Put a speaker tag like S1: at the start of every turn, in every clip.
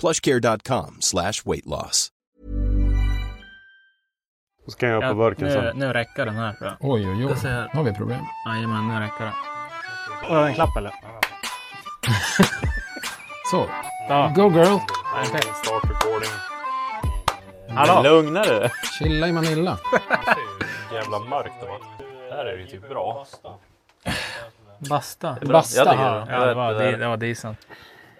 S1: plushcare.com slash weight loss.
S2: Så kan jag på burken
S3: nu,
S2: sen.
S3: nu räcker den här tror jag.
S4: Oj, oj, oj.
S3: Jag ser-
S4: Nu har vi problem.
S3: Jajamän, nu räcker det.
S2: Har jag en klapp eller?
S4: Så.
S2: Ja.
S4: Go girl.
S2: Start recording. Hallå? Lugna dig.
S4: Chilla i Manila.
S2: Jävla mörkt det Här är det ju typ bra.
S3: Basta.
S4: Basta.
S2: Jag tycker det.
S3: Ja, det var, det, det var decent.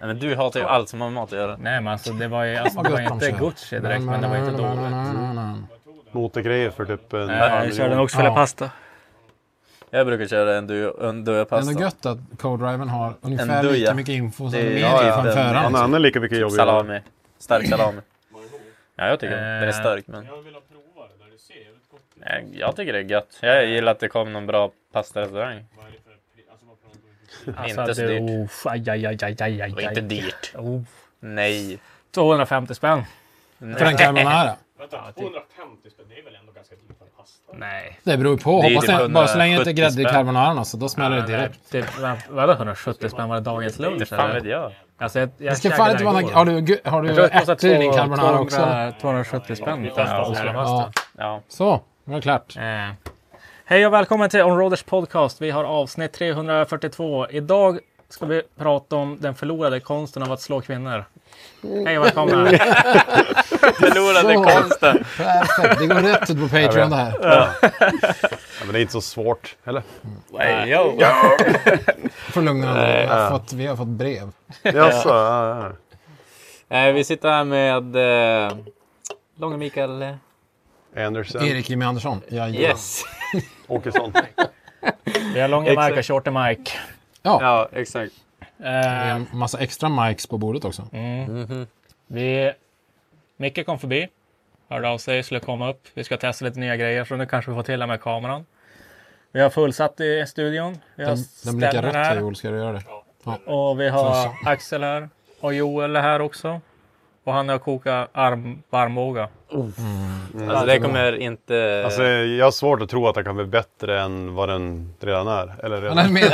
S2: Nej, men du hatar ju allt som har med mat att göra.
S3: Nej men alltså det var ju alltså, det var ju inte Gucci direkt men det var ju inte dåligt.
S2: Motorgrejer för typ en
S3: Nej, jag körde en oxfilépasta.
S5: Jag brukar köra en du- en
S4: Det är ändå
S5: döpasta.
S4: gött att Codriven har
S5: En
S4: ungefär
S5: duja.
S4: lika mycket info som
S5: Det är-
S4: de
S5: ja,
S4: är
S5: ja,
S4: fan
S5: den-
S4: föraren.
S2: Han
S4: liksom.
S2: har lika
S6: Typ
S2: mycket jobb jag
S5: Salami. Stark salami. Ja, jag tycker
S2: Eh,
S5: den är stark. Men... Nej, jag tycker det är gött. Jag gillar att det kom någon bra pastarestaurang.
S3: Alltså
S5: Inte så
S3: du,
S5: dyrt.
S3: uff, aj, aj, aj, aj, aj, aj,
S5: Det var inte dyrt.
S3: Oh,
S5: Nej.
S3: 250 spänn.
S4: För en carbonara.
S3: typ. Nej.
S4: Det beror ju på.
S5: Det är
S4: Hoppas
S5: typ
S4: det, bara så länge det inte är
S5: 170
S4: grädde i
S5: spänn.
S4: carbonaran alltså. Då smäller det direkt.
S3: Typ, vad- vadå 170 spänn? Var det dagens lunch?
S5: Inte fan
S3: eller?
S5: vet jag.
S3: Alltså, jag, jag
S4: Det ska fan inte vara någon... Har du, gu- har du ärtor i din carbonara också?
S3: 270 spänn. Alltså, för
S5: testar
S3: Oslopasta.
S4: Ja.
S5: Ja.
S4: Så. Nu är det klart.
S3: Eh. Hej och välkommen till Onroaders podcast. Vi har avsnitt 342. Idag ska vi prata om den förlorade konsten av att slå kvinnor. Hej och välkomna!
S5: Förlorade
S4: Så.
S5: konsten.
S4: Perfekt. Det går rätt ut på Patreon det här.
S2: Ja, men det är inte så svårt. Eller?
S5: Hey, yo.
S4: För lugna dig. Vi har fått- Vi har fått brev.
S2: Jaså? ja, ja.
S5: Nej, vi sitter här med eh, Långe Mikael eh,
S2: Andersen.
S4: Erik Jimmy Andersson. Ja, ja.
S5: Yes.
S2: Åkesson.
S3: Vi har långa
S5: Exakt.
S3: Mike och shorty Mike.
S5: Ja, exakt.
S4: Det
S3: Eh,
S4: är en massa extra mics på bordet också.
S5: Mm.
S3: Vi... Micke kom förbi. Hörde av sig, skulle komma upp. Vi ska testa lite nya grejer, så nu kanske vi får till det med kameran. Vi har fullsatt i studion. Vi har
S4: Den, den blickar
S3: Stellan
S4: rätt här
S3: här.
S4: Joel. Ska du göra det?
S3: Och vi har Axel här. Och Joel är här också. Och han har kokat arm, varmbåga.
S4: Mm.
S5: Alltså, det kommer inte...
S2: Alltså, jag har svårt att tro att den kan bli bättre än vad den redan är. Eller redan.
S4: Men, men, du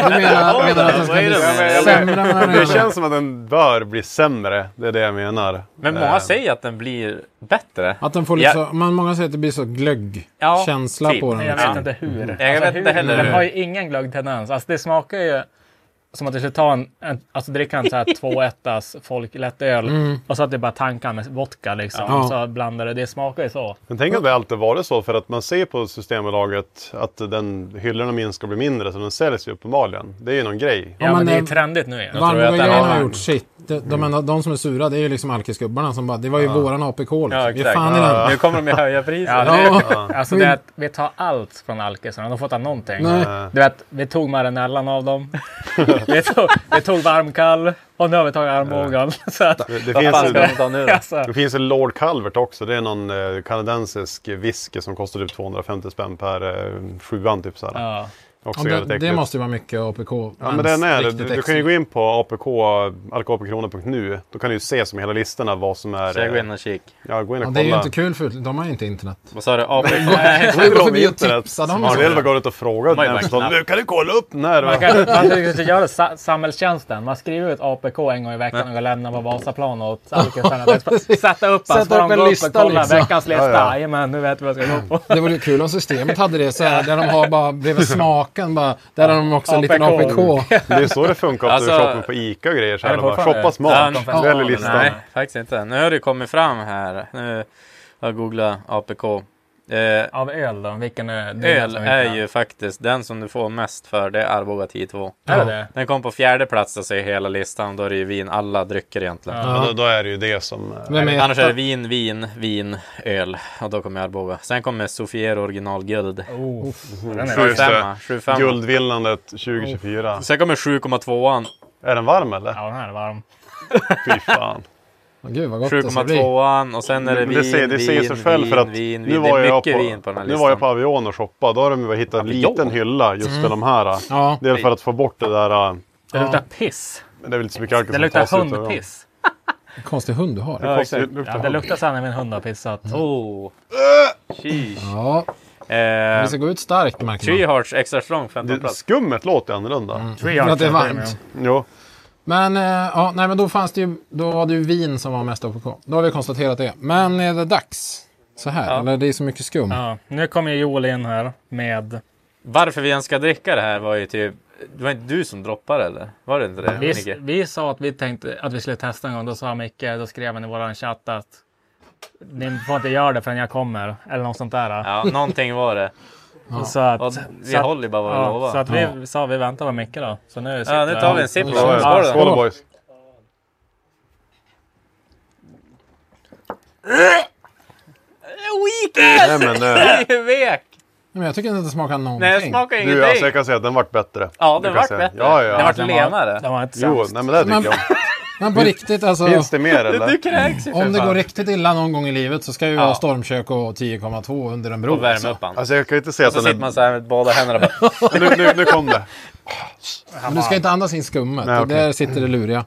S4: menar, menar att den ska
S5: Vad är
S4: bli
S5: det med-
S4: sämre än vad den
S2: Det
S4: är?
S2: känns som att den bör bli sämre. Det är det jag menar.
S5: Men många säger att den blir bättre.
S4: Att den får lite så, men många säger att det blir så
S5: Ja,
S4: glöggkänsla
S5: typ.
S4: på den.
S3: Jag
S4: liksom.
S3: vet inte Alltså, hur.
S5: Jag vet inte heller
S3: Den
S5: hur.
S3: har ju ingen glöggtendens. Alltså det smakar ju som att du skulle ta en, en alltså dricka en så här 2-1 folklättöl och så att du bara tankar med vodka liksom.
S4: Ja.
S3: Och så blandar det. Det smakar ju så.
S2: Men tänk att det alltid varit så för att man ser på Systembolaget att den hyllorna minst ska bli mindre så den säljs ju uppenbarligen. Det är ju någon grej.
S3: Ja,
S4: men
S3: men det är ju
S4: den-
S3: trendigt nu igen.
S5: tror jag att den
S4: Varmbågagrejen
S5: har- Mm.
S4: har gjort sitt. De, de, enda- de som är sura det är ju liksom alkisgubbarna som bara, det var ju våran APK liksom.
S5: Ja,
S4: Ge
S5: exakt.
S4: fan i den.
S5: Nu kommer de ju höja priset.
S3: Ja,
S4: Ja.
S3: det, alltså det är att vi tar allt från alkisarna. De får ta någonting.
S4: Nej.
S3: Du vet, vi tog marinellan av dem. vi, tog, vi tog varmkall och nu har vi tagit armbågen. Så att,
S2: Det, det
S5: Vad fan
S2: finns,
S5: ska de ta nu då?
S3: alltså,
S2: det finns en Lord Calvert också. Det är någon eh, kanadensisk whisky som kostar typ 250 spänn per eh, sjuan. Typ, så här.
S3: ja.
S2: Också
S4: Ja, det,
S2: jävligt
S4: det
S2: äckligt.
S4: måste ju vara mycket APK.
S2: Ja men den är det.
S4: riktigt
S2: Du, du kan ju
S4: äckligt.
S2: gå in på apk, alkapkrona.nu. Då kan du ju se som hela listorna vad som är...
S6: Så jag går
S2: eh,
S6: in och kik.
S2: Ja, gå in och
S4: ja,
S2: kolla.
S4: det är ju inte kul för de har ju inte internet.
S6: Vad sa du? AP?
S4: går ju
S2: Kolla om
S4: förbi och
S2: internet.
S4: tipsar dem. liksom.
S2: Ja, det är väl bara att och fråga.
S6: har ju
S2: den
S6: bara
S2: som sa,
S6: knappt.
S2: "Nu Kan du kolla upp när?
S3: Man kan man kan ju göra sa- samhällstjänsten. Man skriver ut APK en gång i veckan och går och lämnar på Vasaplan och sätta upp
S4: Sätta
S3: den så får
S4: upp
S3: de
S4: en
S3: gå upp
S4: lista,
S3: och kolla
S4: liksom.
S3: veckans lista.
S2: Ja, ja.
S3: Jajamän, nu vet vi vad jag ska gå på.
S4: Det vore ju kul om systemet hade det så här, där de har bara bredvid smaken bara, där har de också en liten
S3: APK.
S4: APK.
S2: Det är så det funkar
S6: Alltså-
S2: ofta du shoppar på Ica och grejer. Så
S3: Är
S2: här,
S3: det
S2: bara,
S3: fortfarande-
S2: shoppa smart.
S3: Ja,
S2: Välj
S3: ja,
S2: listan.
S6: Nej, faktiskt inte. Nu har det kommit fram här. Nu har jag googlat APK. Eh,
S3: Av öl då? Vilken är det?
S6: öl
S3: som
S6: är
S3: inte-
S6: ju faktiskt den som du får mest för. Det är Arboga 10-2.
S3: Är det det?
S6: Den kom på fjärde plats alltså, i hela listan. Då är det ju vin, alla drycker egentligen.
S2: Ja, då, då är det ju det som... eh,
S4: Vem är
S6: Annars är det
S4: etta?
S6: vin, vin, vin, öl. Och då kommer Arboga. Sen kommer Sofiero original guld.
S3: Oh, den är
S2: Ja, just det.
S6: femma, sju femma.
S2: Guldvinnandet 2024.
S6: Sen kommer 7,2an.
S2: Är den varm eller?
S3: Ja, den här är varm.
S2: Fy fan.
S4: Åh, Gud vad gott det ska bli.
S6: 7,2an och sen är det
S2: Men
S6: vin,
S2: det säger, det säger
S6: vin,
S2: sig själv
S6: vin,
S2: för att
S6: vin,
S2: nu
S6: vin.
S2: var,
S6: det är
S2: jag
S6: mycket
S2: på,
S6: vin på den här
S2: nu
S6: listan.
S2: var jag på Avion och shoppade. Då har de ju bara hittat en
S6: Avion? Mm.
S2: liten hylla just för de här.
S4: Ja.
S2: Det är för att få bort det där. eh,
S3: Det luktar piss.
S2: men Det är väl inte så mycket alkohol
S3: Det
S2: som
S3: luktar
S2: tas ut över dem.
S3: hundpiss.
S4: Konstig hund du har.
S2: Det kostar ju-
S6: exakt.
S2: luktar
S3: Ja, det
S2: hund.
S3: luktar så här när min hund har pissat.
S6: Oh. Sheesh.
S4: Ja,
S6: Eh,
S4: vi ska gå ut starkt märker
S6: Three
S4: man.
S6: Hearts extra strong
S2: Det-
S6: 15 plats.
S2: Skummet låter annorlunda.
S6: Mm.
S4: För att det är varmt.
S2: Jo.
S4: Men, eh, ja, nej, men då, fanns det ju, då var det ju vin som var mest APK. Då har vi konstaterat det. Men är det dags? Så här, eller det är så mycket skum.
S3: Ja, nu kommer ju Joel in här med...
S6: Varför vi ens ska dricka det här var ju typ... Det var inte du som droppade eller? Var det inte det?
S3: Vi,
S6: Micke?
S3: vi sa att vi tänkte att vi skulle testa en gång. Då sa Micke, då skrev han i våran chatt att ni får inte göra det förrän jag kommer. Eller något sånt där.
S6: Ja, någonting var det.
S3: Så att,
S6: Och vi
S3: så att-
S6: håller ju bara vad vi
S3: ja,
S6: lovar.
S3: Så att vi sa vi väntar på Micke då. Så nu sitter
S6: Ja, nu tar vi en sipp.
S4: Ja,
S6: Skål
S4: skål.
S6: då.
S2: Skål då, boys. Nej, men, eh,
S6: Det är ju vek!
S4: Men jag tycker inte att det smakar någonting.
S6: Nej, det smakar
S2: du, alltså,
S6: ingenting.
S2: jag kan säga att den vart bättre.
S6: Ja,
S2: Det
S6: den
S2: kan
S6: vart
S2: jag
S6: bättre.
S2: säga. Ja, ja.
S6: Den vart
S2: Den
S6: lenare.
S3: Den var inte
S2: Jo,
S3: sämst.
S2: nej, men det tycker
S4: Men-
S2: jag.
S4: Men på riktigt alltså.
S2: Finns det mer eller?
S6: Du kräks ju för
S4: Om det
S6: fan.
S4: går riktigt illa någon gång i livet så ska ju jag ha
S6: Ja.
S4: stormkök och 10,2 under en bro.
S6: Och värma
S4: alltså.
S6: upp han.
S2: Alltså jag kan ju inte säga att
S6: Så sitter
S2: den
S6: man så här med båda händerna och bara...
S2: är... Nu, nu, nu kom det.
S4: Men du ska inte andas in skummet.
S2: Nej, okej.
S4: Där sitter det luriga.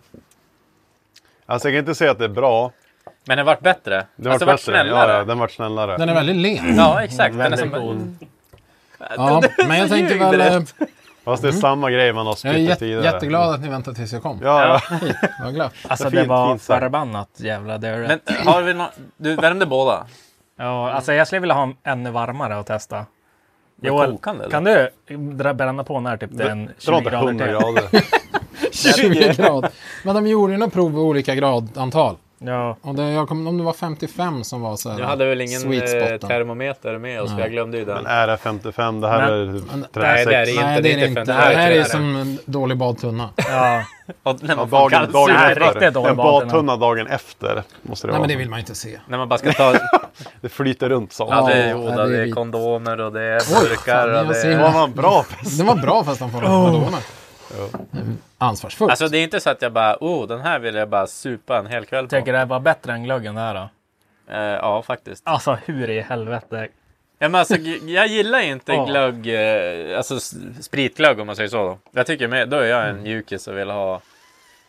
S2: Alltså jag kan inte säga att det är bra.
S6: Men den vart bättre.
S2: Den
S6: alltså,
S2: vart
S6: vart
S2: bättre. Ja, ja,
S6: snällare.
S2: den vart snällare.
S4: Den är väldigt len.
S6: Ja, exakt. Den är som...
S4: Ja, men jag tänkte
S6: ljug
S4: väl... eh,
S6: direkt.
S2: Fast det är samma grej man har
S4: Jag är
S2: spyttat
S4: jätte,
S2: tidigare.
S4: jätteglad att ni väntade tills jag kom.
S2: Ja, ja.
S4: Vad glatt.
S3: Alltså
S2: Fint,
S3: det var
S2: fint sagt.
S3: förbannat jävla dörre.
S6: Men har vi nå... Du värmde båda?
S3: Ja, alltså jag skulle vilja ha en ännu varmare att testa. Joel,
S6: kokande, eller?
S3: kan du dra- bränna på när typ det är en
S2: Dra
S3: 20
S2: inte
S3: grader
S2: 100
S3: till?
S2: grader.
S4: 20 grad. Men de gjorde ju några prov i olika gradantal.
S3: Ja,
S4: Och det, jag kom, om det var 55 som var så här,
S6: Du hade väl ingen
S4: sweet
S6: eh,
S4: spoten.
S6: termometer med oss? för Jag glömde ju den.
S4: äh,
S2: Men är det 55? Det här
S3: Men-
S2: är 36.
S6: Nej, det är det
S4: Nej, det är det inte. Det här är som en dålig badtunna.
S3: ja.
S6: Och när man, får
S2: Dagen,
S6: kallsvett.
S2: dagen
S3: Nej, riktigt
S2: efter.
S3: dålig
S2: En badtunna dagen efter. Måste det
S4: Nej,
S2: vara.
S4: men det vill man ju inte se.
S6: När man bara ska ta...
S2: Det flyter runt så.
S6: Ja,
S2: Ja,
S6: det är,
S4: Ja,
S6: jo,
S4: det är
S6: då, det är
S4: vitt.
S6: kondomer och det är
S4: Oj,
S6: burkar
S4: fan,
S6: och
S4: jag
S6: det
S4: ser-
S6: är...
S2: Vad man bra fest.
S4: Den var bra fast de får oh. Ansvarsfullt.
S6: Alltså det är inte så att jag bara, oh den här vill jag bara supa en hel kväll på.
S3: Tänker det var bättre än glöggen det här då?
S6: Eh, ja, faktiskt.
S3: Alltså hur i helvete?
S6: Ja, men alltså, g- jag gillar ju inte
S3: Ja.
S6: glögg, eh, alltså s- spritglögg om man säger så. Då, jag tycker mer, då är jag
S3: Mm.
S6: en mjukis och vill ha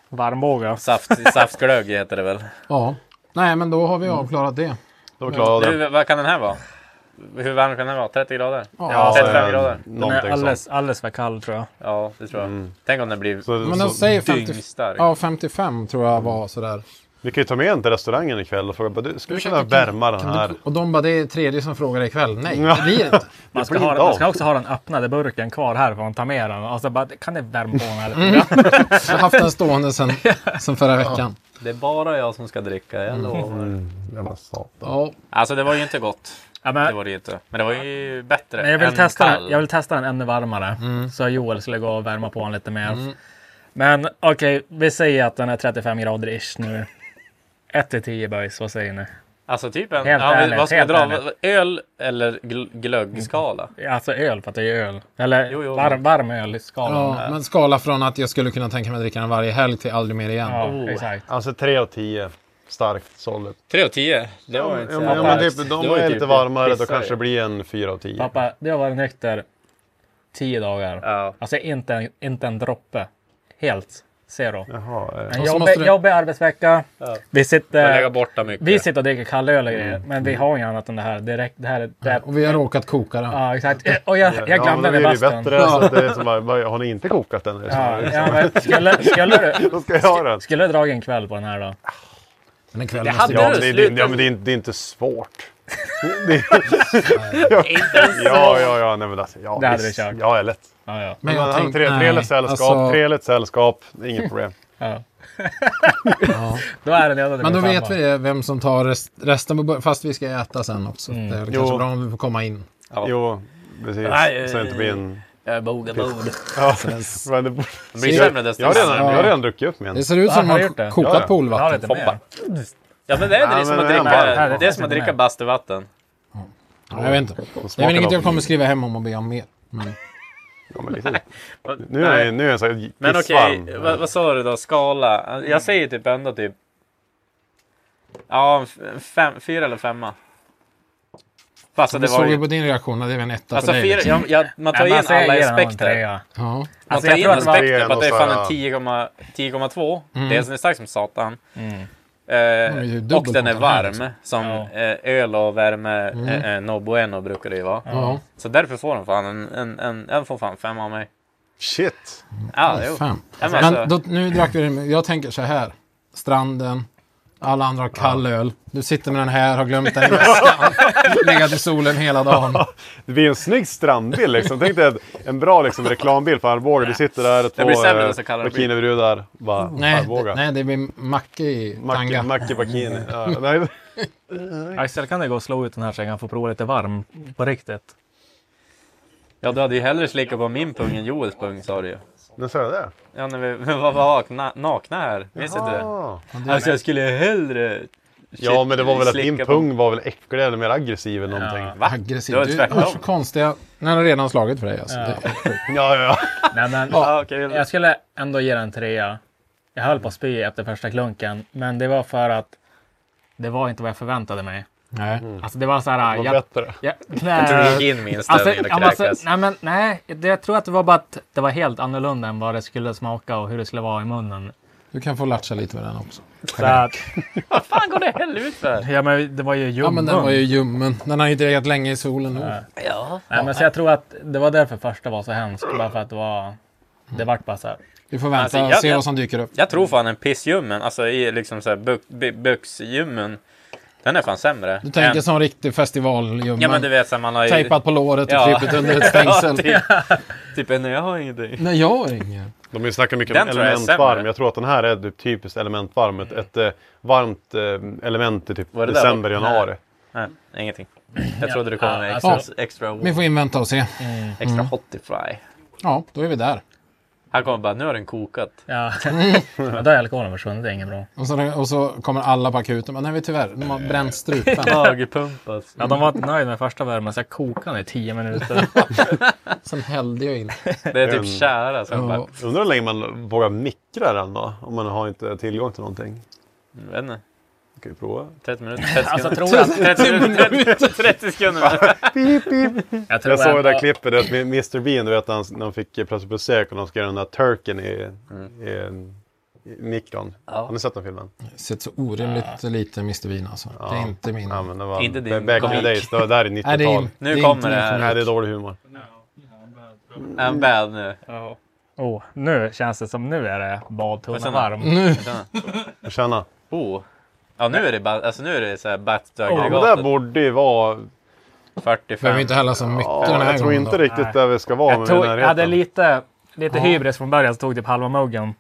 S3: Varmbåga.
S6: saft, saftglögg heter det väl.
S4: Ja. Nej, men då har vi avklarat det.
S2: Då klarar jag det.
S6: Du, vad kan den här vara? Hur varm kan den vara? 30 grader?
S4: Ja.
S6: 35
S3: Den
S6: grader?
S3: är
S2: Alltså, Någonting sånt.
S3: alldeles, alldeles för kall tror jag.
S6: Ja, det tror jag. Tänk om den blir
S2: Mm. Så,
S4: Men de
S2: så,
S4: säger 50,
S6: dyngstark.
S4: ja, 55 tror jag var sådär.
S2: vi kan ju ta med en till restaurangen ikväll och fråga. bara, du, Skulle du kunna
S4: Ursäkta,
S2: värma den
S4: Kan
S2: här?
S4: du, och de bara, det är tredje som frågar ikväll. Nej,
S2: Ja.
S4: det blir det inte.
S3: Man ska,
S2: blir
S3: ha,
S2: inte
S3: man
S2: av.
S3: ska också ha den öppnade burken kvar här för att ta med den. Alltså bara, kan ni värma på den här
S4: Mm.
S3: lite grann?
S4: Jag har haft den stående sen, sen förra veckan.
S6: Det är bara jag som ska dricka,
S3: Mm.
S6: jag lovar.
S2: Mm, Jävla satan.
S4: Ja.
S6: Alltså det var ju inte gott.
S3: Ja,
S6: Det
S3: men,
S6: var det ju inte. Men det var ju bättre
S3: men jag,
S6: än
S3: vill testa den,
S6: kall.
S3: jag vill testa den ännu varmare.
S4: Mm.
S3: Så Joel skulle gå och värma på den lite mer. Men okej, vi säger att den är 35 grader ish nu. 1 till 10 boys, vad säger ni?
S6: Alltså typ en...
S3: Helt
S6: ja, men
S3: ärligt,
S6: vad ska jag
S3: helt
S6: dra?
S3: ärligt.
S6: Öl eller gl- glöggskala?
S3: Alltså öl för att det är öl. Eller
S6: Jo, jo.
S3: Varm, varm öl i skalan.
S4: ja, men skala från att jag skulle kunna tänka mig att dricka den varje helg till aldrig mer igen.
S3: Ja,
S6: Oh.
S3: exakt.
S2: Alltså 3 av 10. Starkt, solid.
S6: 3 av 10? Det var inte
S2: Ja,
S6: så
S2: men, ja,
S6: jävla
S2: men typ,
S6: starkt.
S2: de
S6: Det var
S2: är
S6: ju
S2: lite
S6: typ-
S2: varmare, då
S6: pissar
S2: kanske
S6: ju.
S2: det blir en 4 av 10.
S3: Pappa, du har varit nykter tio dagar.
S6: Ja.
S3: Alltså inte en, inte en droppe. Helt zero.
S2: Jaha, eh,
S3: En
S4: Och så
S3: jobbig,
S4: måste du-
S3: jobbig arbetsvecka. Vi
S6: Jag
S3: sitter,
S6: lägger borta mycket.
S3: vi sitter och dricker kallöl och grejer. Men vi har inget annat än det här. Direkt, det här är- det här,
S4: Och vi har råkat koka den.
S3: ja, exakt. Och jag, jag
S2: ja, men
S3: glömde
S2: då
S3: den i
S2: blir det ju
S3: bastun.
S2: bättre. Så att det är som bara, bara, har ni inte kokat den?
S3: Ja, ja, men skulle, skulle, du,
S2: Då ska jag ha den.
S3: skulle du dra en kväll på den här då?
S4: Men en kväll
S6: Det
S4: måste
S6: hade
S4: jag...
S2: Ja,
S6: du
S2: men det, det,
S6: slutat?
S2: ja, men det, är, inte- det är inte svårt.
S6: Inte ens
S2: Ja, ja, ja. Nej, men alltså, ja,
S3: Det hade
S2: visst.
S3: vi kört.
S2: Ja, jag är lätt.
S3: Ja, ja.
S4: Men
S2: Men han
S4: tänkte-
S2: tre,
S4: nej,
S2: trevligt sällskap,
S4: alltså-
S2: trevligt sällskap. Inget problem.
S3: Då är den redan
S4: Men då
S3: min
S4: vet
S3: femma.
S4: vi det, vem som tar rest, resten på bör- Fast vi ska äta sen också. Det är väl
S2: Jo.
S4: kanske bra om vi får komma in.
S6: Ja.
S2: Jo, precis.
S6: Nej,
S2: Så det inte blir en...
S6: Jag är bogad bord.
S2: Ja, men det borde...
S6: Det blir sämre desto
S2: Jag har redan,
S4: Ja.
S2: jag har redan druckit upp min.
S4: Det ser ut
S3: Ja,
S4: som
S3: har
S4: att
S3: du
S4: de
S3: gjort det?
S4: har kokat
S2: Ja, ja.
S3: Jag har
S4: poolvatten.
S3: lite mer.
S6: Ja men det är
S2: Ja,
S6: det som
S2: men
S6: att
S2: det är
S6: dricka,
S2: bara-
S3: här är
S6: det är som
S3: det
S6: att dricka
S3: med.
S6: bastuvatten.
S4: Ja, jag vet inte. Det är väl inget jag kommer skriva hem om och be om mer. Men
S2: Ja, men lite. Nu är jag, nu är jag så här
S6: Men okej,
S2: kissvarm.
S6: vad, vad sa du då? Skala?
S3: Mm.
S6: Jag säger typ ändå typ... Ja, en f- en fem, fyra eller femma. Fast
S4: det
S6: det var
S4: såg vi
S6: ju...
S4: på din reaktion. Det är väl en etta
S6: Alltså
S4: för dig.
S6: fyra,
S4: liksom.
S6: ja, ja, man tar
S3: Nej, men alltså,
S6: in
S3: säg
S6: alla
S3: gärna någon
S6: aspekter.
S3: trea.
S4: Ja.
S6: Man
S3: Alltså,
S6: tar
S3: jag
S6: in
S3: tror att det var-
S6: aspekter på att det är fan
S2: Ja.
S6: en 10,2. 10,2. Det är, den är stark som satan.
S4: Mm. är ju
S6: Eh,
S4: dubbel
S6: och den är
S4: på den här,
S6: varm.
S4: liksom.
S6: Som
S3: Ja.
S6: eh, öl och värme, eh, eh, no bueno brukar det ju vara.
S4: Mm. Ja.
S6: Så därför får den fan en, en, en, den får fan fem av mig.
S2: Shit!
S6: Ja, jo.
S4: Fan.
S6: Ja, men
S4: Men
S6: alltså-
S4: då, nu drack vi det. Jag tänker så här. Stranden. Alla andra har kall öl. Du sitter med den här, har glömt den i väskan. Legat i solen hela dagen.
S2: Det blir en snygg strandbild liksom. Tänk dig ett- en bra liksom, reklambild för Arboga. Du sitter där två
S6: blir sämre
S2: eh,
S6: när så kallar det blir.
S2: bikinibrudar. Bara
S4: Nej,
S2: Arboga.
S4: nej, det blir macka i
S2: Macke,
S4: tanga.
S2: Macke Bikini. Ja, nej.
S3: Axel, kan du gå och slå ut den här så jag kan få prova lite varm
S6: Mm.
S3: på riktigt?
S6: Ja, du hade ju hellre slickat på min pung än Joels pung sa du ju.
S2: Nu sa jag det.
S6: Ja, när vi vi var vakna, nakna här. Minns inte det?
S2: Ah.
S6: Alltså jag skulle hellre...
S2: Ja, men det var väl att din
S6: slicka på-
S2: pung var väl äckligare eller mer aggressiv eller någonting.
S6: Va?
S4: Aggressiv.
S6: Det var
S4: Du
S6: tvärtom.
S4: usch, konstiga... Den har redan slagit för dig. Alltså. Det,
S2: Ja, ja, ja.
S3: Nej, men
S6: Ja, okej.
S3: jag skulle ändå ge den en trea. Jag höll på att spy efter första klunken, men det var för att det var inte vad jag förväntade mig.
S4: nej.
S3: Alltså det var så här...
S2: Det var
S3: jag,
S2: bättre.
S3: jag,
S6: Jag tror du
S3: nej,
S6: gick in med
S3: alltså,
S6: inställningen
S3: ja, men
S6: att
S3: alltså,
S6: kräkas.
S3: nej, men, nej, det, jag tror att det var bara att det var helt annorlunda än vad det skulle smaka och hur det skulle vara i munnen.
S4: Du kan få latcha lite med den också.
S3: Så att,
S6: Vad fan går det i helvete för?
S3: ja, men det var ju ljummen.
S4: Ja, men den var ju ljummen. Den har ju inte legat länge i solen nu.
S6: Ja.
S3: Nej, men så jag tror att det var därför första var så hemskt. Bara för att det var... Det vart bara så här.
S4: Vi får vänta
S6: Alltså,
S4: och
S6: jag-
S4: se
S6: jag-
S4: vad som dyker upp.
S6: Jag tror fan en pissljummen, alltså i liksom såhär bu- bu- buxljummen. Den är fan sämre.
S4: Du tänker
S6: än-
S4: som en riktig festivalljummen.
S6: Ja men du vet såhär man har ju...
S4: Tejpat på låret och
S6: Ja.
S4: klippit under ett
S6: Ja,
S4: stängsel.
S6: typ, typ nej jag har ingenting.
S4: Nej, jag har ingen.
S2: De har ju snackat mycket
S6: Den
S2: om
S6: tror jag är
S2: elementvarm.
S6: sämre.
S2: Jag tror att den här är typ typiskt elementvarm. Ett, ett eh, varmt eh, element i typ
S6: Var det där
S2: december,
S6: bort?
S2: januari.
S6: Nej, ingenting. Jag trodde det kom med
S3: alltså-
S6: extra, extra,
S4: Vi får invänta och se. Mm.
S6: extra hotty fry.
S4: Ja, då är vi där.
S6: Han kommer bara, nu har den kokat.
S3: Ja. Men då har alkoholen försvunnit, det är inget bra.
S4: Och så, och så kommer alla på akuten. Men nej, vi tyvärr, de har
S2: Eh.
S4: bränt strupen.
S6: Magerpumpas.
S3: Ja, de var inte nöjda med första värmen, så jag kokade i tio minuter.
S4: Sen hällde jag in.
S6: Det är typ kära. Så jag bara,
S4: Ja.
S2: Undrar hur länge man vågar mikra den då? Om man har inte tillgång till någonting.
S6: jag vet inte.
S2: Vi kan ju prova.
S6: 30 minuter, 30
S3: Alltså,
S6: sekunder.
S3: jag tror att...
S6: 30 minuter, 30, 30 sekunder.
S3: Jag, tror
S2: Jag såg det
S3: ändå-
S2: där klippet, att Mr Bean, du vet när han, när han fick eh, plötsligt besök och de ska göra den där turken i,
S3: Mm.
S2: i, i mikron. Har ni sett den filmen?
S4: Det ser så orimligt lite Mr. Bean alltså. Det är inte min.
S2: Ja, men det var
S6: Inte din
S2: ba- back in the
S6: komik.
S2: days, det var där i
S4: Nej, det
S2: 90-tal.
S4: är,
S6: Nu
S4: det är
S6: kommer
S4: inte
S6: det
S4: min
S6: här.
S4: favorit.
S2: Nej, det är dålig humor.
S6: I'm bad nu.
S3: Oh, nu känns det som nu är det badtunnan
S6: sen-
S3: varm.
S2: Känna.
S6: Oh. Ja nu är det bara, alltså nu är det såhär
S2: Ja, men där
S6: batstugregatet.
S2: borde ju vara...
S6: 45.
S4: Behöver inte hälla så mycket den
S2: Ja,
S4: här
S2: jag tror
S4: gången
S2: inte
S4: då.
S2: riktigt där vi ska vara.
S3: Jag
S2: men
S3: tog,
S2: i
S3: jag
S2: närheten.
S3: hade lite, lite hybris från början, så tog typ halva muggen.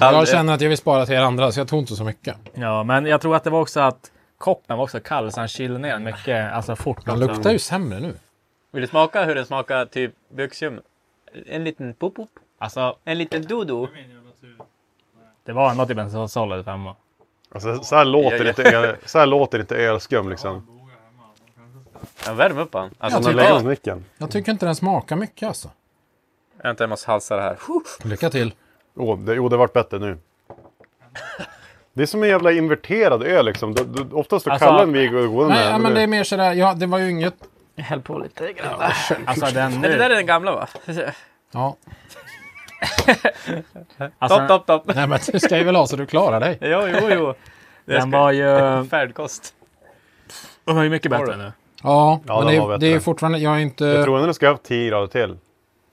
S4: Jag känner att jag vill spara till er andra, så jag tog inte så mycket.
S3: Ja, men jag tror att det var också att koppen var också kall, så han kylde ner den mycket, alltså fort.
S4: Den luktar ju sämre nu.
S6: Vill du smaka hur den smakar typ buxium? En liten pop-pop.
S3: Alltså,
S6: En liten dodo.
S3: det var ändå typ en så solid femma.
S2: Alltså, så, här låter
S6: Jag-
S2: inte öl, så här låter inte ölskum liksom.
S6: Ja, värm upp han. Alltså,
S4: Jag
S6: nu
S2: Man
S4: tycker-
S2: lägger
S6: var...
S2: åt micken.
S4: Jag tycker inte den smakar mycket alltså.
S6: Vänta, jag måste halsa det här.
S4: Lycka till.
S2: Oh, det, jo, det vart bättre nu. Det är som en jävla inverterad öl liksom. Du, du, oftast så
S3: Alltså-
S2: kallar vi och går
S4: Nej, ja,
S2: med.
S4: men det är mer sådär, ja, det var ju inget
S6: Häll på lite.
S3: Alltså den
S5: Det där
S3: nu.
S5: är den gamla va?
S4: Ja.
S5: Topp,
S3: Alltså,
S5: topp, topp.
S4: Nej, men du ska ju väl ha så du klarar dig.
S5: Jo, jo, jo. Det
S3: den
S5: ska-
S3: var ju... eh,
S5: Färdkost.
S3: Den var ju mycket bättre nu.
S4: Ja,
S2: Ja,
S4: men
S2: den
S4: det,
S2: var
S4: är- det är
S2: bättre.
S4: fortfarande... Jag är inte...
S2: Jag tror ändå det ska ha 10 grader till.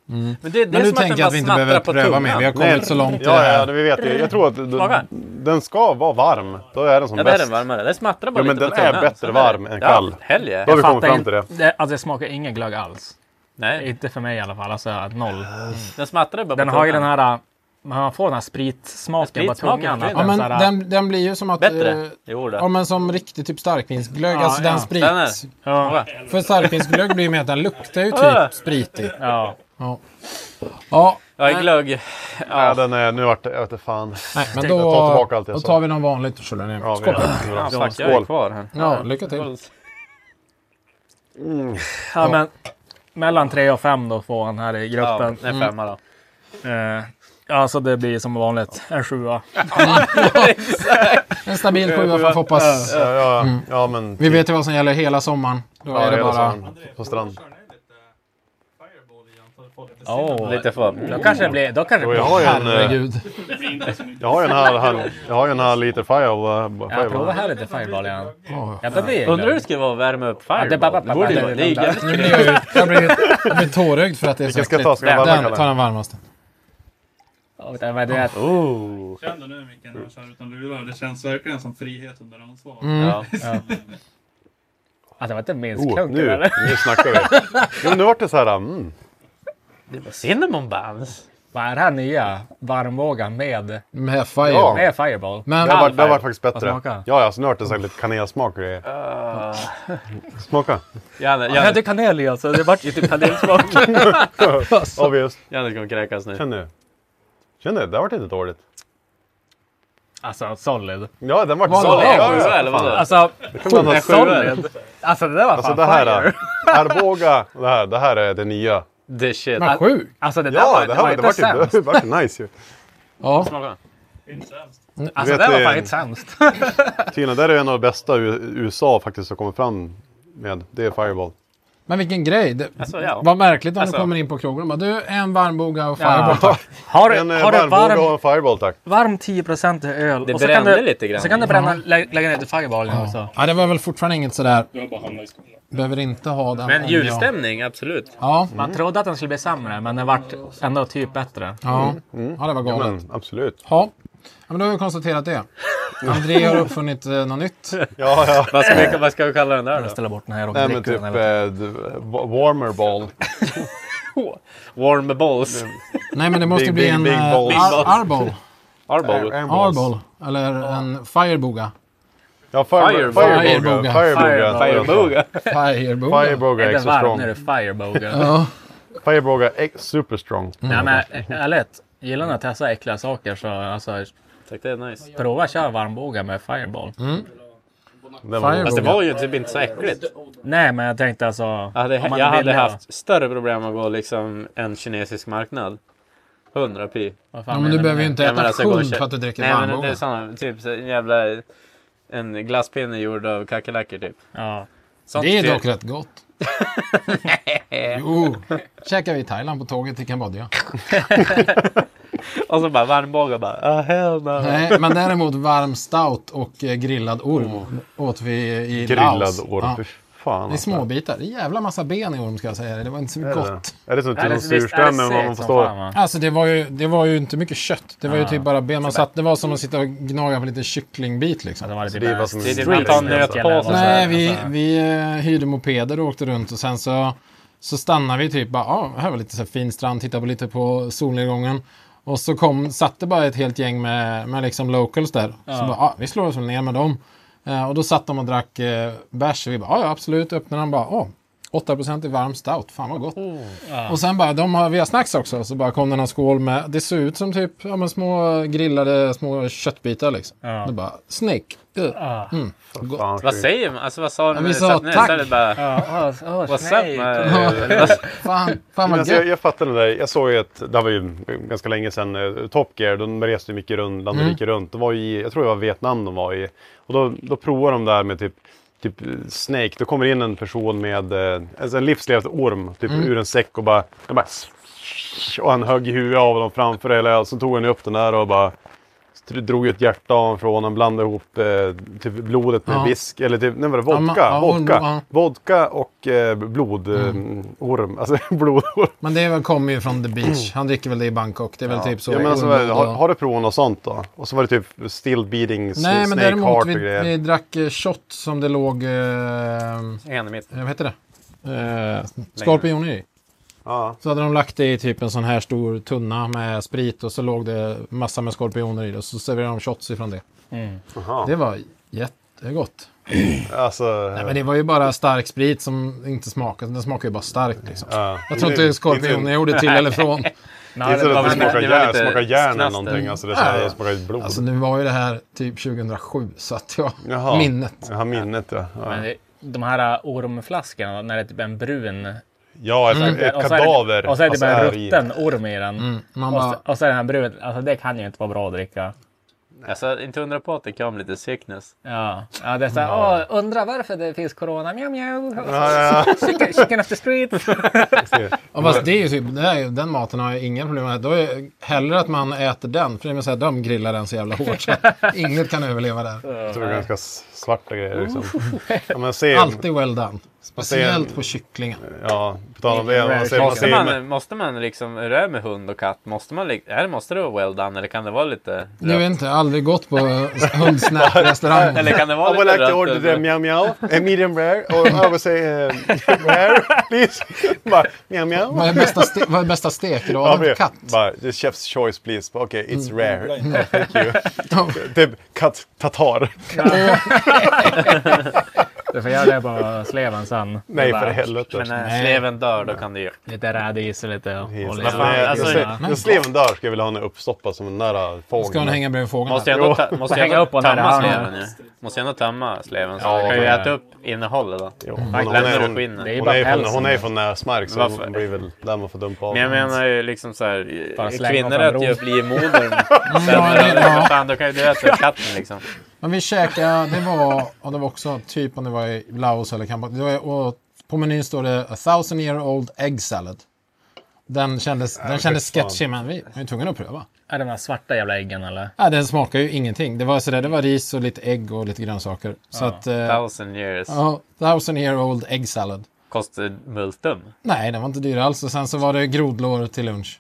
S5: Men det, det
S4: men
S5: är
S4: nu
S5: som att
S4: tänker
S5: den
S4: jag
S5: bara
S4: att vi inte
S5: snattrar
S4: behöver
S5: på
S4: pröva mer. Vi har kommit så långt i det
S2: Ja, ja,
S4: här.
S2: det vi vet det. Jag tror att
S5: Smakar?
S2: den, den ska vara varm. Då är den som
S5: Ja, där är
S2: bäst.
S5: den varmare. Den smattrar bara
S2: Jo, men
S5: lite
S2: den
S5: på
S2: är
S5: tungan.
S2: bättre
S5: Så där.
S2: varm än kall.
S5: Ja, helge.
S2: Då har vi
S3: Fattar
S2: kommit fram till det.
S3: inte- det. Alltså det smakar ingen glögg alls.
S5: Nej,
S3: Inte för mig i alla fall. Alltså noll.
S5: den smattrar bara
S3: Den
S5: på
S3: har ju den
S5: tungan.
S3: här... äh, Man får den här spritsmaken på
S5: Spritsmaken
S3: tungan.
S5: försvinner.
S3: att
S4: Ja, men
S3: så här,
S4: den, den blir ju som att... eh,
S5: Bättre. Jo,
S4: Ja,
S5: då.
S4: men som riktig typ starkvinsglögg.
S3: Ja,
S4: alltså
S3: ja.
S4: den sprit...
S5: Den är-
S3: ja,
S4: För starkvinsglögg blir ju med att den luktar ju
S5: Ah.
S4: typ spritig.
S3: ja.
S4: Ja,
S5: Ja, i glögg.
S2: Ja, den är... Nu vart det... Jag vet inte fan.
S4: nej, men
S2: Jag
S4: då,
S2: tar tillbaka allt jag
S4: då
S2: sa.
S4: tar vi någon vanlig Chardonnay.
S2: Ja, vi
S4: Skål.
S2: är-
S5: Ja,
S2: Skål.
S5: fuck, jag är kvar här.
S4: Ja, lycka till.
S3: Ja, men mellan 3 och 5 då får han här i
S5: Ja,
S3: gruppen.
S5: den är femma då.
S3: Eh, alltså det blir som vanligt en sjua.
S4: En stabil sjua får hoppas.
S2: Ja, ja, ja, men...
S4: Vi vet ju vad som gäller hela sommaren. Då
S2: Ja,
S4: är det
S2: hela
S4: bara...
S2: sommaren På strand.
S3: Oh,
S5: Lite för.
S3: Då kanske det blir... Då kanske det
S2: Jo, jag
S3: blir
S2: har ju en... eh,
S4: Herregud.
S2: Jag har ju en halv... halv- Jag har ju en halv liter fireball. eh,
S3: jag provar
S2: fireball.
S3: här lite Fireball igen. Ja, det blir
S5: Undrar hur
S3: glögg.
S5: det skulle vara att värma upp Fireball.
S3: det är bara-
S5: det borde ju vara. Det är ju jävligt
S4: Nu blir jag ju- Jag blir, jag blir tårögd för att det är så
S2: Vilken ska jag
S4: äckligt.
S2: ta? Ska jag varma
S4: Den, ta
S2: Kalle?
S4: den varmaste.
S3: Ja, vet du, men det är att-
S7: Känn det nu Micke, när du kör utan lurar. Det känns verkligen som frihet under ansvar.
S5: Ja.
S3: att det var Alltså, inte minst
S2: Oh,
S3: klunk.
S2: nu, nu snackar vi. Jo, men nu vart det så här... Mm.
S5: Det var cinnamon buns.
S3: Vad är det här nya? Varmvågan med,
S4: Med fire.
S2: Ja.
S3: med Fireball?
S4: Men,
S2: Det har varit, det har varit faktiskt bättre.
S3: Vad smakar? Ah.
S2: Ja, ja, så nu har det så här lite kanelsmak och grejer. Smaka.
S5: Janne,
S3: Jag
S5: Janne,
S3: hade kanel i alltså. Det vart ju typ kanelsmak.
S2: Obvious.
S5: Janne kommer kräkas nu.
S2: Känn nu. Känn nu, det vart inte dåligt.
S3: Alltså solid.
S2: Ja, den vart
S4: Vad
S2: solid.
S4: det?
S2: Ja,
S5: Sjua,
S2: ja,
S5: eller
S2: fan.
S5: vadå?
S3: Alltså,
S2: Det kan man ha solid.
S3: solid. Alltså det där var
S2: Alltså
S3: fan
S2: det här,
S3: fire.
S2: eh, Arboga, det här, det här är det nya.
S5: The shit.
S4: Men sjuk.
S3: Alltså det där
S2: Ja,
S3: var,
S2: det här
S3: var
S2: det
S3: inte
S2: vart ju
S3: sämst.
S2: det vart ju nice ju.
S4: Ja.
S3: Alltså
S2: Vet
S3: det var
S2: ni-
S3: fan inte sämst.
S2: Tina, det här är en av de bästa U- USA faktiskt har kommit fram med. Det är Fireball.
S4: Men vilken grej. Det,
S5: Alltså, ja.
S4: Vad märkligt om
S5: Alltså.
S4: du kommer in på krogen och bara du, en varmboga och fireball. tack."
S3: Har
S2: En
S3: du, har du
S2: varmboga och
S3: varm,
S2: en eh, Fireball tack.
S3: varm 10 i öl.
S5: Det
S3: och så kan
S5: brände
S3: du,
S5: lite grann.
S3: Så kan du bränna, lä, lägga ner till fireballen också.
S4: Ja, det var väl fortfarande inget sådär. Behöver inte ha den.
S5: Men
S4: om jag-
S5: julstämning, Mm. absolut.
S4: Ja,
S3: Man trodde att den skulle bli sämre, men den vart ändå typ bättre.
S4: ja.
S2: Mm.
S4: ja, det var galet.
S2: Men absolut.
S4: Ja. ja, men då har vi konstaterat det. André har uppfunnit eh, något nytt.
S2: Ja, ja.
S5: Vad ska, vi, vad ska vi kalla den där
S3: Jag
S5: då?
S3: ställer bort den här och
S2: Nej men
S3: dricker
S2: typ
S3: den. här.
S2: eh, d- Warmer Ball.
S5: Warm balls.
S4: Nej, men det måste
S2: Big,
S4: bli
S2: big,
S4: en
S2: big
S4: eh,
S2: balls.
S4: ar- arbol.
S2: Mm.
S5: Arbol.
S4: Arbol. Eller en fireboga.
S2: Ja, fire,
S5: Fireball.
S2: Fireboga.
S4: Fireboga.
S2: Fireboga.
S5: Fireboga.
S4: Fireboga.
S2: Fireboga
S3: Är den
S2: extra
S3: varm
S2: strong.
S3: när du firebogar?
S4: Ja.
S2: Fireboga ex- super strong.
S3: Nej men ä- ärligt. Gillar ni att testa äckliga saker så alltså,
S5: Tack, det är nice.
S3: prova att köra varmbågar med fireball.
S5: Mm.
S2: Den var god.
S5: Fast det
S4: Fireboga.
S5: var ju typ inte så äckligt.
S3: Nej men jag tänkte alltså.
S5: Jag hade,
S3: om man
S5: jag
S3: vill
S5: hade
S3: leva.
S5: haft större problem att gå liksom en kinesisk marknad. 100 pi.
S3: Vad fan
S4: Ja, men du
S3: menar
S4: behöver ju
S3: med-
S4: inte
S5: Nej, men
S4: äta
S5: alltså, jag går och
S4: hund
S5: köper-
S4: för att du dricker
S5: Nej men det är
S4: varmboga.
S5: såna, typ så en jävla... En glasspinne gjord av kackerlackor typ.
S3: Ja.
S5: Sånt typ.
S4: Det är
S5: ser-
S4: dock rätt gott. Jo, käkar vi i Thailand på tåget till Kambodja.
S5: Och så bara varmbågar bara. Ah, hell no.
S4: Nej, men däremot varm stout och eh, grillad orm åt vi i
S2: Grillad
S4: Laos.
S2: orm.
S4: Ja.
S2: Fy fan.
S4: Det är småbitar. Det är jävla massa ben i orm ska jag säga dig. Det var inte så gott.
S2: Är det som till
S3: Är det-
S2: en
S3: visst är det
S2: surströmming
S3: segt
S2: man
S3: som
S2: förstår?
S3: fan, va?
S4: Alltså det var, ju, det var ju inte mycket kött. Det var ju typ bara ben. Man satt, det var som att sitta och gnaga på lite kycklingbit liksom.
S3: Det var lite
S2: Alltså, Det är
S3: bara
S2: vad som är
S5: Det är
S2: street.
S5: man tar nötpåse.
S3: Alltså,
S4: Nej, vi,
S3: alltså.
S4: vi eh, hyrde mopeder och åkte runt och sen så, så stannade vi typ bara, ja, här var lite så här fin strand, tittade på lite på solnedgången. Och så kom, satt det bara ett helt gäng med, med liksom locals där. Så bara, ja, vi slår oss väl ner med dem. Eh, och då satt de och drack eh, bärs och vi bara, ja, ja absolut, öppnade den bara, åh. 8% i varm stout, fan vad gott. Och sen bara, de har, vi har snacks också, så bara kom den här skål med, det ser ut som typ ja, men små grillade små köttbitar liksom. Ja. bara, snake. Ugh.
S2: Fan,
S5: Vad
S2: sjukt.
S5: säger man? Alltså vad sa du?
S4: vi
S5: när du
S4: sa
S5: satt ner?
S4: tack.
S5: Så är det bara,
S3: Ja, åh, åh,
S5: What's
S3: nej.
S5: up?
S4: Ja.
S5: med-
S4: Fan, fan
S2: Men
S4: vad
S2: alltså, jag,
S4: gött.
S2: jag fattar det där. Jag såg ju ett, det här var ju ganska länge sedan, eh, Top Gear, de reste ju
S4: Mm.
S2: mycket runt, land och rike runt. De var ju i, jag tror det var Vietnam de var i. Och då, då provade de det här med typ typ Snake, då kommer in en person med eh, alltså en livslevande orm typ
S4: Mm.
S2: ur en säck och bara... Och, bara och han högg huvudet av dem framför hela... Så tog han upp den där och bara drog ut hjärta av från honom, blandade ihop eh, typ blodet med
S4: Ja.
S2: visk, eller typ, nej, vad var
S4: Ja,
S2: det,
S4: men-
S2: vodka,
S4: ja, hon-
S2: vodka,
S4: ja. Mm.
S2: vodka och eh, blodorm, alltså blodorm.
S4: Men det är väl, kommer ju från The Beach. Han dricker väl det i Bangkok. Det är väl typ så.
S2: Mm. ja, men alltså,
S4: Ormblod
S2: har,
S4: och-
S2: har du provat något sånt då? Och så var det typ still beating s-
S4: Nej, men
S2: snake heart
S4: däremot
S2: och
S4: vi,
S2: grejer.
S4: vi drack eh, shot som det låg... Eh,
S5: En i mitten.
S4: eh, vad heter det? Eh, skorpioner i.
S2: Ja.
S4: Så hade de lagt det i typ en sån här stor tunna med sprit och så låg det massa med skorpioner i det. Och så serverade de shots ifrån det.
S2: Jaha.
S4: Det var jättegott.
S2: Alltså,
S4: Nej, men det var ju bara stark sprit som inte smakade. Den smakade ju bara starkt liksom.
S2: ja.
S4: Jag tror inte skorpioner gjorde till eller från.
S2: Det är
S3: Nej,
S2: inte så att det
S5: men-
S2: smakar
S5: det var
S2: järn,
S5: lite
S2: smakar järn eller
S5: knaster.
S2: någonting. Alltså, det är så här, det smakar blod.
S4: Alltså nu var ju det här typ 2007 så att jag...
S2: Jaha.
S4: Minnet.
S2: Ja, minnet ja. Ja,
S3: Men det- de här ä, ormflaskorna, när det är typ en brun...
S2: ja ett, ett
S3: Mm. och så är det-
S2: kadaver.
S3: Och så är det
S2: alltså,
S3: bara en
S2: är i. Mm,
S3: rutten orm i den.
S4: Man
S3: Och,
S4: bara,
S3: så, och så är den här brun. Alltså det kan ju inte vara bra att dricka.
S5: Alltså inte undra på att det kan bli lite sickness.
S3: Ja, ja det är så här, åh, undra varför det finns corona. Mjau, mjau.
S2: Ja, ja.
S3: Chicken, chicken off the street.
S4: Ja, fast det är ju typ, det här, är- den maten har jag inga problem med. Då är jag hellre att man äter den, för det är så här, de grillar den så jävla hårt så att inget kan överleva där.
S2: Jag tror det är ganska s- svarta grejer liksom. Ja, man ser,
S4: Alltid well done. Speciellt på kycklingen.
S2: Ja, på tal om det. Man ser, man
S5: Måste
S2: ser,
S5: man, måste man liksom, hur det är med hund och katt, måste man li- är, det- måste det vara well done eller kan det vara lite
S4: Jag vet
S5: rött?
S4: inte, jag har aldrig gått på hundsnap-restaurang.
S5: Eller kan det vara
S2: I would
S5: lite
S2: like to
S5: rött?
S2: order the
S5: eller-
S2: meow meow, a Eh, medium rare, or I would say eh, rare, please. Bara, meow meow.
S4: Vad är bästa, ste- vad är bästa
S2: Ja,
S4: stekgraden för
S2: men-
S4: katt?
S2: Bara, the chef's choice please. Bara, Okej, it's
S5: Mm.
S2: rare. Oh, thank you.
S4: Ja.
S2: Typ katt tatar.
S3: Du får göra det på sleven sen.
S2: Nej,
S3: Bara
S2: för helvete.
S5: Men eh, när
S4: Nej.
S5: sleven dör då kan det ju...
S3: Lite rädis och lite olja.
S2: Vad fan, alltså,
S5: alltså,
S2: jag- jag slev en dörr ska jag vilja ha henne uppstoppad som den där fågeln.
S4: Ska hon hänga bredvid fågeln?
S5: Måste
S4: här?
S5: jag ändå, ta, måste jag
S3: hänga
S5: ändå
S3: upp den här
S5: tömma
S3: handen.
S5: sleven ju? Måste jag ändå tömma sleven? Så
S2: Ja,
S5: jag kan ju
S2: men-
S5: äta upp innehållet då.
S2: Jo, hon, hon,
S5: Lämnar
S2: är,
S5: Mm. du
S2: hon,
S5: skinnet?
S3: Det är ju
S2: hon, är
S3: bara
S2: ju från,
S3: pälsen.
S2: hon är ju från näsmark så
S5: Varför?
S2: hon blir väl där man får dumpa av
S5: Men jag
S2: henne.
S5: menar ju liksom såhär,
S3: Bara slänga
S5: kvinnor
S3: fram
S5: äter ju
S3: bron.
S5: upp livmodern. Sen,
S4: Ja, det- ja.
S5: ja. alltså, Fan, då kan ju du äta upp katten liksom.
S4: Men vi käkade, det var, och det var också typ om det var i Laos eller Kambodja. Det var- och På menyn står det A thousand year old egg salad. Den kändes, den kändes
S2: fy fan.
S4: sketchy men vi var ju tvungna att pröva.
S3: Är det de här svarta jävla äggen eller?
S4: Ja, den smakar ju ingenting. Det var, sådär, det var ris och lite ägg och lite grönsaker. Så att... Eh,
S5: Thousand years.
S4: ja, thousand year old egg salad.
S5: Kostar multum.
S4: Nej, den var inte dyr alls. Och sen så var det grodlår till lunch.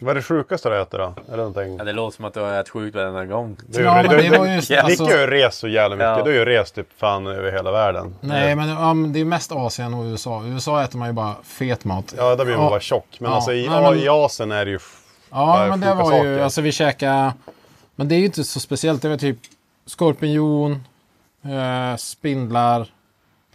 S2: Vad är det sjukaste du äter då? Är det någonting?
S5: Ja, det låter som att du har ätit sjukt varenda gång.
S2: Du,
S4: Ja,
S2: du,
S4: men
S2: du,
S4: det var ju-
S2: Nick
S4: alltså-
S2: har ju rest så jävla mycket.
S5: Ja.
S2: Du har ju rest typ fan över hela världen.
S4: Nej, men ja, men det är mest Asien och USA. I USA äter man ju bara fet mat.
S2: Ja, där blir man
S4: Ja.
S2: bara tjock. Men
S4: Ja.
S2: alltså i,
S4: Nej, men-
S2: i Asien är det ju...
S4: Ja,
S2: Bara
S4: men det
S2: sjuka
S4: var ju,
S2: saker.
S4: alltså vi käkade, men det är ju inte så speciellt. Det var typ skorpion, eh, spindlar,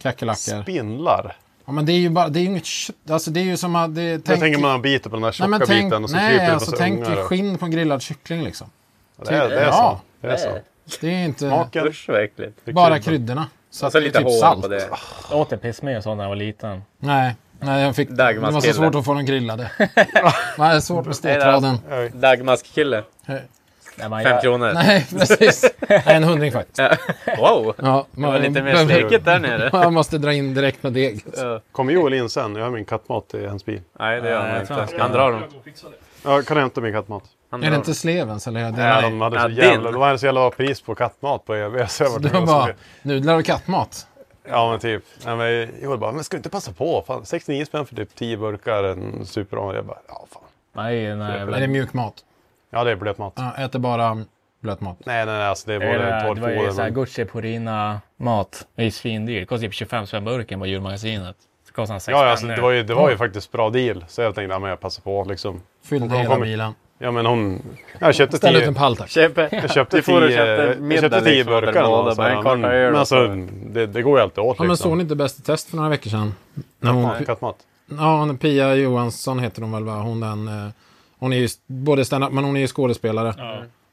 S4: kackerlackor.
S2: Spindlar.
S4: ja, men det är ju bara, det är ju inget kött. Alltså det är ju som att det tänk,
S2: Tänk, jag tänker man biter på den där tjocka
S4: nej, men tänk,
S2: biten och så kryper
S4: nej,
S2: det
S4: alltså
S2: på
S4: tänk
S2: ungar.
S4: dig skinn på en grillad kyckling liksom.
S2: Det är, det är
S4: Ja.
S2: så. Det är så.
S4: Det är inte
S2: Maken.
S5: Usch vad äckligt.
S4: bara kryddorna. Så
S5: Och så
S4: att det är
S5: lite
S4: typ
S5: hår
S4: salt.
S5: på det.
S3: Jag åt en pissmö och sånt när jag var liten.
S4: Nej, nej jag fick, det var så
S5: Dagmarskille.
S4: svårt att få dem grillade. det är svårt med stektraden.
S5: Dagmask-kille.
S3: Nej, men
S5: Fem
S3: jag,
S5: kronor.
S4: Nej, precis. Nej, en hundring faktiskt.
S5: Wow!
S4: Ja,
S5: Det
S4: man,
S5: var lite mer
S4: behöver-
S5: sliket där nere.
S4: Man måste dra in direkt med deg.
S2: Kommer Joel in sen? Jag har min kattmat i hans bil.
S5: Nej, det gör
S3: Nej,
S5: han
S3: jag tror han
S5: inte.
S3: ska-
S5: Han drar dem.
S7: Jag går och fixar det.
S2: Ja, kan du hämta min kattmat?
S5: Han
S4: Är
S5: drar
S4: det
S5: dem.
S4: inte Slevens eller? Det
S2: Nej,
S4: är
S2: de hade så
S5: Ja,
S2: jävla,
S5: din.
S2: de hade så jävla bra pris på kattmat på EB. Så jag
S4: det
S2: var
S4: var bara nudlar och kattmat.
S2: Ja, men typ. Nej, men Joel bara, men ska du inte passa på? Fan, 69 spänn för typ 10 burkar, en superrom. Jag bara, ja fan.
S3: nej, nej,
S4: Är det mjuk mat?
S2: Ja, det är blötmat.
S4: Ja, äter bara blöt mat.
S2: Nej, nej, nej, alltså det är
S3: Det,
S2: både
S3: var-
S2: torrt
S3: det var ju såhär
S2: foder. men-
S3: Gucci Purina mat. Det är ju svindyrt. Kostar typ 25 spänn burken på julmagasinet. Så kostar han 6
S2: Ja, ja, alltså,
S3: spänn
S2: det
S3: nu.
S2: var ju, det var ju faktiskt bra deal. Så jag tänkte, ja, men jag passar på liksom.
S4: Fyllde
S2: Hon
S4: hela
S2: kommer-
S4: bilen.
S2: Ja, men hon... Jag köpte
S4: Ställ
S2: tio...
S4: ut en pall tack.
S2: Jag köpte
S5: Du får
S2: tio,
S5: och köpte
S2: jag
S5: middag
S2: köpte tio
S5: liksom,
S2: burkar.
S5: eller båda,
S2: någonstans,
S5: bara en
S2: men-
S5: kvarta öl
S2: Men
S5: och
S2: alltså, det, det går ju alltid åt
S4: Ja, men såg
S2: liksom.
S4: ni Mm. inte Bäst i test för några veckor sedan? När
S2: Ja,
S4: hon,
S2: Kattmat.
S4: ja, hon, Pia Johansson heter hon väl va? Hon, den, eh, hon är ju s- både stand-up men hon är ju skådespelare.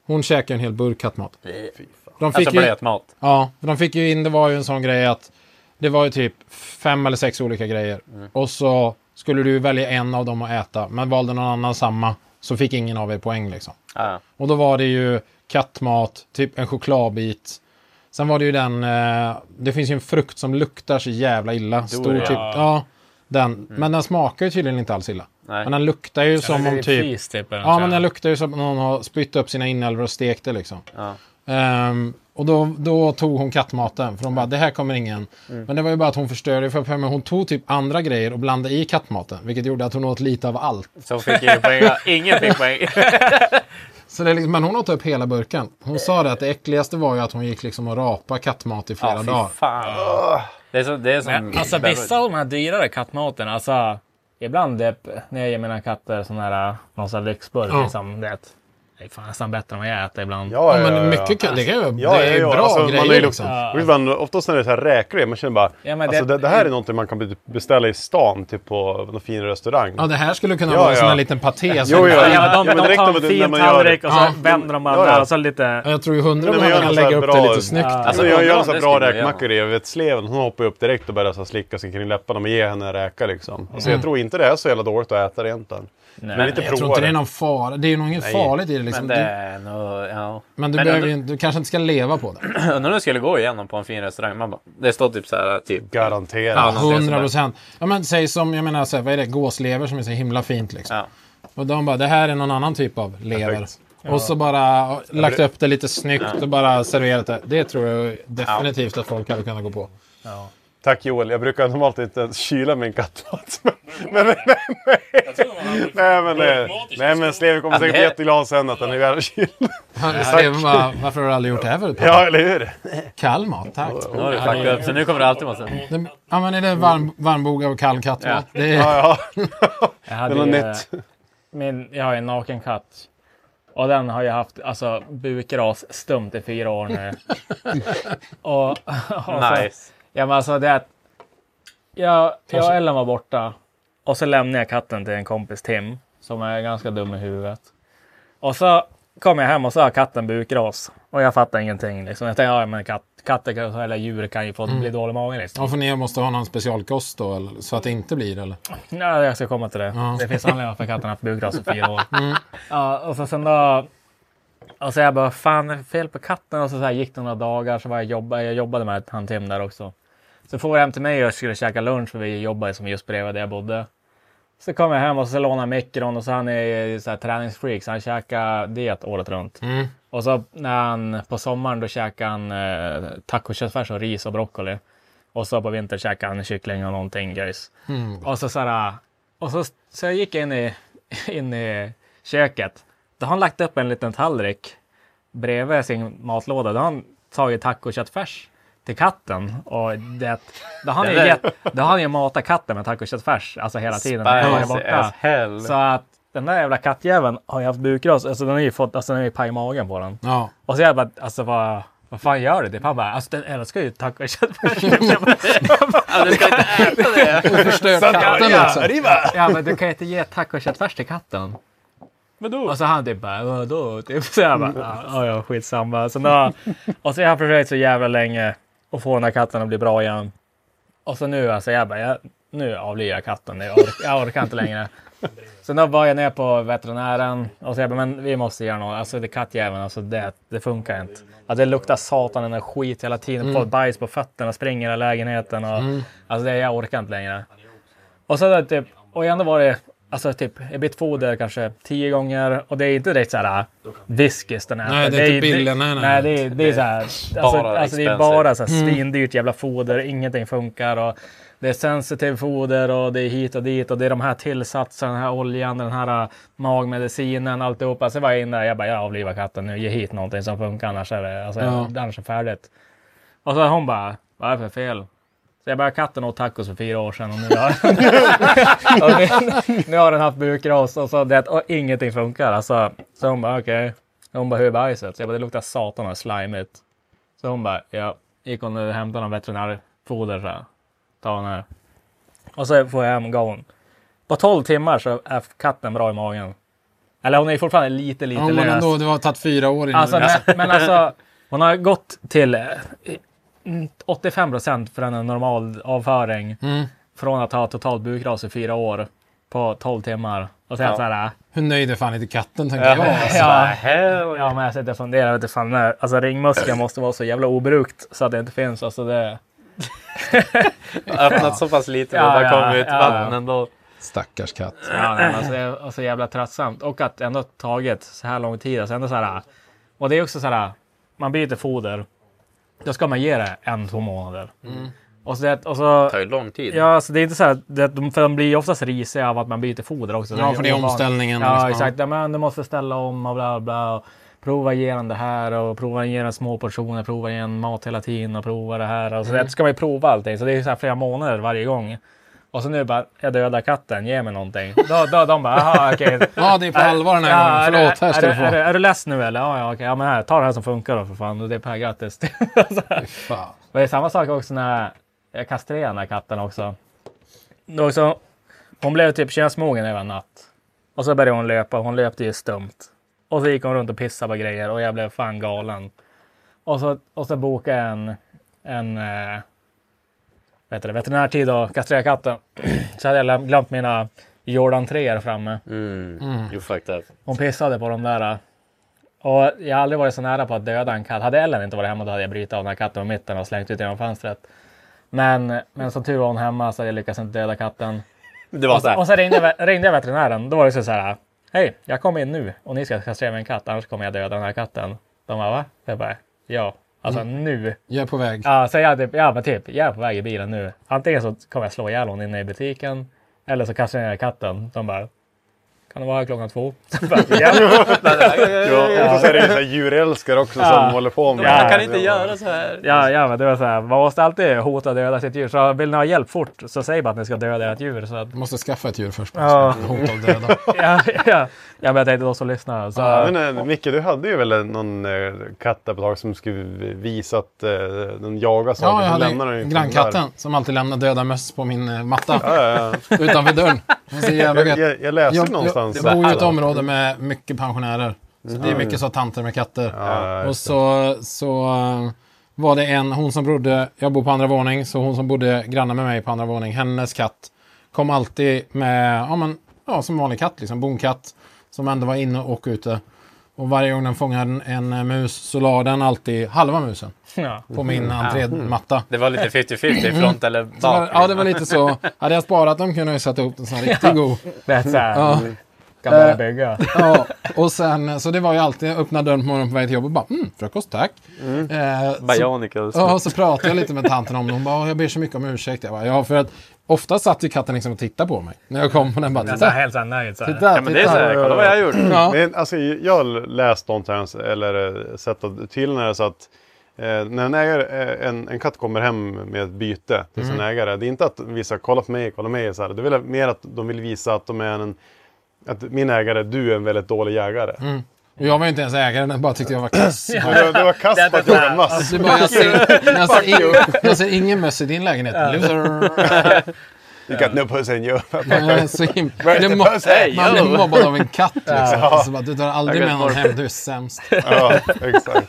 S4: Hon käkar ju en hel burk kattmat. De fick
S5: Alltså
S4: ju,
S5: blötmat.
S4: ja, för de fick ju in, det var ju en sån grej att det var ju typ fem eller sex olika grejer.
S2: Mm.
S4: Och så skulle du välja en av dem att äta, men valde någon annan samma så fick ingen av er poäng liksom.
S5: Ja.
S4: Och då var det ju kattmat, typ en chokladbit. Sen var det ju den, eh, det finns ju en frukt som luktar så jävla illa. Stor
S5: ja. Mm.
S4: typ, ja. Den. Men den smakar ju tydligen inte alls illa.
S5: Nej.
S4: Men den luktar ju som om typ...
S3: Fis, typ är den,
S4: Ja,
S3: tror
S4: men
S3: jag.
S4: den luktar ju som att någon har spytt upp sina inälvor och stekt det liksom.
S5: Ja.
S4: Ehm, och då, då tog hon kattmaten, för hon bara det här kommer ingen.
S5: Mm.
S4: Men det var ju bara att hon förstörde, för för mig, hon tog typ andra grejer och blandade i kattmaten. Vilket gjorde att hon åt lite av allt.
S5: Så fick ingen poäng. Ingen fick poäng.
S4: Så det är liksom, men hon åt upp hela burken. Hon sa det att det äckligaste var ju att hon gick liksom och rapade kattmat i flera
S5: Ja,
S4: dagar.
S5: fy fan. Det är, så, det är som...
S3: Men, alltså vissa av de här dyrare kattmaten, alltså ibland det, när jag ger mina katter sån här, någon sån här lyxburk,
S4: Ja.
S3: liksom, det, är ett- det är fan nästan bättre än vad jag äter ibland.
S4: Ja, men mycket kan, det kan ju,
S2: Ja,
S4: det är
S2: ja, ja.
S4: bra
S2: Alltså, man
S4: grejer
S2: har ju
S4: liksom.
S2: Och vet du vad, oftast när det är så här räkor, man känner bara...
S3: Ja, men
S2: alltså,
S3: det-
S2: det, det här är någonting man kan beställa i stan, typ på någon fin restaurang.
S4: Ja, det här skulle kunna
S2: Ja,
S4: vara en sån här
S2: ja.
S4: liten paté.
S2: Jo,
S4: som-
S2: jo.
S3: Ja,
S2: Ja,
S3: de,
S2: ja, men
S3: de
S2: direkt
S3: tar
S2: när
S3: en
S2: man-
S3: fin
S2: när man gör det.
S3: tallrik och så
S4: Ja.
S3: vänder de
S2: Ja,
S3: andra
S2: ja.
S3: och så lite...
S4: Jag tror ju hundra
S2: Nej, men gör
S4: gånger man kan
S2: någon sån
S4: lägga
S2: här
S4: upp det
S2: bra-
S4: lite snyggt.
S3: Ja.
S2: Alltså,
S5: Alltså,
S2: jag
S5: undrar
S2: gör
S5: om
S2: en sån
S5: det
S2: här bra
S5: skulle man
S2: räkmackor i vetsleven. Hon hoppar ju upp direkt och börjar så här slicka sig kring läpparna. Men ge henne en räka liksom. Alltså,
S4: Mm.
S2: Jag tror inte det är så jävla dåligt att äta det egentligen. Nej, men inte
S4: Jag tror inte det är någon fara. Det är ju nog inget farligt i det. Liksom.
S5: Men
S4: Men,
S5: det är nog... Ja.
S4: du, men du,
S5: men
S4: behöver,
S5: ändå-
S4: ju inte- du kanske inte ska leva på det.
S5: Undrar om det skulle gå igenom på en fin restaurang. Man bara, det står typ så här... Typ,
S2: Garanterat.
S5: Ja, något sånt där.
S4: 100 procent. Ja, men säg som, jag menar, så här, vad är det? Gåslever som är så himla fint. Liksom.
S5: Ja.
S4: Och de bara, det här är någon annan typ av lever.
S2: Perfekt.
S4: Och så bara och lagt upp det lite snyggt och bara serverat det. Det tror jag definitivt att folk hade kunnat gå på.
S2: Tack Joel. Jag brukar normalt inte ens kyla min kattmat. Men, men, men, nej, nej, men, nej, nej, men Sleven kommer säkert bli jätteglad sen att den är välkyld.
S4: Han skrev bara, varför har du aldrig gjort det här förut? pappa?"
S2: Ja, eller hur?
S4: Kall mat, tack.
S5: Nu har du fuckat upp, så nu kommer det alltid vara så. här.
S4: Det, ja, men är det varm, varmbogad och kall kattmat? Det är,
S2: Ja,
S3: Jag
S2: ja.
S3: hade
S2: Det var
S3: ju-
S2: nytt.
S3: Min, jag har ju en naken katt. Och den har jag haft alltså, bukras stumt i fyra år nu. och, och så-
S5: Nice.
S3: Ja, men alltså det är att jag, jag och Ellen var borta och så lämnade jag katten till en kompis Tim som är ganska dum i huvudet. Och så kom jag hem och så har katten bukras och jag fattar ingenting. Liksom. Jag tänkte ja, men katt, katter kan- eller djur kan ju få bli dålig i magen. Liksom.
S4: ja, för ni måste ha någon specialkost då, eller, så att det inte blir eller?
S3: Ja, jag ska komma till det. Det finns anledningar varför katten har haft bukras i fyra år. Ja, och så sen då... Och så jag bara, fan är det fel på katten? Och så, så här, gick det några dagar, så var jag, jobba, jag jobbade med han Tim där också. Så får jag hem till mig och jag skulle käka lunch, för vi jobbade som just bredvid där jag bodde. Så kom jag hem och så lånade jag mikron och så han är ju så här träningsfreak, så han käkar diet året runt. Och så när han, på sommaren då käkar han eh, tacoköttfärs och ris och broccoli. Och så på vintern käkar han kyckling och någonting grejs.
S5: Mm.
S3: Och så så här, och så, så jag gick in i, in i köket. Då har han lagt upp en liten tallrik bredvid sin matlåda. Då har han tagit tacoköttfärs till katten. Och det, då har han
S5: Det
S3: ju,
S5: där-
S3: gett, då har han ju matat katten med tacoköttfärs. Alltså hela tiden. när han är
S5: Spicy
S3: borta.
S5: as hell.
S3: Så att den där jävla kattjäveln har ju haft bukras. Alltså den har ju fått, alltså den är ju paj i magen på den.
S4: Ja.
S3: Och så jag bara, alltså vad, vad fan gör du? Det pappa bara, alltså den älskar ju tacoköttfärs. Jag bara,
S5: Ja, du ska inte äta det!
S4: Förstört katten också.
S3: ja men du kan ju inte ge tacoköttfärs till katten. Och så han typ bara, vadå? Typ. Så jag bara, "Ja, ja ja skitsamma. Så då, och så har jag försökt så jävla länge att få den här katten att bli bra igen. Och så nu alltså, jag bara, jag, nu avlivar jag katten. Jag, ork, jag orkar inte längre. Så då var jag ner på veterinären och så jag bara, men vi måste göra något. Alltså det kattjäveln, alltså det, det funkar inte. Alltså, det luktar satan den där skit hela
S4: Mm.
S3: tiden. Får bajs på fötterna, springer i lägenheten. Och, Alltså det, jag orkar inte längre. Och så där typ, och ändå var det alltså typ, jag bytt
S4: Mm.
S3: foder kanske tio gånger och det är inte direkt så här äh, viskis den här.
S4: Nej, det är inte billiga, nej, nej,
S3: nej.
S4: nej.
S3: det är, det är så här. Alltså,
S5: bara
S3: alltså det är
S5: expensive.
S3: bara så här svindyrt jävla foder, ingenting funkar och det är sensitiv foder och det är hit och dit och det är de här tillsatserna, den här oljan, den här äh, magmedicinen, alltihopa. Så var jag inne där, jag bara, jag avlivar katten nu, ge hit någonting som funkar annars är det, alltså,
S4: Ja.
S3: annars är det färdigt. Och så hon bara, vad är det för fel? Så jag bara, katten åt tacos för fyra år sedan och nu har, och nu, nu har den haft bukras och, så det, och ingenting funkar. Alltså, så hon bara, okej. Hon bara, hur är bajset? Så jag bara, det luktar satan och slimigt. Så hon bara, ja. Gick hon och hämtade någon veterinärfoder så här. Ta den här. Och så får jag hem, gav hon. På 12 timmar så är katten bra i magen. Eller hon är fortfarande lite, lite
S4: Ja, men
S3: lös.
S4: ändå, det har tagit fyra år innan
S3: Alltså,
S4: det
S3: men, men alltså, hon har gått till eh, mm, 85 procent för en normal avföring. Från att ha totalt bukras i fyra år på 12 timmar. Och sen
S5: Ja.
S3: så här. eh,
S4: Hur nöjd är fan inte katten, tänker
S5: Ja.
S4: jag. Alltså.
S3: Ja.
S5: Hell
S3: Ja, men jag sitter och funderar. Vet du fan när, alltså ringmuskeln måste vara så jävla obrukt så att det inte finns. Alltså det...
S5: Öppnat så pass lite
S3: Ja,
S5: och det
S3: ja,
S5: kommer ut
S3: ja,
S5: vatten
S3: ja.
S5: ändå.
S4: Stackars katt.
S3: Ja, nej, men alltså, det är så jävla tröttsamt. Och att ändå tagit så här lång tid. Alltså ändå så här, och det är också så här, man byter foder. Då ska man ge det en, två månader. Och så, det, och så,
S6: Det tar ju lång tid.
S3: ja, alltså det är inte så här, det, de- för de blir ju oftast risiga av att man byter foder också.
S4: Ja, för det är
S3: ovanligt.
S4: omställningen.
S3: Ja,
S4: liksom.
S3: exakt. Ja, men du måste ställa om och bla bla. Och prova igen det här och prova igen små portioner, prova igen mat hela tiden och prova det här. Och så
S4: Mm.
S3: det ska man ju prova allting. Så det är ju så här flera månader varje gång. Och så nu bara, jag dödar katten, ge mig någonting. Då, då, de bara, aha okej.
S4: Ja, det är på allvar den här
S3: Ja, är
S4: gången.
S3: du-
S4: Förlåt, här ska
S3: är,
S4: du
S3: du- är, du-
S4: få.
S3: är du less nu eller? Ja, ja, okej. Ja, men här, ta det här som funkar då för fan. Och det är Per, grattis. Så här.
S4: Fan.
S3: Och det är samma sak också när jag kastrerade den här katten också. Det var också hon blev typ könsmogen över en natt. Och så började hon löpa. Hon löpte ju stumt. Och så gick hon runt och pissade på grejer och jag blev fan galen. Och så, och så bokade jag en, en eh, vad heter det, veterinärtid och kastrerade katten. så hade jag glöm- glömt mina Jordan 3 framme.
S6: Mm. You fucked up.
S3: Hon pissade på de där. äh, Och jag har aldrig varit så nära på att döda en katt. Hade Ellen inte varit hemma då hade jag brutit av den här katten på mitten och slängt ut genom fönstret. Men, men som tur var hon hemma så jag lyckades inte döda katten.
S5: Det var
S3: Och
S5: så
S3: så,
S5: här.
S3: och så ringde, jag, ve- ringde jag veterinären. Då var det så här. Hej, jag kommer in nu och ni ska kastrera min katt. Annars kommer jag döda den här katten. De bara va? Jag bara ja. Alltså nu.
S4: Jag är på väg.
S3: Ja, så jag, typ, ja, men typ, jag är på väg i bilen nu. Antingen så kommer jag slå ihjäl hon inne i butiken. Eller så kastar jag ner katten. De bara. Kan du vara här klockan två? Så bara, ja.
S2: Ja, och så är det ju så här djurälskare också
S3: Ja.
S2: som håller på med det
S3: Ja.
S2: här.
S5: Man kan inte göra så här.
S3: Ja, ja, men det var så här. Man måste alltid hota och döda sitt djur. Så vill ni ha hjälp fort så säg bara att ni ska döda ert djur. Så att,
S4: Jag måste skaffa ett djur först.
S3: Ja.
S4: Ja. Hot av döda.
S3: ja, ja, ja, men jag tänkte då som lyssnar. Så,
S2: Ja, men, eh, Micke, du hade ju väl en- någon eh, katt där på taget som skulle visa att eh, den jagar saker.
S4: Ja, jag
S2: så
S4: hade
S2: lämnar den ju
S4: grannkatten som alltid lämnar döda möss på min eh, matta
S2: där. Ja, ja,
S4: utanför dörren. Det är så jävla
S2: ja.
S4: gött.
S2: Jag, jag, jag läste
S4: Jag,
S2: någonstans. Mm.
S4: jag bor i ett område med mycket pensionärer. Så det är mycket så tanter med katter.
S2: Ja,
S4: och
S2: just
S4: så, så eh, var det en, hon som bodde, jag bor på andra våning, så hon som bodde granne med mig på andra våning, hennes katt kom alltid med, ja men, ja som en vanlig katt liksom, bonkatt. Som ändå var inne och ute. Och varje gång den fångade en, en eh, mus så la den alltid halva musen
S3: ja.
S4: på min
S2: Mm.
S4: entrématta.
S5: Det var lite 50-50 i front eller
S4: Så var-
S5: bak. liksom.
S4: Ja, det var lite så. Hade jag sparat dem kunde jag ju sätta ihop en sån här riktigt god.
S3: Det är så här.
S4: Ja.
S3: Kan börja bygga.
S4: Ja, och sen så det var ju alltid jag öppnade dörren på morgonen på väg till jobbet och bara mm, frukost tack.
S5: Mm.
S4: Eh, så,
S5: Bionicle.
S4: ja, och så pratade jag lite med tanten om det. Hon bara "Åh, jag ber så mycket om ursäkt. Jag bara, ja för att ofta satt ju katten liksom och tittade på mig när jag kom och den bara
S3: Jag är
S4: titta.
S3: helt så här nöjd. Så här.
S4: Titta,
S5: Ja, men det är så här.
S4: titta.
S5: Kolla vad jag har gjort.
S4: Ja.
S2: Men, alltså, jag har läst någonstans, eller eh, sett att- till när det är så att eh, när en, ägare, eh, en, en katt kommer hem med ett byte till
S4: Mm.
S2: sin ägare. Det är inte att visa kolla på mig, kolla på mig. Så här. Det är väl mer att de vill visa att de är en... Att min ägare, du är en väldigt dålig jägare.
S4: Mm. Och jag var ju inte ens ägaren, den bara tyckte jag var kass.
S2: Du, du var kass på att jaga möss.
S4: Det är bara, jag, ser, jag, ser ing, jag ser ingen möss i din lägenhet. Loser.
S2: You got no puss in you.
S4: Nej, Så him-
S2: Where's the
S4: Blir mo-
S2: puss? Hey,
S4: man
S5: yo.
S4: blir mobbad av en katt liksom. Så bara, du tar aldrig
S2: Jag
S4: med
S2: vet
S4: någon
S2: bara-
S4: hem, du är sämst.
S2: ja, exakt.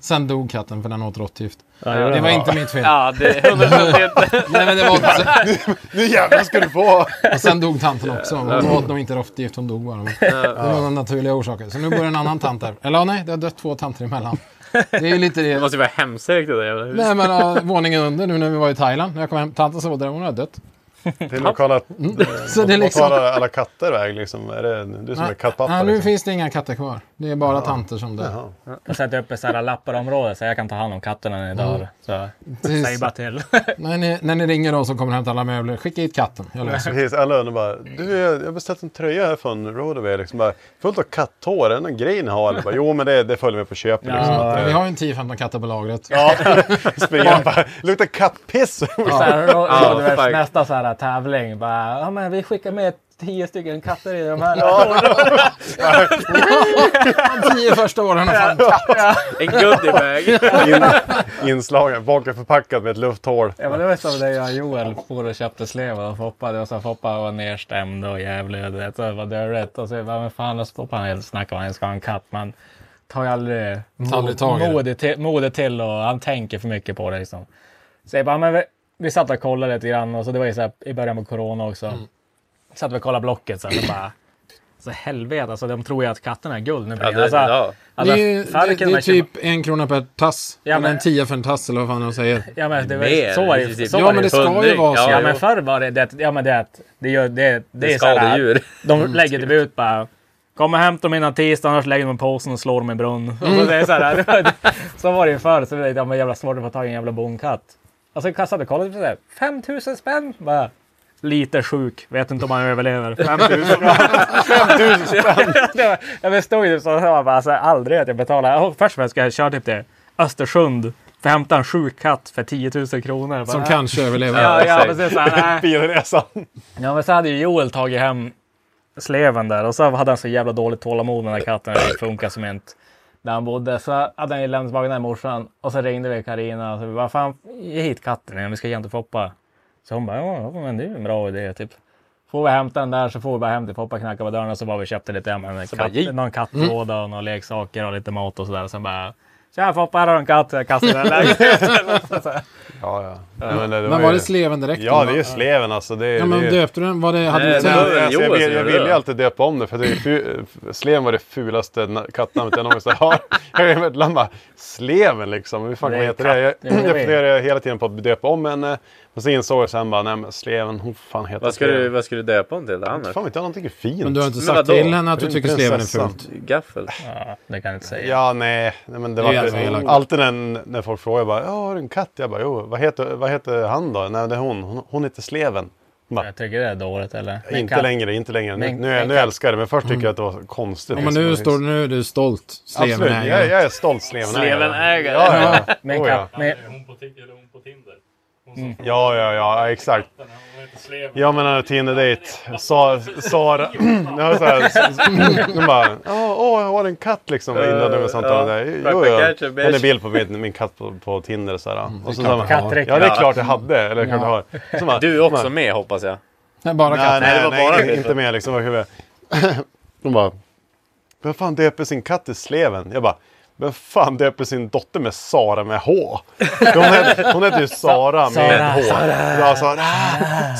S4: Sen dog katten för den åt råttgift.
S3: gjorde
S4: det var inte mitt fel.
S5: Ja, det är 100% inte.
S4: Nej, men det var,
S2: Nu jävlar ska du få!
S4: och sen dog tanten också. Hon åt nog inte råttgift, hon dog bara. Men Det var av naturliga orsaker. Så nu bor en annan tant där. Eller ja, nej, det har dött två tanter emellan. Det är ju lite
S5: Det
S4: det.
S5: måste ju vara hemsökt det där jävla huset.
S4: Nej, men ja, våningen under nu när vi var i Thailand. När jag kom hem, tanten som var där, hon hade dött.
S2: Till lokala...
S4: Så det
S2: Vad
S4: är liksom...
S2: tar alla katter väg liksom? Är det du som är kattpappa?
S4: Ja, nu
S2: liksom?
S4: finns det inga katter kvar. Det är bara tanter som dör.
S2: Jaha.
S3: Jag sätter upp ett så här lapparområde så jag kan ta hand om katterna när ni dör. Så,
S4: Precis.
S3: säg bara till.
S4: När ni, när ni ringer då så kommer hämta alla möbler. Skicka hit katten. Jag löser det.
S2: Precis, alla undrar bara. Du, jag har beställt en tröja här från Rodaway. Liksom bara, fullt av katthår. Är det någon grej ni har? Eller Bara, jo, men det, det följer med på köpet. Liksom,
S4: Ja,
S2: att,
S4: Vi
S2: eh,
S4: har ju en 10-15 katter på lagret.
S2: springer och bara, luktar kattpiss!
S3: Så här, då,
S5: Ja,
S3: då, du vet,
S5: fuck.
S3: nästa så här tävling. Bara, ja, men vi skickar med tio stycken katter i de här.
S4: De tio första åren har fan katt.
S5: En goodiebag.
S2: In, inslagen, bakförpackad med ett lufthål.
S3: Ja, men det var som det jag och Joel for och köpte slevar av Foppa. Det var så här, Foppa var nerstämd och jävlig och du vet, så det var dörrigt. Och så jag bara, men fan, och så stoppar han helt och snackar om att han ska ha en katt. Man tar ju aldrig
S4: Tar aldrig tag i det.
S3: modet till, modet till och han tänker för mycket på det liksom.
S4: Mm.
S3: Så jag bara, men vi, vi satt och kollade lite grann och så det var ju så här, i början på corona också. satt vi och kollade Blocket så här, och bara... Så helvete, alltså, de tror ju att katterna är guld nu.
S6: Ja, det,
S3: alltså,
S6: ja.
S3: alltså,
S4: det är, ju- det,
S3: Falken
S4: det är
S3: verkar ju
S4: typ en krona per tass.
S3: Ja,
S4: eller
S3: men-
S4: en tia för en tass eller vad fan de säger.
S3: Ja men det var,
S6: Mer, typ
S3: så var det
S5: typ
S6: i
S3: ju.
S6: princip.
S3: Så
S4: Ja,
S3: var
S4: men
S3: det
S4: det
S3: ju.
S4: ska ju
S6: Hundring,
S4: vara så.
S6: ja,
S3: Ja men förr var det det, ja men det att det, gör- det, det
S6: Det
S3: är
S6: är
S3: så här,
S6: skadedjur.
S3: De lägger det ut bara. Kom och hämta dem innan tisdag annars lägger de i påsen och slår dem i brunn. Och så, det är så, här, det var- så var det ju förr. Så det är de jävla svårt att få tag i en jävla bonkatt. Alltså kastade kollet på 5000 spänn bara. Lite sjuk, vet inte om han överlever. 5000 spänn! jag förstod ju så, jag bara, alltså, aldrig att jag betalar. Och först och främst ska jag köra typ till Östersund för att hämta en sjuk katt för 10 000 kronor. Bara,
S4: Som
S3: äh.
S4: kanske överlever.
S3: Ja, ja,
S6: exakt.
S3: men sen så här, nej.
S2: Bilresan.
S3: Ja men så hade ju Joel tagit hem sleven där och så hade han så jävla dåligt tålamod med den där katten. Det funkar som inte. Där han bodde så hade han ju lämnat tillbaka den här morsan och så ringde vi Karina och så vi bara fan ge hit katten igen, vi ska ge den till Foppa. Så hon bara ja men det är ju en bra idé typ. Får vi hämta den där så får vi bara hem till Foppa knacka på dörren och så bara vi köpte lite hem, en katt,
S6: ge.
S3: någon kattlåda och några leksaker och lite mat och sådär. Sen bara tja Foppa här har du en katt. Jag kastade den där.
S2: Ja, ja. Nej, men, det
S4: Men
S2: ju-
S4: var det sleven direkt?
S2: Ja,
S4: då?
S2: det är ju sleven alltså. Det,
S4: Ja, men
S2: det,
S4: döpte du den? Var det, hade
S6: Nej,
S4: du
S6: det
S2: Nej,
S6: var-
S4: tänkt-
S2: men alltså, jag,
S6: Joel
S2: vill,
S6: som
S2: jag
S6: gjorde
S2: ville
S6: det.
S2: ju alltid döpa om det för det är fu- Sleven var det fulaste na- kattnamnet jag någonsin har. Jag är ibland bara, Sleven liksom, hur fan
S3: Det är
S2: vad heter det? Jag,
S3: katt, det är
S2: jag
S3: det.
S2: funderade hela tiden på att döpa om henne. Men så insåg jag sen bara, nej men Sleven, hon fan heter
S6: Vad ska,
S2: Sleven.
S6: du, vad ska du döpa honom till annars?
S2: Fan vet jag, någonting fint.
S4: Men du har inte
S6: Men
S4: sagt
S6: vadå?
S4: till henne att
S2: Det
S4: du
S2: är en
S4: tycker sleven är
S2: prinsessa.
S4: fult?
S6: Gaffel?
S3: Ja, det kan jag inte säga.
S2: Ja, nej. nej men det
S4: Det är alltså
S2: var
S4: elakt.
S2: alltid när, när folk frågar bara, ja, har du en katt? Jag bara, jo, vad heter, vad heter han då? Nej, det är hon. Hon, hon heter Sleven.
S3: Jag tycker det är dåligt eller? Men
S2: inte
S3: katt-
S2: längre, inte längre. Nu,
S3: Men-
S2: nu, nu
S3: men katt-
S2: älskar jag det, men först tycker jag att det var konstigt.
S4: Mm.
S2: Liksom.
S4: Ja, men nu, står, nu är du stolt. Sleven
S2: Absolut,
S4: är
S2: jag, jag är stolt Slevenägare.
S6: Slevenägare.
S2: Ja, ja.
S3: Men
S2: Oh, ja.
S3: katt, men,
S7: Hon på, Ti- eller hon på Tinder.
S2: Ja, ja, ja, exakt. eh,
S7: Hon heter Sleven.
S2: Jag menar Tinder-dejt. Sa- Sara... Ja, så här, så- så- hon bara... "Ja, Åh, jag har en katt liksom. Innan de samtalade.
S6: ja.
S2: Jo,
S6: Peppa
S2: jo.
S6: catch a bitch.
S2: Hon är bild på min, min katt på, på Tinder. Så här, ja.
S4: Mm,
S2: och så sa man,
S3: Katträck,
S2: ja, det
S6: ja.
S2: är klart jag hade. Eller kanske har. Så bara,
S6: Du är också med hoppas jag.
S4: Nej, bara
S2: Nej,
S4: katten.
S2: nej,
S6: det var
S2: nej,
S6: bara
S2: inte,
S6: Peter.
S2: inte med liksom. Vad Hon bara... Vem fan döper sin katt till Sleven? Jag bara... Vem fan döper sin dotter med Sara med H? Hon heter, hon heter ju Sara
S3: Sara,
S2: med H. Sara. Ja, Sara!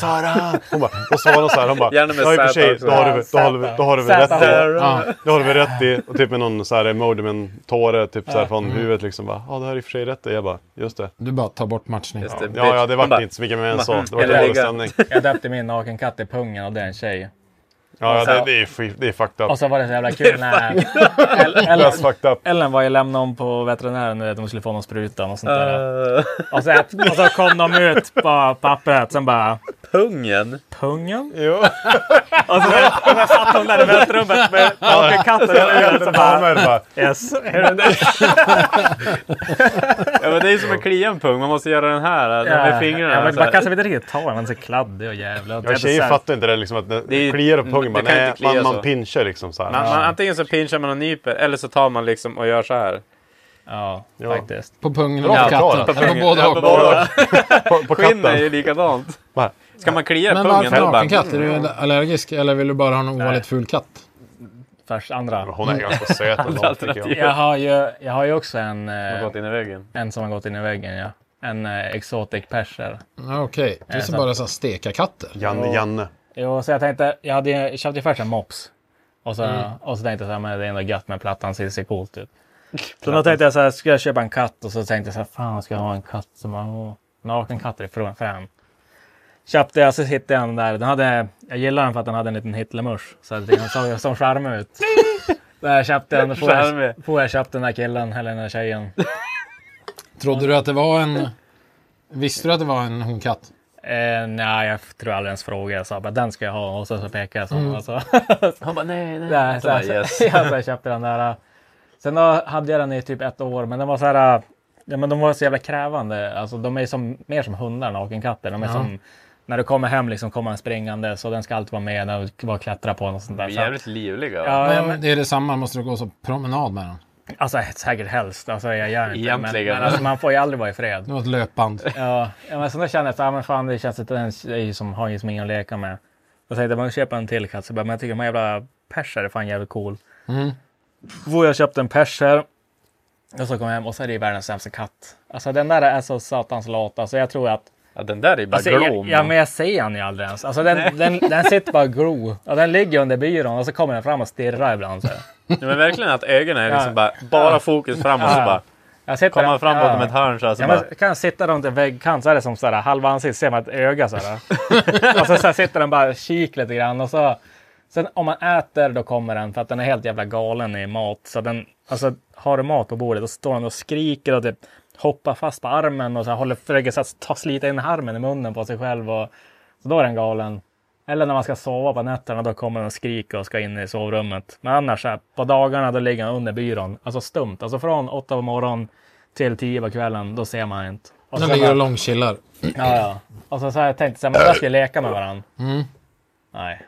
S2: Sara! Hon bara, och så var hon så här, hon bara...
S6: Gärna med
S2: ja, i och för
S6: Z
S2: sig,
S6: också.
S2: då har du, då har du, då har du väl rätt
S3: Z.
S2: i.
S4: Ja.
S2: Då har du väl rätt i. Och typ med någon så här emoji med en tåre typ så här
S3: Mm.
S2: från huvudet liksom. Bara, ja, det här är i och för sig rätt i. Jag bara, just det.
S4: Du bara tar bort matchningen.
S6: Just det, bitch.
S2: Ja, ja, det
S6: Hon bara,
S2: vart inte så mycket mer än så. Det
S6: Kan du
S2: var dålig
S6: lägga-
S2: stämning.
S3: jag döpte min nakenkatt till Pungen och det är en tjej.
S2: Ja, ja, det, det, är, skit- det är fucked up.
S3: Och så var det så jävla kul när El- Ellen,
S2: That's fucked up.
S3: Ellen var ju lämnade om på veterinären nu att de skulle få någon spruta och sånt där. Och, så, och så kom de ut på pappret sen bara
S6: Pungen?
S3: Pungen?
S2: Jo.
S6: Alltså,
S3: Och så och så satt hon där i väntrummet med nakenkatten i huvudet så bara
S2: Damer bara.
S3: Yes. Är det det?
S6: Ja, men det är som en klia en pung. Man måste göra den här
S3: Ja,
S6: med fingrarna. alltså.
S3: ja, men
S6: så här.
S3: man kanske inte riktigt tar den. Den är så kladdig och jävla. Det är
S2: Ja, tjejer
S3: så här-
S2: fattar inte det liksom att när
S6: är-
S2: det kliar upp pungen bara,
S6: det kan
S2: nej,
S6: inte klia
S2: man,
S6: så.
S2: man pinchar liksom så här.
S6: man, man, antingen så pinchar man och nyper eller så tar man liksom och gör så här.
S3: Ja,
S2: Ja.
S3: faktiskt.
S4: På pungen
S2: Bra
S4: och på
S2: förklarat.
S4: katten. Eller på båda
S2: Ja,
S4: och.
S2: på båda. På, på
S6: Skinn är ju
S2: katten.
S6: likadant.
S2: Bara,
S6: Ska man klia
S4: Men
S6: pungen?
S4: varför
S6: då bara-
S4: nakenkatt? Är du allergisk eller vill du bara ha en ovanligt ful katt?
S3: Först andra.
S2: Hon är ganska söt ändå tycker
S6: alternativ.
S2: jag.
S3: Jag har ju, jag har ju också en... eh,
S6: Har gått in i väggen.
S3: En som har gått in i väggen, ja. En eh, exotic perser.
S4: Ja, Okej, det är så
S3: så-
S4: bara så här steka katter.
S2: Janne, Janne.
S3: Jo, så jag tänkte, jag hade ju- köpte ju först en mops. Och så, och så tänkte jag så här, men det är ändå gött med plattan, så det ser coolt ut. Så då tänkte jag så här, ska jag köpa en katt? Och så tänkte jag så här, fan ska jag ha en katt som har naken katt är från frän. Köpte jag, så hittade jag den där. Den hade, jag gillar den för att den hade en liten Hitlermusch. Så att den såg som charmig ut. Där köpte jag den. Får jag,
S6: Charmig.
S3: får jag köpte den där killen, eller den där tjejen.
S4: Trodde du att det var en... Visste du att det var en honkatt?
S3: Eh, nej, jag tror aldrig ens frågade. Jag sa bara den ska jag ha och sen så pekade jag så. Och så.
S6: Han bara nej, nej.
S3: nej, så,
S6: bara,
S3: så,
S6: yes.
S3: ja, så jag köpte den där. Sen då hade jag den i typ ett år, men den var så här. Ja, men de var så jävla krävande. Alltså, de är som, mer som hundar, nakenkatter. De är som när du kommer hem liksom kommer den springande så den ska alltid vara med. Den ska bara klättra på den och sånt där.
S6: De är
S3: Så,
S6: Jävligt livliga. va?
S3: ja, ja, men,
S4: Det är detsamma, måste du gå så promenad med den.
S3: alltså säkert helst. Alltså, jag gör inte, det, men,
S6: Egentligen.
S3: men alltså, man får ju aldrig vara i fred.
S4: Det var ett löpband.
S3: Ja, ja, men så då kände jag så här, men fan det känns inte ens, det är ju som har ju som ingen att leka med. Då tänkte jag, man köpa en till katt. Så jag bara, men jag tycker de här jävla perser är fan jävligt cool. Mm. jag köpte en perser. Och så kom jag hem och så är det ju världens sämsta katt. Alltså den där är så satans lat. Alltså jag tror att
S6: Ja, den där är ju bara
S3: Alltså,
S6: glom.
S3: jag, ja, men jag ser han ju aldrig ens. Alltså, den, den, den sitter bara och glo. Och den ligger under byrån och så kommer den fram och stirrar ibland. Så.
S6: Ja, men verkligen att ögonen är
S3: Ja.
S6: liksom bara, bara fokus framåt.
S3: Ja.
S6: Så bara,
S3: Jag sitter
S6: kommer man fram
S3: ja.
S6: bakom ett hörn så här, så
S3: Ja,
S6: bara,
S3: men kan jag sitta runt en väggkant så är det som sådär, halva ansiktet ser man ett öga sådär. och så, så sitter den bara och kikar lite grann. Och så, sen om man äter då kommer den för att den är helt jävla galen i mat. Så den, alltså, har du mat på bordet och står den och skriker och typ hoppar fast på armen och så här, håller, försöker så här, ta, slita in armen i munnen på sig själv. Och, så då är den galen. Eller när man ska sova på nätterna, då kommer den och skriker och ska in i sovrummet. Men annars så här, på dagarna, då ligger han under byrån. Alltså stumt. Alltså från åtta på morgonen till tio på kvällen, då ser man inte. Och så
S4: Den
S3: så
S4: ligger
S3: bara,
S4: och långchillar.
S3: ja, ja. Och så, så här, tänkte jag, men där ska vi leka med varandra. Nej.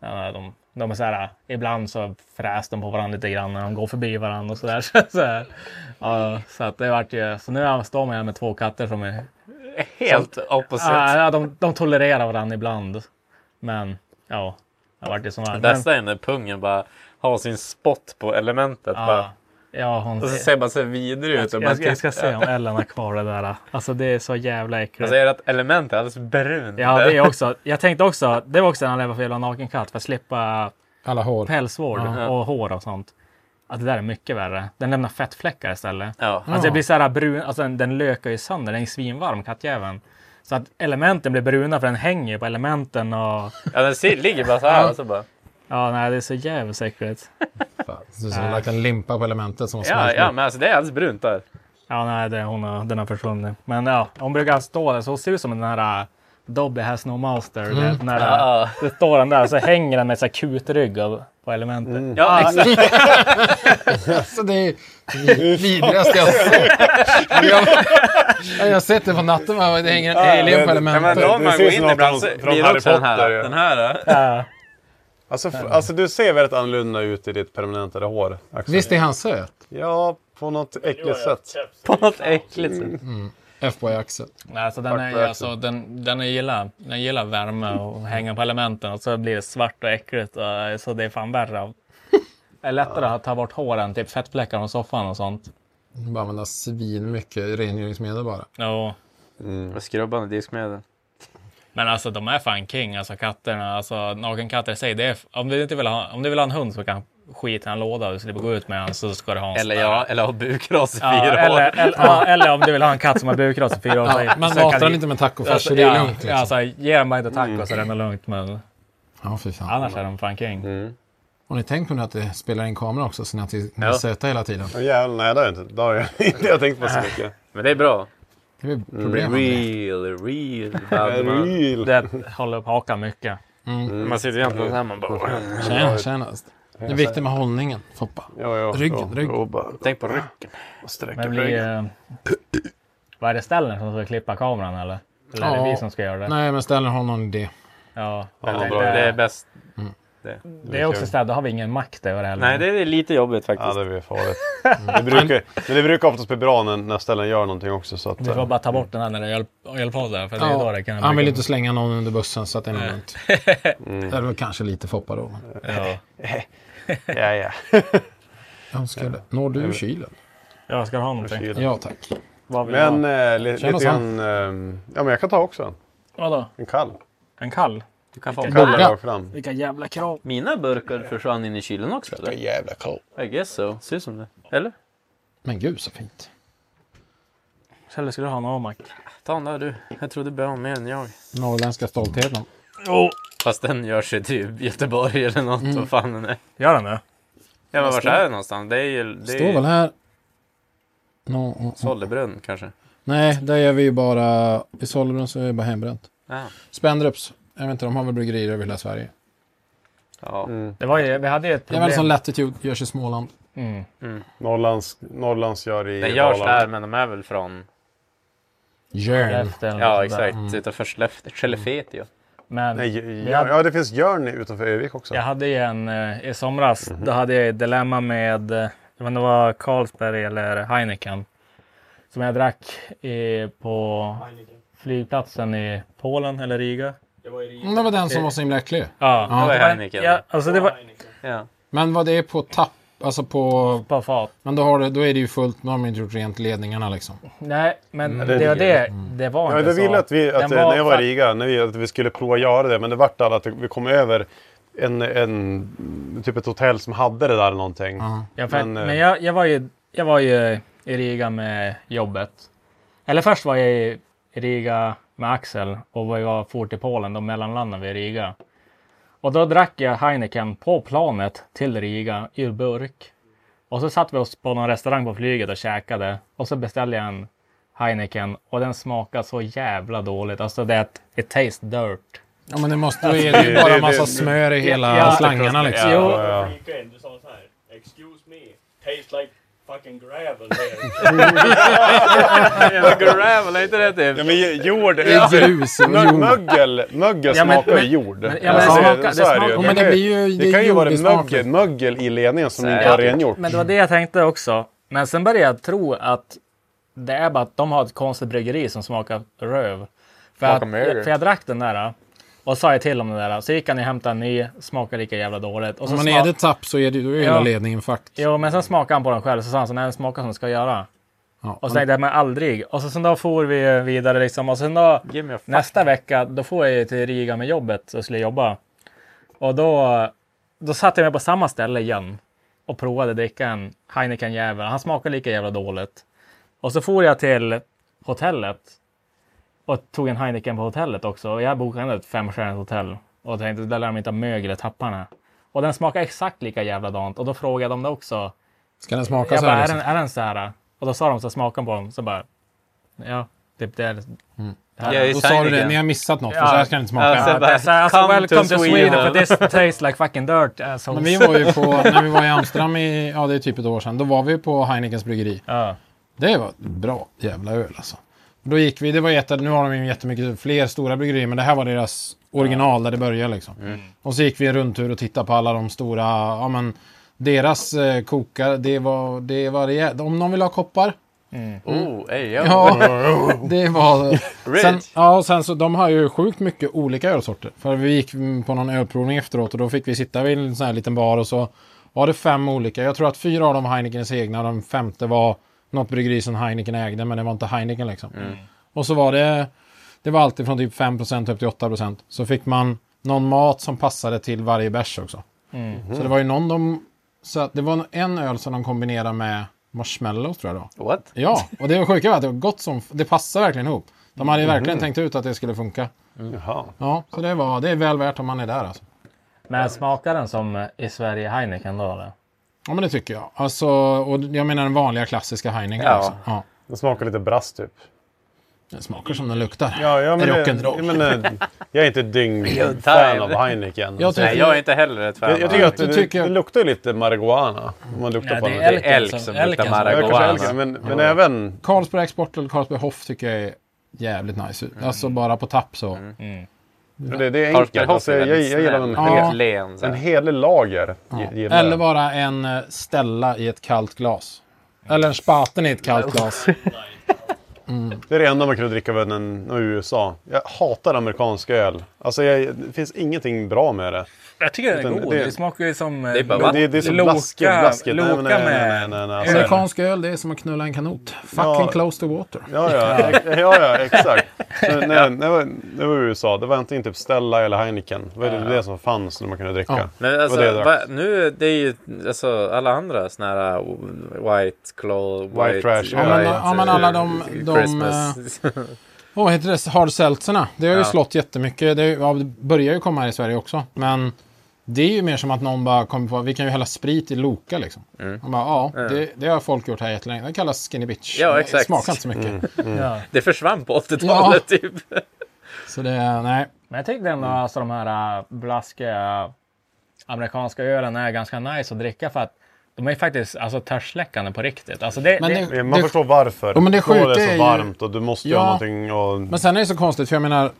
S3: Ja, de, de är så här, ibland så fräs de på varandra lite grann när de går förbi varandra och så där. Så, så, här. Ja, så, att det vart ju, så nu står man här med två katter som är
S6: helt opposite.
S3: Ah, Ja, ja, de, de tolererar varandra ibland. Men ja, det vart ju som var. Men,
S6: Bästa är när pungen bara har sin spot på elementet. Bara,
S3: ja, ah, ja, hon,
S6: och så ser man så vidrig ut. Och bara,
S3: jag, ska- jag ska se om Ellen har kvar det där. Alltså det är så jävla äckligt.
S6: Jag säger att elementet alltså, är alldeles brunt.
S3: Ja, det är också. Jag tänkte också, det var också en anledning varför jag la naken katt. För att slippa
S4: Alla hår.
S3: pälsvård och hår och sånt. Att det där är mycket värre. Den lämnar fettfläckar istället.
S6: Ja.
S3: Alltså det blir så här brun, alltså den, den lökar ju sönder. Den är svinvarm kattjäveln. Så att elementen blir bruna för den hänger ju på elementen och...
S6: Ja, den ser- ligger bara så här. Och så bara,
S3: Ja, nej, det är så jävligt äckligt.
S4: Fan, Det ser ut som du har lagt en limpa på elementet som har
S6: ja,
S4: smält
S6: ja,
S4: ja,
S6: men alltså det är alldeles brunt där.
S3: Ja, nej, det, hon har, den har försvunnit. Men ja, hon brukar stå där. Så hon ser ut som den här äh, Dobby has no master. du vet, När det,
S6: Ja.
S3: det står den där och så hänger den med så här kutrygg av- på elementet.
S6: Ja, exakt.
S4: Alltså det är det vidrigaste jag sett. Jag, jag har sett det på natten. va? Det hänger en alien på
S6: Ja, men
S4: elementet.
S6: då om man
S2: ser
S6: går
S2: som
S6: in
S2: något
S6: ibland så
S2: från- från
S6: blir det
S2: Harry
S6: också den här.
S2: Potter, ja.
S6: Den här eh. ja.
S3: Ja.
S2: Alltså, f- alltså du ser väldigt annorlunda ut i ditt permanentade hår. Axel.
S4: Visst är han söt?
S2: Ja, på något äckligt sätt.
S6: på något äckligt sätt.
S4: F-boy Axel.
S3: Nej, Alltså, den, är, ju- alltså, den, den, är gillar, den gillar värme och hänga på elementen och så blir det svart och äckligt. Och, så det är fan värre. av- Det är lättare att ta bort håren, typ fettfläckar från soffan och sånt.
S4: Bara använda svin mycket rengöringsmedel bara.
S3: Jo.
S6: Mm. Skrubbande diskmedel.
S3: Men alltså de är fan king, alltså katterna. Alltså nakenkatter i sig. Det är, om, du inte vill ha, om du vill ha en hund så kan skita i en låda och du slipper gå ut med den så ska du ha en
S6: Eller ja, eller har bukras i
S3: Ja,
S6: fyra
S3: eller,
S6: år.
S3: eller, ja, eller om du vill ha en katt som har bukras i fyra år.
S4: Ja, man
S3: så kan
S4: matar
S3: du-
S4: den inte med tacofärs,
S3: Alltså,
S4: så det är
S3: ja,
S4: lugnt. Liksom. Mm.
S3: Alltså, ge dem bara inte tacos så är det nog lugnt. Men
S4: Ja, fy fan.
S3: annars är de fan king.
S6: Mm.
S4: Har ni tänkt på nu att det spelar in kamera också, så ni har till- ni är
S6: Ja.
S4: söta hela tiden?
S2: Oh, jävlar, nej det har jag inte, det har jag inte jag tänkt på så mycket.
S6: Men det är bra.
S4: Det är problem. Mm,
S6: Real, real. bad man.
S2: Real.
S3: Det håller upp hakan mycket.
S6: Man sitter egentligen så här man bara...
S4: tjena, tjena. Det är viktigt med hållningen, Foppa.
S2: Ja, ja,
S4: Ryggen,
S2: ja.
S4: ryggen.
S2: Och bara
S6: Tänk på rycken.
S2: sträcker
S3: Men vi,
S2: ryggen.
S3: eh, vad är det ställen som ska klippa kameran eller? Eller är det
S4: Ja.
S3: vi som ska göra det?
S4: Nej, men ställer har någon idé.
S3: Ja,
S2: Ja,
S3: det,
S2: bra.
S6: Det är
S3: det,
S6: bäst.
S3: det är också städer, då har vi ingen makt över det heller.
S6: Nej, det är lite jobbigt
S2: Ja,
S6: faktiskt.
S2: det blir farligt. Mm. Det brukar, men det brukar oftast bli bra när, när ställen gör någonting också. Så att,
S3: Vi får bara ta bort den här när det gäller gäller podden. För det är då det kan
S4: Ja, han vill inte slänga någon under bussen, så att det är nog lugnt. Det är väl kanske lite Foppa då. men
S3: Ja.
S2: eh, ja, ja.
S4: Jag skulle... Når du kylen?
S3: ja, ska du ha någonting?
S4: Ja, tack.
S3: Vad vill
S2: Men
S3: men, du ha?
S2: eh, li, lite
S4: Känner
S2: grann... ehm, ja, men jag kan ta också en.
S3: Vadå?
S2: En kall.
S3: En kall?
S6: Du kan få
S2: Kall
S4: Bugga.
S2: rakt fram.
S3: Vilka jävla krav.
S6: Mina burkar försvann in i kylen också eller?
S2: Jävla kall.
S6: I guess so. Ser ut som det. Eller?
S4: Men gud så fint.
S3: Kjelle, ska du ha en Amac?
S6: Ta den där du. Jag trodde bra om mer än jag.
S4: Norrländska stoltheten.
S6: Fast den görs ju till Göteborg eller något. Vad fan den är.
S3: Gör den det?
S6: Ja men vart är det någonstans? Det är ju... Det
S4: Står väl
S6: är
S4: här. No, oh, oh.
S6: Sollebrunn kanske.
S4: Nej, där gör vi ju bara... I Sollebrunn så är det bara hembränt.
S6: Ja.
S4: Spendrups. Jag vet inte, de har väl bryggerier över hela Sverige.
S2: Mm.
S6: Ja.
S3: det var ju, vi hade ju ett
S4: Det är väl som
S3: problem.
S4: Latitude görs i Småland.
S3: Mm.
S2: Norrlands, Norrlands gör i
S6: Den görs
S2: Dalarna.
S6: där men de är väl från...
S4: Jörn.
S3: Efter eller
S6: Ja
S3: något sånt där.
S6: exakt. Utanför Skellefteå. Skellefteå.
S3: Men
S2: Nej, ju-
S3: vi
S2: ja,
S3: hade-
S2: ja, det finns Jörn utanför Övik också.
S3: Jag hade ju en eh, i somras. Då hade jag ett dilemma med, eh, jag vet inte om det var Carlsberg eller Heineken. Som jag drack i, på flygplatsen i Polen eller Riga.
S4: Mm, Det var den som var så himla äcklig.
S3: Ja,
S6: Det var
S3: Men-
S6: Heineken.
S3: Ja, alltså det var,
S6: Ja.
S4: Men var det på tapp Alltså på...
S3: På fat.
S4: Men då, har det, då är det ju fullt. Nu har man inte gjort rent ledningarna liksom.
S3: Nej, men
S2: Mm.
S3: det var
S2: Det är
S3: det. Det var
S2: Ja,
S3: inte
S2: det
S3: så.
S2: ville att vi, att,
S3: Den
S2: eh, när jag var i
S3: fakt-
S2: Riga, när vi, att vi skulle prova att göra det. Men det vart aldrig att vi kom över en, en, typ ett hotell som hade det där eller någonting.
S3: Ja, för, men
S2: Men, eh,
S3: jag, jag, var ju, jag var ju i Riga med jobbet. Eller först var jag i Riga med Axel och vi var fort i Polen. Då mellanlandade vi i Riga. Och då drack jag Heineken på planet till Riga ur burk. Och så satt vi oss på någon restaurang på flyget och käkade. Och så beställde jag en Heineken och den smakade så jävla dåligt. Alltså det är ett it tastes dirt.
S4: Ja men det måste då är det ju bara en massa smör i hela
S3: Ja.
S4: slangarna liksom.
S3: Jo,
S2: Ja.
S8: Du sa så här. Excuse me. Tastes like fucking gravel here.
S6: Gravel, är inte det typ?
S2: Ja, men ju- jord.
S4: Det är grus och
S2: Mö-
S4: jord.
S2: mögel mögel
S3: Ja, men-
S2: smakar
S3: men-
S2: ju jord.
S3: men- ja, men
S2: Alltså,
S3: det smakar-
S2: så
S3: det
S2: är ju.
S3: smakar-
S4: men det
S2: kan
S4: blir ju- det
S2: det kan ju
S4: är
S2: vara
S4: jordig smak.
S2: mögel, mögel i ledningen som inte
S6: Ja.
S2: har rengjort.
S3: Men det var det jag tänkte också. Men sen började jag tro att det är bara att de har ett konstigt bryggeri som smakar röv. För, att,
S6: Smakar mögel.
S3: för jag drack den där och sa ju till om den där. Så gick han och hämtade en ny, smakade lika jävla dåligt. Och så
S4: Om man
S3: smak-
S4: är det tapp så är det ju då är hela
S3: Ja.
S4: ledningen fakt.
S3: Jo, men sen smakade han på den själv. Så sa han så nej, den smakar som den ska göra.
S4: Ja.
S3: Och så tänkte jag, men aldrig. Och så sen då for vi vidare liksom. Och sen då
S6: Give me a fuck.
S3: nästa vecka, då får jag ju till Riga med jobbet och skulle jobba. Och då, då satte jag mig på samma ställe igen och provade dricka en Heineken jävel. Han smakade lika jävla dåligt. Och så for jag till hotellet och tog en Heineken på hotellet också. Och jag bokade ett femstjärnigt hotell och tänkte där lär de inte ha mögel i tapparna. Och den smakade exakt lika jävla dant. Och då frågade de det också.
S4: Ska den smaka
S3: Jag
S4: så
S3: bara,
S4: här?
S3: är
S4: Liksom?
S3: den, är den så här? Och då sa de så smaken på dem. Så bara, ja, typ det är...
S6: Ja, i
S4: Då sa du det,
S6: Seineken.
S4: ni har missat något. För så här ska det inte smaka.
S6: Ja, sen bara,
S3: Jag sa, alltså,
S6: "Come
S3: welcome to Sweden,
S6: Sweden."
S3: for this tastes like fucking dirt assholes.
S4: Men vi var ju på, när vi var i Amsterdam i, ja det är typ ett år sedan, då var vi på Heinekens bryggeri.
S3: Ja.
S4: Det var ett bra jävla öl alltså. Då gick vi, det var jätte, nu har de ju jättemycket fler stora bryggerier, men det här var deras original där det började liksom. Och så gick vi en rundtur och tittade på alla de stora, ja men deras eh, kokar, det var, det var rejält. Om någon vill ha koppar,
S6: Oh, ey, yo.
S4: Ja, det var...
S6: Rich.
S4: Sen, ja, och sen så de har ju sjukt mycket olika ölsorter. För vi gick mm, på någon ölprovning efteråt och då fick vi sitta vid en sån här liten bar och så var det fem olika. Jag tror att fyra av dem var Heinekens egna och den femte var något bryggeri som Heineken ägde men det var inte Heineken liksom. Och så var det, det var alltid från typ 5% upp till 8%. Så fick man någon mat som passade till varje bärs också. Så det var ju någon de, så att det var en öl som de kombinerade med marshmallows tror jag det var.
S6: What?
S4: Ja, och det sjuka var att det var gott som... Det passar verkligen ihop. De hade ju verkligen tänkt ut att det skulle funka.
S2: Jaha.
S4: Ja, så det, var, det är väl värt om man är där alltså.
S3: Men smakar den som eh, i Sverige Heineken då eller?
S4: Ja, men det tycker jag. Alltså, och jag menar den vanliga klassiska Heineken.
S6: Ja.
S4: Alltså. Ja.
S2: Den smakar lite brass typ.
S4: Den smakar som den luktar.
S2: Ja, ja, men, det,
S4: Rock'n'roll.
S2: ja, men, eh, jag är inte ett dygn fan av Heineken.
S4: Jag tycker-
S6: Nej, jag är inte heller ett fan
S2: jag, jag tycker
S6: av-
S2: att det,
S4: Jag tycker-
S2: det luktar ju lite marijuana. Om man luktar på
S3: det
S2: den.
S3: är
S6: Det är elk som
S3: liksom, Elken
S6: luktar
S3: som-
S2: Ja, kanske
S6: marijuana.
S2: elken, Men, men även...
S4: Carlsberg Export eller Carlsberg Hoff tycker jag är jävligt nice.
S2: Mm.
S4: Alltså bara på tapp så.
S2: Det, det är
S6: Carlsberg
S2: enkelt.
S6: Hoff
S2: Alltså,
S6: är
S2: jag, jag
S6: väldigt
S2: gillar en,
S4: Ja.
S6: snäll.
S2: hel,
S6: Len. så
S2: en
S6: här.
S2: hel lager. Ja.
S4: Eller bara en eh, Stella i ett kallt glas. Eller en Spaten i ett kallt glas.
S2: Det är det enda man kunde dricka av en av USA. Jag hatar amerikansk öl. Alltså jag, det finns ingenting bra med det.
S3: Jag tycker den
S2: Utan
S3: är god.
S2: det-
S3: Det, smakar ju som... eh,
S6: Det är bara
S2: Men det, det är så
S3: Loka-
S2: blaskigt. blaskigt.
S3: Loka
S2: nej, nej, nej, nej,
S3: med-
S2: nej, nej, alltså.
S4: Amerikansk öl, det är som att knulla en kanot. Fucking
S2: Ja.
S4: close to water.
S2: Ja, Alltså, ja, ja, ja, ja exakt. Så, nej, det, var, det var USA. Det var antingen typ Stella eller Heineken. Det var det, det som fanns när man kunde dricka.
S4: Ja.
S6: Men alltså,
S2: Och det är
S6: va,
S2: dags.
S6: nu det är ju alltså, alla andra såna här uh, White Claw, White,
S2: trash. Ja, men-
S4: ja, men alla de-
S6: eh,
S4: de,
S6: Christmas.
S4: Åh, vad heter det? Hard seltzerna. Det har ju slått jättemycket. Det, är ju- ja, det börjar ju komma här i Sverige också. Men det är ju mer som att någon bara kommer på vi kan ju hälla sprit i Loka liksom. Man bara, ja, det, det har folk gjort här jättelänge. Det kallas skinny bitch.
S6: Ja,
S4: Det
S6: exakt.
S4: smakar inte så mycket.
S3: Ja.
S6: det försvann på 80-talet typ.
S4: Så det, är- nej.
S3: Men jag tycker ändå alltså de här äh, blaskiga eh, amerikanska ölen är ganska nice att dricka för att de är ju faktiskt alltså, törstsläckande på riktigt. Alltså, det,
S4: Men
S3: det,
S4: det-
S2: Man förstår varför.
S4: Ja, men det
S2: Då är
S4: sjuka
S2: det
S4: är
S2: så
S4: ju-
S2: varmt och du måste
S4: Ja.
S2: göra någonting. Och...
S4: Men sen är det så konstigt, för jag menar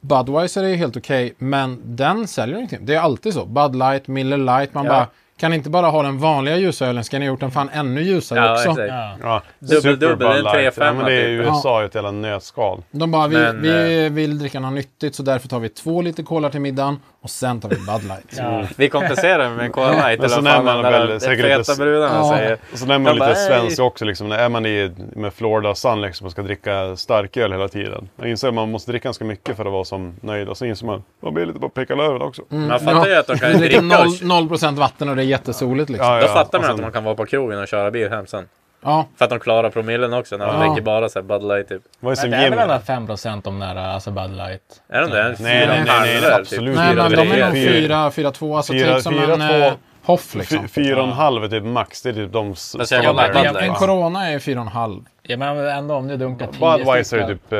S4: Budweiser är ju helt okej, men den säljer ju inte. Det är alltid så. Bud Light, Miller Light. Man bara, kan ni inte bara ha den vanliga ljusölen? Ska ni ha gjort den fan ännu ljusare
S6: Ja,
S4: också?
S6: exakt.
S3: ja.
S2: Ja,
S6: Dubbel,
S2: Super
S6: dubbel,
S2: Bud
S6: en
S2: Light.
S6: 3-5
S2: Ja, men det är ju
S6: typ.
S2: USA ett jävla nötskal.
S4: De bara, vi,
S6: Men,
S2: eh,
S4: vi vill dricka något nyttigt så därför tar vi två liter cola till middagen Och sen tar vi Bud Light.
S6: Ja. Vi kompenserar med en Cola Light, eller
S2: Men så
S6: vad
S2: när
S6: fan
S2: man
S6: de där
S2: väl säkert
S6: feta
S2: lite...
S6: brudarna säger.
S2: Och så när man
S6: De
S2: lite
S6: bara,
S2: svensk
S6: "Ey."
S2: också. Liksom, när är man i med Florida Sun liksom, och ska dricka starköl hela tiden. Man inser att man måste dricka ganska mycket för att vara som nöjd. Och så inser man man blir lite på pickalöven också.
S4: Mm,
S6: Man fattar ju att de kan
S4: Det är lite
S6: dricka och-
S4: noll- noll procent vatten och det är jättesoligt liksom.
S6: Då fattar man att man kan vara på krogen och köra bil hem sen.
S4: Ja.
S6: För att de klarar promillen också när de
S4: Ja.
S6: dricker bara så här Bud Light typ.
S3: Men det är väl ändå 5 om nära alltså Bud Light.
S6: Är de det?
S3: Typ.
S6: Nej, nej, nej, nej, absolut
S4: Nej, men de är nog
S2: Fyra-
S4: 4, 4, 2. Alltså
S2: Fyra-
S4: typ som
S2: fyra,
S4: en
S2: två-
S4: eh, hoff liksom.
S2: Fy- Fyra och en halv är typ max. Det är typ de s-
S6: Fast jag kan
S2: standard-
S6: bara-
S4: Ja, En Corona är 4,5.
S3: Ja, men ändå om du dunkar 10
S2: Budweiser är typ... eh,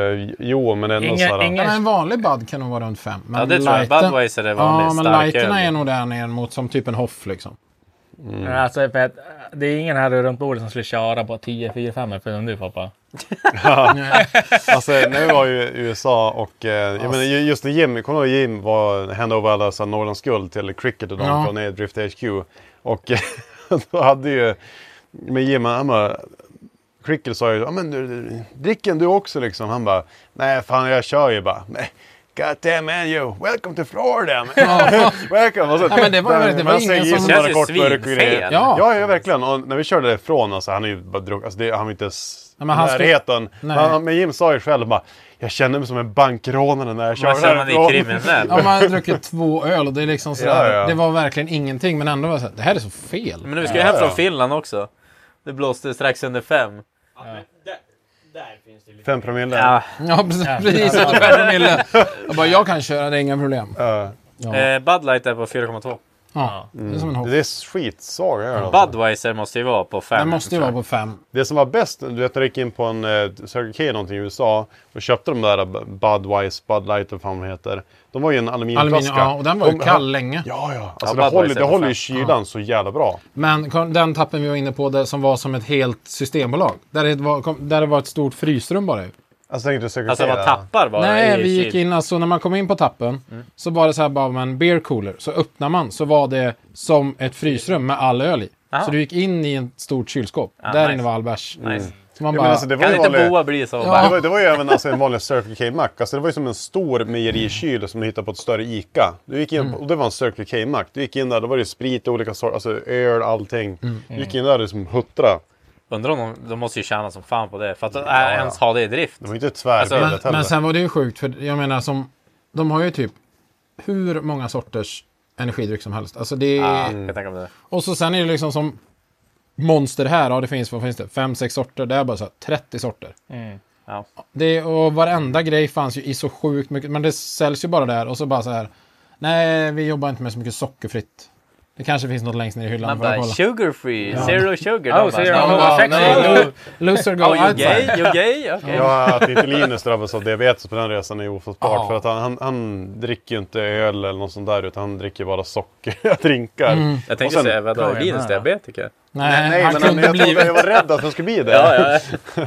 S2: Jo, men ändå
S3: Ingen-
S2: så här...
S3: ingen-
S4: Men en vanlig Bud kan nog vara runt 5.
S6: Ja, det tror jag. Budweiser är vanlig
S4: Ja, men
S6: starköl.
S4: lighterna är nog där nere mot som typ en hoff liksom.
S3: Men Alltså, för att, äh, det är ingen här runt bordet som skulle köra på 10, 4, 5 förutom du pappa.
S2: Ja. alltså när vi var i USA och eh,
S4: Alltså.
S2: jag menar, ju- just när Jim, kommer du ihåg Jim var handover alla så här Norrlands guld till cricket och de
S4: Ja.
S2: från eh, Drift HQ. Och då hade ju, men Jim han bara, Cricket sa ju, ja men du- du- dricken du också liksom. Han bara, nej fan jag kör ju bara. "Nej, God damn man you, welcome to Florida! man." welcome! Och så,
S4: Ja, men det var- det var
S2: men jag
S4: ingen
S2: säger
S4: som-
S2: som bara
S6: Känns ju
S2: kort burk och grejer.
S6: svinfel.
S2: Ja,
S4: Ja.
S2: ja, verkligen. Och när vi körde därifrån, alltså, han är ju bara druck, alltså, det, han var inte ens
S4: Ja, men han skulle-
S2: närheten.
S4: Nej.
S2: Han, men Jim sa ju själv bara, jag känner mig som en bankrånare när jag kör
S6: Man känner man är kriminell.
S4: Ja, man har druckit två öl och det är liksom sådär.
S2: Ja, ja.
S4: Det var verkligen ingenting men ändå var det såhär, det här är så fel.
S6: Men vi ska ju hem från Finland också. Det blåste strax under fem.
S2: Fem promille.
S6: Ja.
S4: Ja, precis. precis ja, promille. Jag bara, jag kan köra, det är inga problem.
S2: Ja.
S6: Eh, Bud Light är på 4,2.
S4: Ja, det är som en hopp.
S2: Det är skitsvaga öl. alltså.
S6: Budweiser måste ju vara på 5.
S4: Den måste ju vara på fem.
S2: Det som var bäst, du vet när jag gick in på en eh, Circle K någonting i USA och köpte de där B- Budweiser, Bud Light och vad fan de heter. De var ju en aluminiumflaska.
S4: Aluminium, ja, och den var ju
S2: De-
S4: kall länge.
S2: Ja, ja. Alltså det
S6: Ja,
S2: håller,
S6: Budweiser
S2: det
S6: var
S2: håller ju
S6: fan.
S2: kylan så jävla bra.
S4: Men kom- den tappen vi var inne på där, som var som ett helt systembolag. Där det var, kom, där det var ett stort frysrum bara. ju.
S2: Alltså tänkte du Circle
S6: Alltså
S2: K
S6: vad
S2: där?
S6: tappar bara
S4: Nej,
S6: i
S4: vi gick
S6: kyl.
S4: in, alltså när man kom in på tappen
S6: Mm.
S4: så var det så här bara med en beer cooler. Så öppnar man så var det som ett frysrum med all öl i.
S6: Aha.
S4: Så du gick in i ett stort kylskåp.
S6: Ah,
S4: där
S6: nice.
S4: inne var all bärs. Mm.
S6: Nice.
S4: Så man
S2: Ja,
S4: bara,
S2: men alltså, det var
S6: Kan
S2: ju
S6: inte
S2: vanlig-
S6: Boa bli så?
S2: Det
S6: Ja.
S2: var, det var ju även alltså en vanlig Circle K-mack. Alltså det var ju som en stor mejerikyl som du hittade på ett större ICA. Du gick in,
S6: Mm.
S2: Och det var en Circle K-mack. Du gick in där, då var det sprit och olika sorter, alltså öl, allting.
S6: Mm.
S2: Du gick in där och liksom huttra.
S6: Undrar om de, de måste ju tjäna som fan på det. För att äh, ens ha det i drift.
S2: Det var ju inte tvärbildat
S6: Alltså,
S2: heller.
S4: men, men sen var det ju sjukt för jag menar som, de har ju typ hur många sorters energidryck som helst. Alltså det är,
S6: Ja, jag kan tänka mig det.
S4: Och så sen är det liksom som monster här. Ja, det finns, vad finns det? Fem, sex sorter. Det är bara så här, 30 sorter.
S6: Ja.
S4: Det, och varenda grej fanns ju i så sjukt mycket. Men det säljs ju bara där och så bara så här. Nej, vi jobbar inte med så mycket sockerfritt. Det kanske finns något längst ner i hyllan.
S6: Man
S4: För att
S6: bara
S4: kolla.
S6: sugar free, zero sugar.
S3: Oh,
S6: De bara,
S3: zero.
S6: "No,
S4: Man
S3: Oh,
S4: bara,
S3: sexy.
S4: "Nej, Loser go
S6: Oh, you
S4: outside.
S6: gay? You gay? Okej.
S2: Ja, att inte Linus drabbas av diabetes på den resan är ofattbart.
S4: Ja.
S2: För att han, han, han dricker ju inte öl eller något sånt där utan han dricker bara sockerdrinkar.
S4: Mm.
S6: Jag
S2: Och
S6: tänkte
S2: sen-
S6: säga, vadå?
S3: Kom igen,
S6: Linus
S3: här.
S6: diabetiker?
S4: Nej,
S2: Nej,
S4: han
S2: men han,
S4: kunde
S2: jag,
S4: blivit.
S2: trodde, jag var rädd att han skulle bli det.
S6: Ja, ja.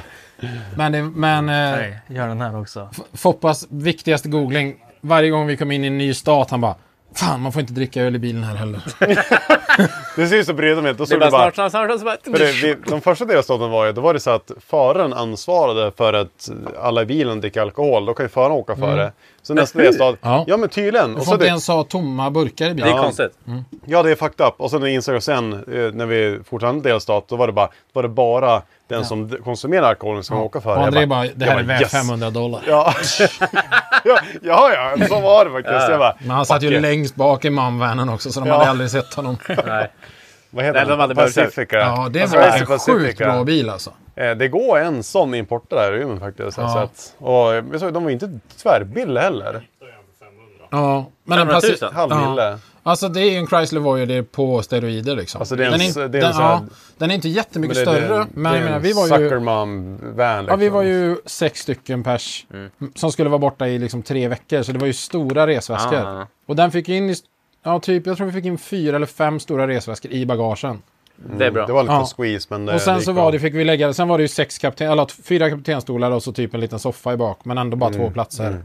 S4: Men, det, men eh,
S3: Nej, gör den här också.
S4: Foppas viktigaste googling. Varje gång vi kom in i en ny stat, han bara. Fan, man får inte dricka öl i bilen här heller.
S2: Det ser ut som brydde mig inte. Då
S6: Det
S2: stod
S6: är bara
S2: det bara
S6: snart, snart, snart. och så bara-
S2: För det, vi, de första delstaten var ju, då var det så att föraren ansvarade för att alla i bilen dricker alkohol. Då kan ju föraren åka före.
S6: Mm.
S2: Så nästa delstat, ja.
S4: Ja.
S2: men tydligen.
S4: Du
S2: Och
S4: får
S2: så
S4: inte
S2: det,
S4: ens ha tomma burkar i
S6: Det
S4: bilen.
S6: är konstigt.
S2: ja, det är fucked up. Och sen insåg jag sen, eh, när vi fortsatte en delstat, då var det bara, då var det bara den som d- konsumerar alkoholen som kan åka före.
S4: Och
S2: Jag
S4: André bara, det här
S2: jag
S4: är värt
S2: yes.
S4: 500 dollar.
S2: Ja. ja, ja, ja, så var det faktiskt. Jag bara,
S4: Men han satt ju
S2: fuck it.
S4: längst bak i manvanen också, så de
S2: Ja.
S4: hade aldrig sett honom.
S6: Nej.
S2: Vad heter
S6: Nej, de hade
S2: den?
S6: börjat-
S2: Pacifica.
S4: Ja, det
S2: Alltså,
S4: var
S2: Racer
S4: en sjukt
S2: Pacifica.
S4: bra bil alltså.
S2: Eh, Det går en sån importare här i Umeå faktiskt.
S4: Ja.
S2: Så att, och jag såg, de var inte tvärbilliga heller.
S4: Ja, men den
S6: 500 000?
S4: passi-
S2: Halv
S4: Ja.
S2: mille.
S4: Alltså det är ju en Chrysler Voyager på steroider liksom.
S2: Alltså, det är en-
S4: den,
S2: det är en
S4: den,
S2: så här-
S4: ja, den är inte jättemycket
S2: det- det-
S4: större, men
S2: det
S4: jag
S2: är
S4: menar,
S2: en
S4: vi var
S2: Sucker
S4: ju...
S2: mom-van liksom.
S4: Ja, vi var ju sex stycken pers som skulle vara borta i liksom tre veckor, så det var ju stora resväskor.
S6: Ah.
S4: Och den fick in, i, ja typ, jag tror vi fick in fyra eller fem stora resväskor i bagagen.
S6: Det är bra.
S2: Det var en liten
S4: Ja.
S2: squeeze men det
S4: Och sen
S2: gick
S4: så
S2: bra.
S4: var det, fick vi lägga, sen var det ju sex kapten, eller t- fyra kaptenstolar och så typ en liten soffa i bak, men ändå bara två platser.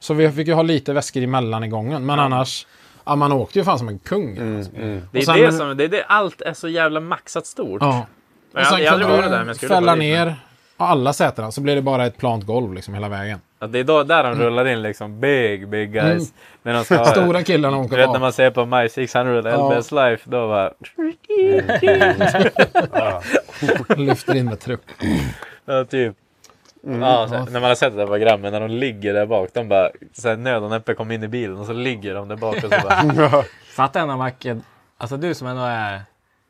S4: Så vi fick ju ha lite väskor emellan i gången, men annars, ja man åkte ju fan som en kung. alltså.
S6: Det är
S4: Och sen-
S6: det som, det är det, allt är så jävla maxat stort.
S4: Ja.
S6: Jag, jag, jag hade aldrig varit där men jag
S4: kunde du
S6: skulle
S4: fälla
S6: dit.
S4: ner alla sätena, så blev det bara ett plant golv liksom hela vägen.
S5: Att det är då, där de rullar in liksom big, big guys.
S4: Mm.
S5: När de ska,
S4: Stora killarna åker
S5: Du vet
S4: bak.
S5: när man ser på My 600
S4: Ja.
S5: LBS Life, då bara...
S4: Lyfter in med trupp.
S5: Ja, typ.
S4: Mm.
S5: Ja, så, när man har sett det där programmet, när de ligger där bak. De bara, så här, nöd och näppe kom in i bilen och så ligger de där bak och så bara...
S3: Fatta en av Macke, alltså du som ändå är...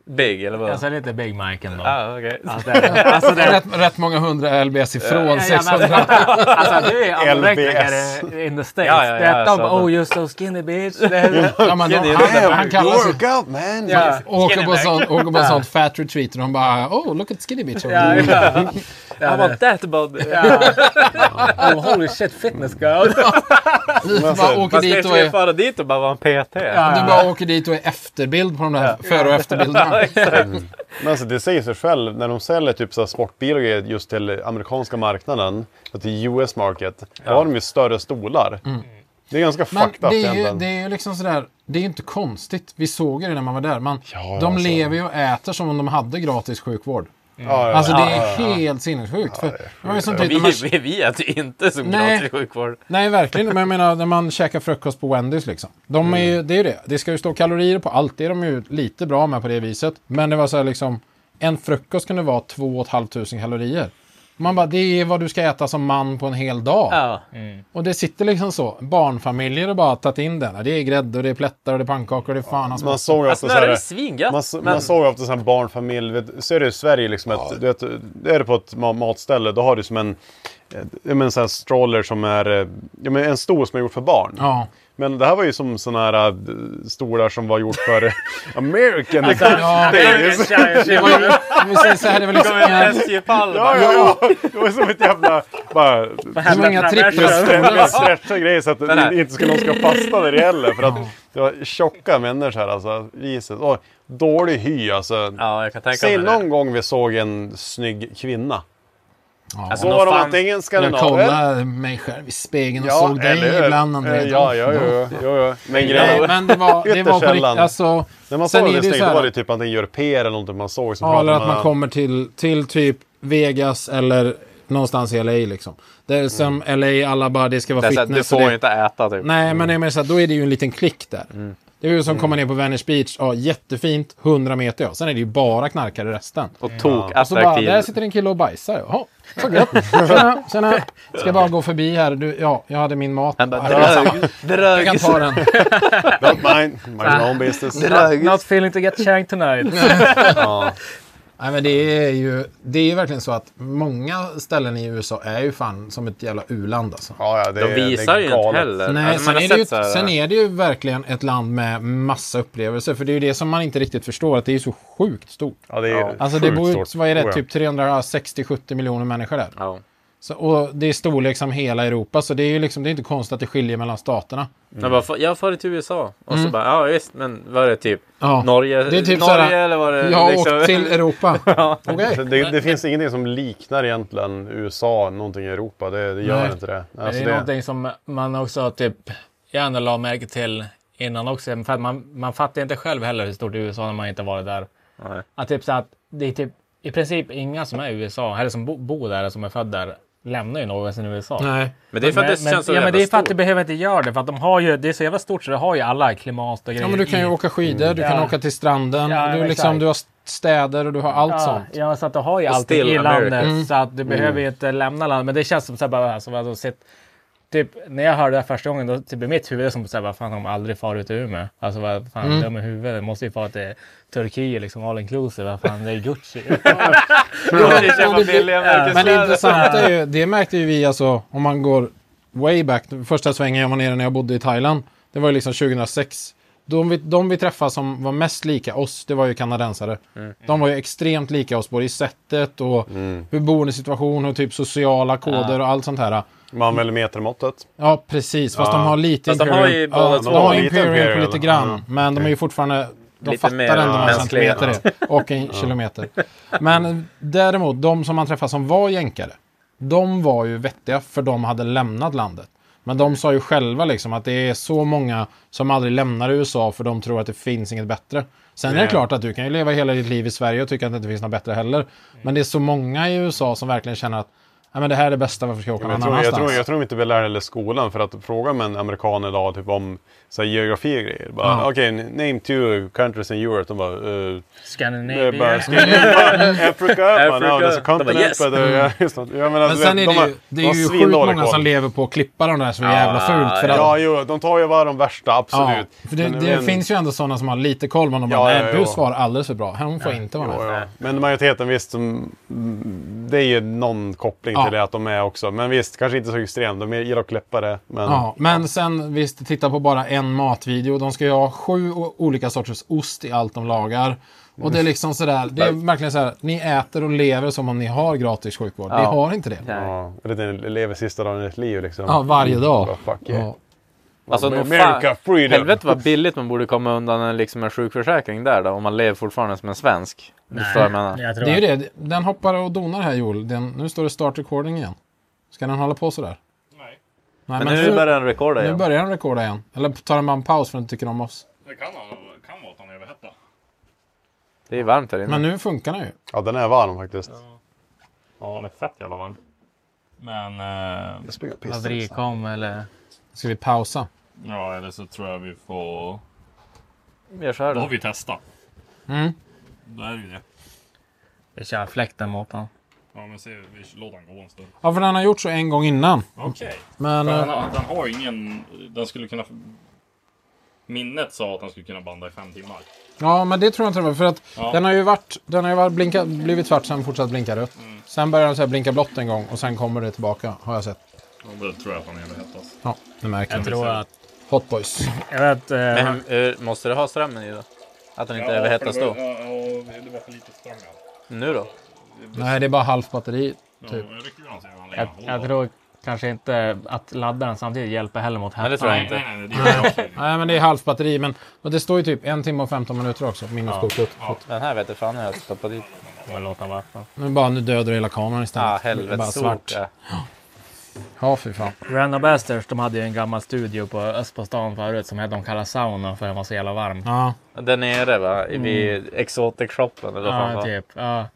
S5: Big eller vad?
S3: Alltså lite Big Mike ändå.
S5: Ah, okej.
S3: Alltså, det- alltså, det-
S4: rätt, rätt många hundra LBS ifrån
S3: Ja, ja, men
S4: 600.
S3: alltså, alltså, du är
S4: LBS.
S3: almanräknare in the States.
S4: Ja, ja, ja,
S3: det, de
S4: så
S3: bara
S4: de-
S3: oh you're so skinny bitch. Det-
S4: Ja, men de, han, han kallar sig...
S2: out man!
S3: Ja.
S4: Åker på,
S3: Skinny
S4: sånt,
S3: bitch.
S4: åker på
S3: Ja.
S4: sånt fat retreat och de bara oh look at skinny bitch.
S3: Ja, ja.
S5: How about that about...
S3: Oh, holy shit fitness girl.
S4: Man bara åker
S5: Man
S4: dit
S5: ska
S4: och
S5: ju
S4: är,
S5: fara dit och bara vara en PT.
S4: Du bara åker dit och är efterbild på de där före och efterbilderna.
S2: Men alltså, det säger sig själv, när de säljer typ så här sportbilar och grejer just till amerikanska marknaden, och till US market, då har de ju större stolar. Det är ganska
S4: Mm. Men
S2: fucked up
S4: det är, ju,
S2: egentligen.
S4: det är ju liksom sådär, det är ju inte konstigt. Vi såg ju det när man var där. Man,
S2: Ja,
S4: de
S2: alltså.
S4: lever ju och äter som om de hade gratis sjukvård.
S2: Ja, ja,
S4: Alltså det
S2: ja,
S4: är
S2: ja, ja.
S4: helt sinnessjukt. För det var ju som typ när
S5: vi,
S4: man-
S5: vi, vi äter ju inte som
S4: Nej.
S5: gratis sjukvård.
S4: Nej, verkligen. Men jag menar när man käkar frukost på Wendys liksom. De är ju, det är ju det. Det ska ju stå kalorier på allt. Det är de ju lite bra med på det viset. Men det var så här liksom. En frukost kunde vara 2 500 kalorier. Man bara, det är vad du ska äta som man på en hel dag.
S5: Ja.
S4: Och det sitter liksom så. Barnfamiljer har bara tagit in den. Det är grädde och det är plättar och det är pannkakor och det är fan hans
S2: Man såg ju
S5: Alltså, nu är
S2: ofta så
S5: det ju
S2: här,
S5: svingött.
S2: man, så-
S5: men-
S2: man såg ju ofta så här barnfamilj, vet, ser du i Sverige liksom ett, du vet, är du på ett ma- matställe då har du som en, eh, en, en sån här stroller som är, eh, ja, men en stol som är gjord för barn.
S4: Ja.
S2: Men det här var ju som sådana här eh, stolar som var gjort för American
S4: Alltså, Ja.
S2: Davis.
S4: Det var ju, om vi säger så här, det var liksom inga,
S5: Alltså, Festival.
S2: Ja, ja, ja. Det var som ett jävla... Bara,
S4: det var inga
S2: med
S4: trippelstolar.
S2: stretcha grejer så att
S5: Den här.
S2: det inte skulle någon ska fastna när det gäller. För att det var tjocka människor här alltså. Jesus. Och dålig hy alltså.
S5: Ja, jag kan tänka
S2: Säg
S5: mig
S2: någon
S5: det.
S2: gång vi såg en snygg kvinna.
S5: Alltså,
S2: Då
S5: nå
S2: var de
S5: fan-
S2: antingen
S4: Jag
S2: skandinaver.
S4: kollade mig själv i spegeln och
S2: Ja,
S4: såg
S2: eller
S4: dig
S2: hur?
S4: ibland,
S2: Eh,
S4: André.
S2: Ja, ja, ja, ja, ja. Men
S4: Nej,
S2: grejen
S4: men det var, det var på
S2: Ytterst
S4: riktigt.
S2: sällan.
S4: Alltså,
S2: när man
S4: sen
S2: såg
S4: är
S2: det
S4: det ju
S2: snyggt
S4: så
S2: då
S4: här-
S2: var det typ antingen europeer eller någonting man såg. Som
S4: Ja, eller
S2: pratade
S4: att man
S2: med-
S4: kommer till, till typ Vegas eller någonstans i LA liksom. Det är som LA, alla bara det ska
S5: Mm. Det
S4: vara
S5: är så här,
S4: fitness.
S5: du
S4: och
S5: får
S4: det-
S5: ju inte Mm. äta typ.
S4: Nej, men det är mer så här, då är det ju en liten klick där. Det är ju som att komma ner på Venice Beach. Ja, jättefint, 100 meter ja. Sen är det ju bara knarkare resten.
S5: Och tok
S4: Och så bara,
S5: attraktiv.
S4: där sitter en kille och bajsar. Jaha, så gött. Tjena, tjena. Ska bara gå förbi här. Du, ja, jag hade min mat.
S5: Han bara
S4: Ja, det är samma.
S5: drög,
S4: Jag kan
S5: drög.
S4: ta den.
S2: Don't mind, my own business.
S3: Not feeling to get shanked tonight.
S4: Nej, men det är ju det är ju verkligen så att många ställen i USA är ju fan som ett jävla u-land alltså.
S2: Ja, ja, det,
S5: De
S2: är- det
S5: visar
S2: är
S5: ju inte
S2: galet.
S5: heller.
S4: Nej,
S5: Alltså, man
S4: sen
S5: har
S4: är, det ju,
S5: sett så här-
S4: sen är det ju verkligen ett land med massa upplevelser. För det är ju det som man inte riktigt förstår, att det är ju så sjukt stort.
S2: Ja, det är
S4: Alltså det
S2: sjukt
S4: bor ju,
S2: stort.
S4: vad är
S2: Oh,
S4: det,
S2: ja.
S4: typ 360-70 miljoner människor där.
S7: Mm.
S5: Ja.
S4: Så, och det är storlek som hela Europa, så det är ju liksom, det är inte konstigt att det skiljer mellan staterna.
S5: Jag bara, "Fa- jag far till USA. Och så bara, ja visst, men var det typ
S4: Mm. Ja.
S5: Norge?
S4: Det är typ
S5: Norge
S4: såhär,
S5: eller var det
S4: jag har
S5: liksom...
S4: åkt till Europa. Okej.
S2: Så Det, det finns ingenting som liknar egentligen USA, någonting i Europa. Det, det gör
S4: Nej.
S2: inte det.
S3: Men
S2: Alltså
S3: det är
S2: det,
S3: någonting som Liksom, man också typ, jag ändå la märke till innan också. För att man, man fattar inte själv heller hur stort USA när man inte varit där.
S5: Nej.
S3: Att typ så att det är typ i princip inga som är i USA, eller som bo, bor där, som är född där, lämnar ju någonsin USA.
S4: Nej.
S5: Men det är för att det
S3: men,
S5: känns så
S3: ja, men
S5: jävla
S3: det är för att
S5: stort.
S3: det behöver inte göra det. För att de har ju, det är så jävla stort så det har ju alla klimat och grejer.
S4: Ja, men du kan ju
S3: i.
S4: åka skidor, du kan
S3: Ja.
S4: åka till stranden,
S3: Ja,
S4: du,
S3: men
S4: liksom,
S3: exakt.
S4: du har städer och du har allt
S3: Ja,
S4: sånt.
S3: ja, så att du har ju
S5: Och
S3: allting
S5: still
S3: i
S5: America.
S3: landet. Så att du
S6: Mm.
S3: behöver ju inte lämna landet. Men det känns som så här bara, alltså, alltså, sitt, typ, när jag hörde det här första gången, då typ, i mitt huvud som så här, vad fan, de aldrig far ut ur Umeå. Alltså vad fan,
S4: Mm.
S3: dum i huvudet. Måste ju fara till Turkiet liksom all inclusive. Vad fan, det är Gucci.
S5: Gucci köpa billiga
S4: Men det
S5: märkeskläder.
S4: intressanta är ju, det märkte ju vi alltså om man går way back. Första svängen jag var nere när jag bodde i Thailand. Det var ju liksom 2006. De vi, de vi träffade som var mest lika oss, det var ju kanadensare. De var ju extremt lika oss både i sättet och hur boendesituation och typ sociala koder och allt sånt här.
S2: man använder metermåttet.
S4: Ja, precis. Fast
S2: Ja.
S4: de har lite
S5: Fast de har ju båda
S4: ja,
S5: två.
S4: de har
S2: Lite
S4: Imperial
S2: Imperial,
S4: på lite
S2: ja.
S4: grann. Men de är ju fortfarande... De
S5: Lite
S4: fattar
S5: mer
S4: ändå några
S5: mänskliga.
S4: centimeter det. Och en kilometer. Men däremot, de som man träffade som var jänkare. De var ju vettiga för de hade lämnat landet. Men de sa ju själva liksom att det är så många som aldrig lämnar USA för de tror att det finns inget bättre. Sen är det
S2: Nej.
S4: klart att du kan ju leva hela ditt liv i Sverige och tycka att det inte finns något bättre heller. Men det är så många i USA som verkligen känner att Nej, men det här är det bästa, varför ska jag åka
S2: Ja, men jag,
S4: någon
S2: tror, jag,
S4: annanstans?
S2: tror, jag tror inte vi lär det i skolan för att fråga med en amerikan idag typ om så här, geografi och grejer. Bara,
S4: Ja.
S2: Okej, name two countries in Europe. De bara... Uh,
S3: Scandinavia.
S2: Africa. Bara, no,
S3: Africa.
S2: there's a
S3: De bara,
S2: continent.
S3: yes.
S2: but, uh, yeah, just not- Jag menar,
S4: Mm. Men
S2: du
S4: sen
S2: vet,
S4: är
S2: alltså, de har- de
S4: det ju, det är
S2: har
S4: ju sjukt
S2: svindålig
S4: många
S2: koll.
S4: som lever på att klippa de där så jävla fult. För att,
S2: Ja, jo, de tar ju bara de värsta, absolut.
S4: Ja, för det,
S2: Men-
S4: det
S2: men-
S4: finns ju ändå sådana som har lite koll, men de
S2: Ja,
S4: bara
S2: ja,
S4: nej,
S2: ja.
S4: du svarar alldeles för bra. Hon får inte vara
S2: Jo,
S4: med.
S2: ja. Men majoriteten visst, som, det är ju någon koppling
S4: Ja.
S2: till det att de är också. Men visst, kanske inte så extrem. De gillar att kläppa det. Men...
S4: Ja, men sen visst, titta på bara en matvideo. De ska ju ha sju o- olika sorters ost i allt de lagar. Och
S2: Mm.
S4: det är liksom sådär, det är verkligen såhär, ni äter och lever som om ni har gratis sjukvård. Ni har inte det.
S2: Ja, och det är den lever sista dagen i ditt liv liksom.
S4: Ja,
S7: Mm.
S4: varje dag.
S2: Bara, fuck yeah.
S4: Ja.
S6: Alltså, nog fan-
S2: America, freedom!
S6: Helvete vad billigt man borde komma undan en, liksom, en sjukförsäkring där då, om man lever fortfarande som en svensk. Du förstår vad jag menar?
S3: Jag tror
S4: Det är ju det, den hoppar och donar här Joel. Den, nu står det start recording igen. Ska den hålla på sådär? Nej.
S6: Men nu börjar den rekorda
S4: Nu
S6: igen.
S4: börjar den rekorda igen. Eller tar den bara en paus för att den tycker om oss.
S7: Det kan, vara- kan vara att han är överhettad.
S6: Det är varmt här inne.
S3: Mm.
S4: Men nu funkar den ju.
S2: Ja, den är varm faktiskt.
S7: Ja, han är fett jävla varm. Men... Eh,
S2: Jag springer och pissar.
S3: Haverikom eller...
S4: Ska vi pausa?
S7: ja, eller så tror jag vi får...
S6: Gör så här
S7: Då har
S6: då.
S7: vi testat.
S4: Mm.
S7: Då är det ju det.
S3: Vi kör fläkten mot honom.
S7: Ja, men se, vi låter han gå en stund.
S4: Ja, för den har gjort så en gång innan.
S7: Okej.
S4: Men...
S7: Den,
S4: eh,
S7: har- den har ingen... Den skulle kunna... Minnet sa att den skulle kunna banda i fem timmar.
S4: Ja, men det tror jag inte det var. För att
S7: Ja.
S4: den har ju varit, den har ju varit blinka, blivit svart, sen fortsatt blinka rött.
S3: Mm.
S4: Sen börjar den så här blinka blått en gång och sen kommer det tillbaka, har jag sett.
S7: Ja, då tror jag att han är överhettad.
S4: Ja, det märker
S3: Jag
S4: jag.
S3: tror att...
S4: Hot Boys.
S3: Jag vet, eh,
S6: Men hur- måste det ha strömmen i då? Att den inte överhettas då?
S7: Ja, ja, det var för lite ström i allt.
S6: Nu då?
S4: Nej, det är bara halvt batteri.
S7: Ja,
S4: Typ.
S7: jag rycker ju han så han lägger
S3: jag,
S7: han på
S3: jag
S7: då.
S3: tror kanske inte att ladda den samtidigt hjälper heller mot
S6: Nej, det
S3: hettan.
S6: tror jag
S7: Nej,
S6: inte.
S7: nej, nej. Det gör jag också.
S4: Nej, men det är halvt batteri. Men och det står ju typ en timme och 15 minuter också, minus koklukt.
S6: Den här vet du fan hur jag stoppar dit.
S3: Men låt den vara.
S4: Nu bara, nu dödar du hela kameran istället.
S6: Ah,
S4: Det är bara
S6: helvetes
S4: svart.
S6: soka.
S4: Ja, fy fan.
S3: Random Bastards, de hade ju en gammal studio på Öst på stan förut som hette- de kallade sauna för den var så jävla varm.
S4: Ja.
S6: Där nere va? I- Vid exotic shoppen eller vad fan
S3: Ja,
S6: det var.
S3: typ. Ja.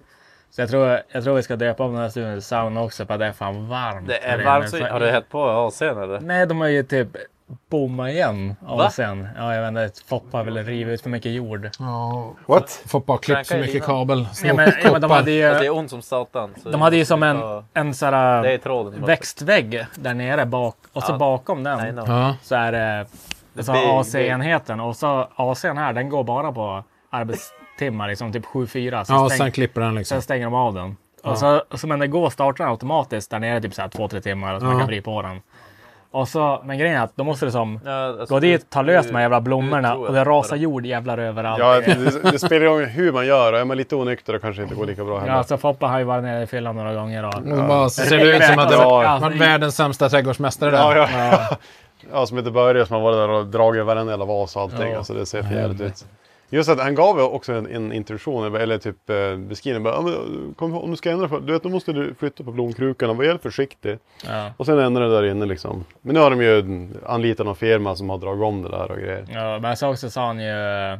S3: Så jag tror, jag tror vi ska döpa om den här studion till sauna också för att det är fan varmt.
S6: Det
S3: här
S6: är
S3: inne.
S6: varmt så...
S3: Så-
S6: Har du hett på AC'n eller?
S3: Nej, de har ju typ bommat igen.
S6: Va?
S3: Och sen, ja, jag vet inte, Foppa har väl rivit ut för mycket jord.
S4: ja.
S2: What?
S4: Får bara klippt så
S6: Knäcka i
S4: mycket
S6: linan.
S4: kabel.
S3: Nej, men, ja, men de hade
S6: Alltså, det
S3: ju,
S6: är ont som satan. så
S3: de hade ju som
S6: det
S3: en,
S6: är-
S3: en sån
S6: Det är
S3: här
S6: tråden. som-
S3: växtvägg där nere bak och så
S6: Ja.
S3: bakom
S6: I
S3: den
S6: know.
S4: Ja.
S3: så är det alltså,
S6: big,
S3: AC-enheten och så ACn här den går bara på arbetstimmar, liksom typ 7-4. Så
S4: ja,
S3: stäng-
S4: sen klipper den liksom.
S3: sen stänger de av den. Och så, så men det går startar den automatiskt där nere typ så här 2-3 timmar och så man kan vrida på den. Och så, men grejen är att då måste du som
S6: Ja, alltså,
S3: Gå dit, ta lös
S6: nu-
S3: de här jävla
S6: nu
S3: blommorna
S6: tror jag
S3: och det
S6: att
S3: rasar
S6: det-
S3: jord jävlar överallt.
S2: Ja, det, det spelar ju om hur man gör och är man lite onykter då kanske det inte går lika bra
S3: Ja,
S2: heller.
S3: alltså Foppa har ju varit nere i fyllan några gånger. Och,
S4: Och bara, så ser det ut som att det
S3: Alltså,
S4: var
S3: alltså,
S4: var världens sämsta trädgårdsmästare där.
S2: Ja, ja, ja. som heter Börje som har varit där och dragit varenda jävla vas och allting.
S3: Ja.
S2: Alltså, det ser för jävligt ut. Just att han gav ju också en, en introduktion, eller typ eh, beskrivning. Bara, "Ja, men, kom, ihåg, om du ska ändra på, du vet, då måste du flytta på blomkrukorna. Var jävligt försiktig.
S3: ja.
S2: Och sen ändrar det där inne liksom. Men nu har de ju anlitat någon firma som har dragit om det där och grejer.
S3: Ja, men så också sa han ju...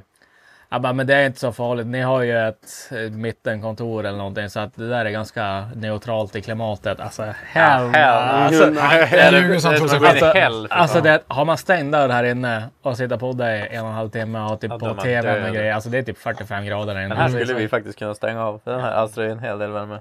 S3: Ja, bara, men det är inte så farligt. Ni har ju ett eh, mittenkontor eller någonting så att det där är ganska neutralt i klimatet. Alltså, hell,
S6: Hell, alltså,
S2: Mm.
S6: det är
S4: Ljuger som
S6: det
S4: tror
S6: som
S4: sig
S6: att gå in i
S4: själv.
S6: hell. för
S3: Alltså
S6: fan.
S3: det, har man stängd dörr här inne och sitter på dig en och en halv timme och typ
S6: Ja, då är
S3: på
S6: man
S3: tvn
S6: död.
S3: och grejer. Alltså det är typ 45 grader där inne.
S6: Den här skulle vi faktiskt kunna stänga av. Den här alstrar ju en hel del värme.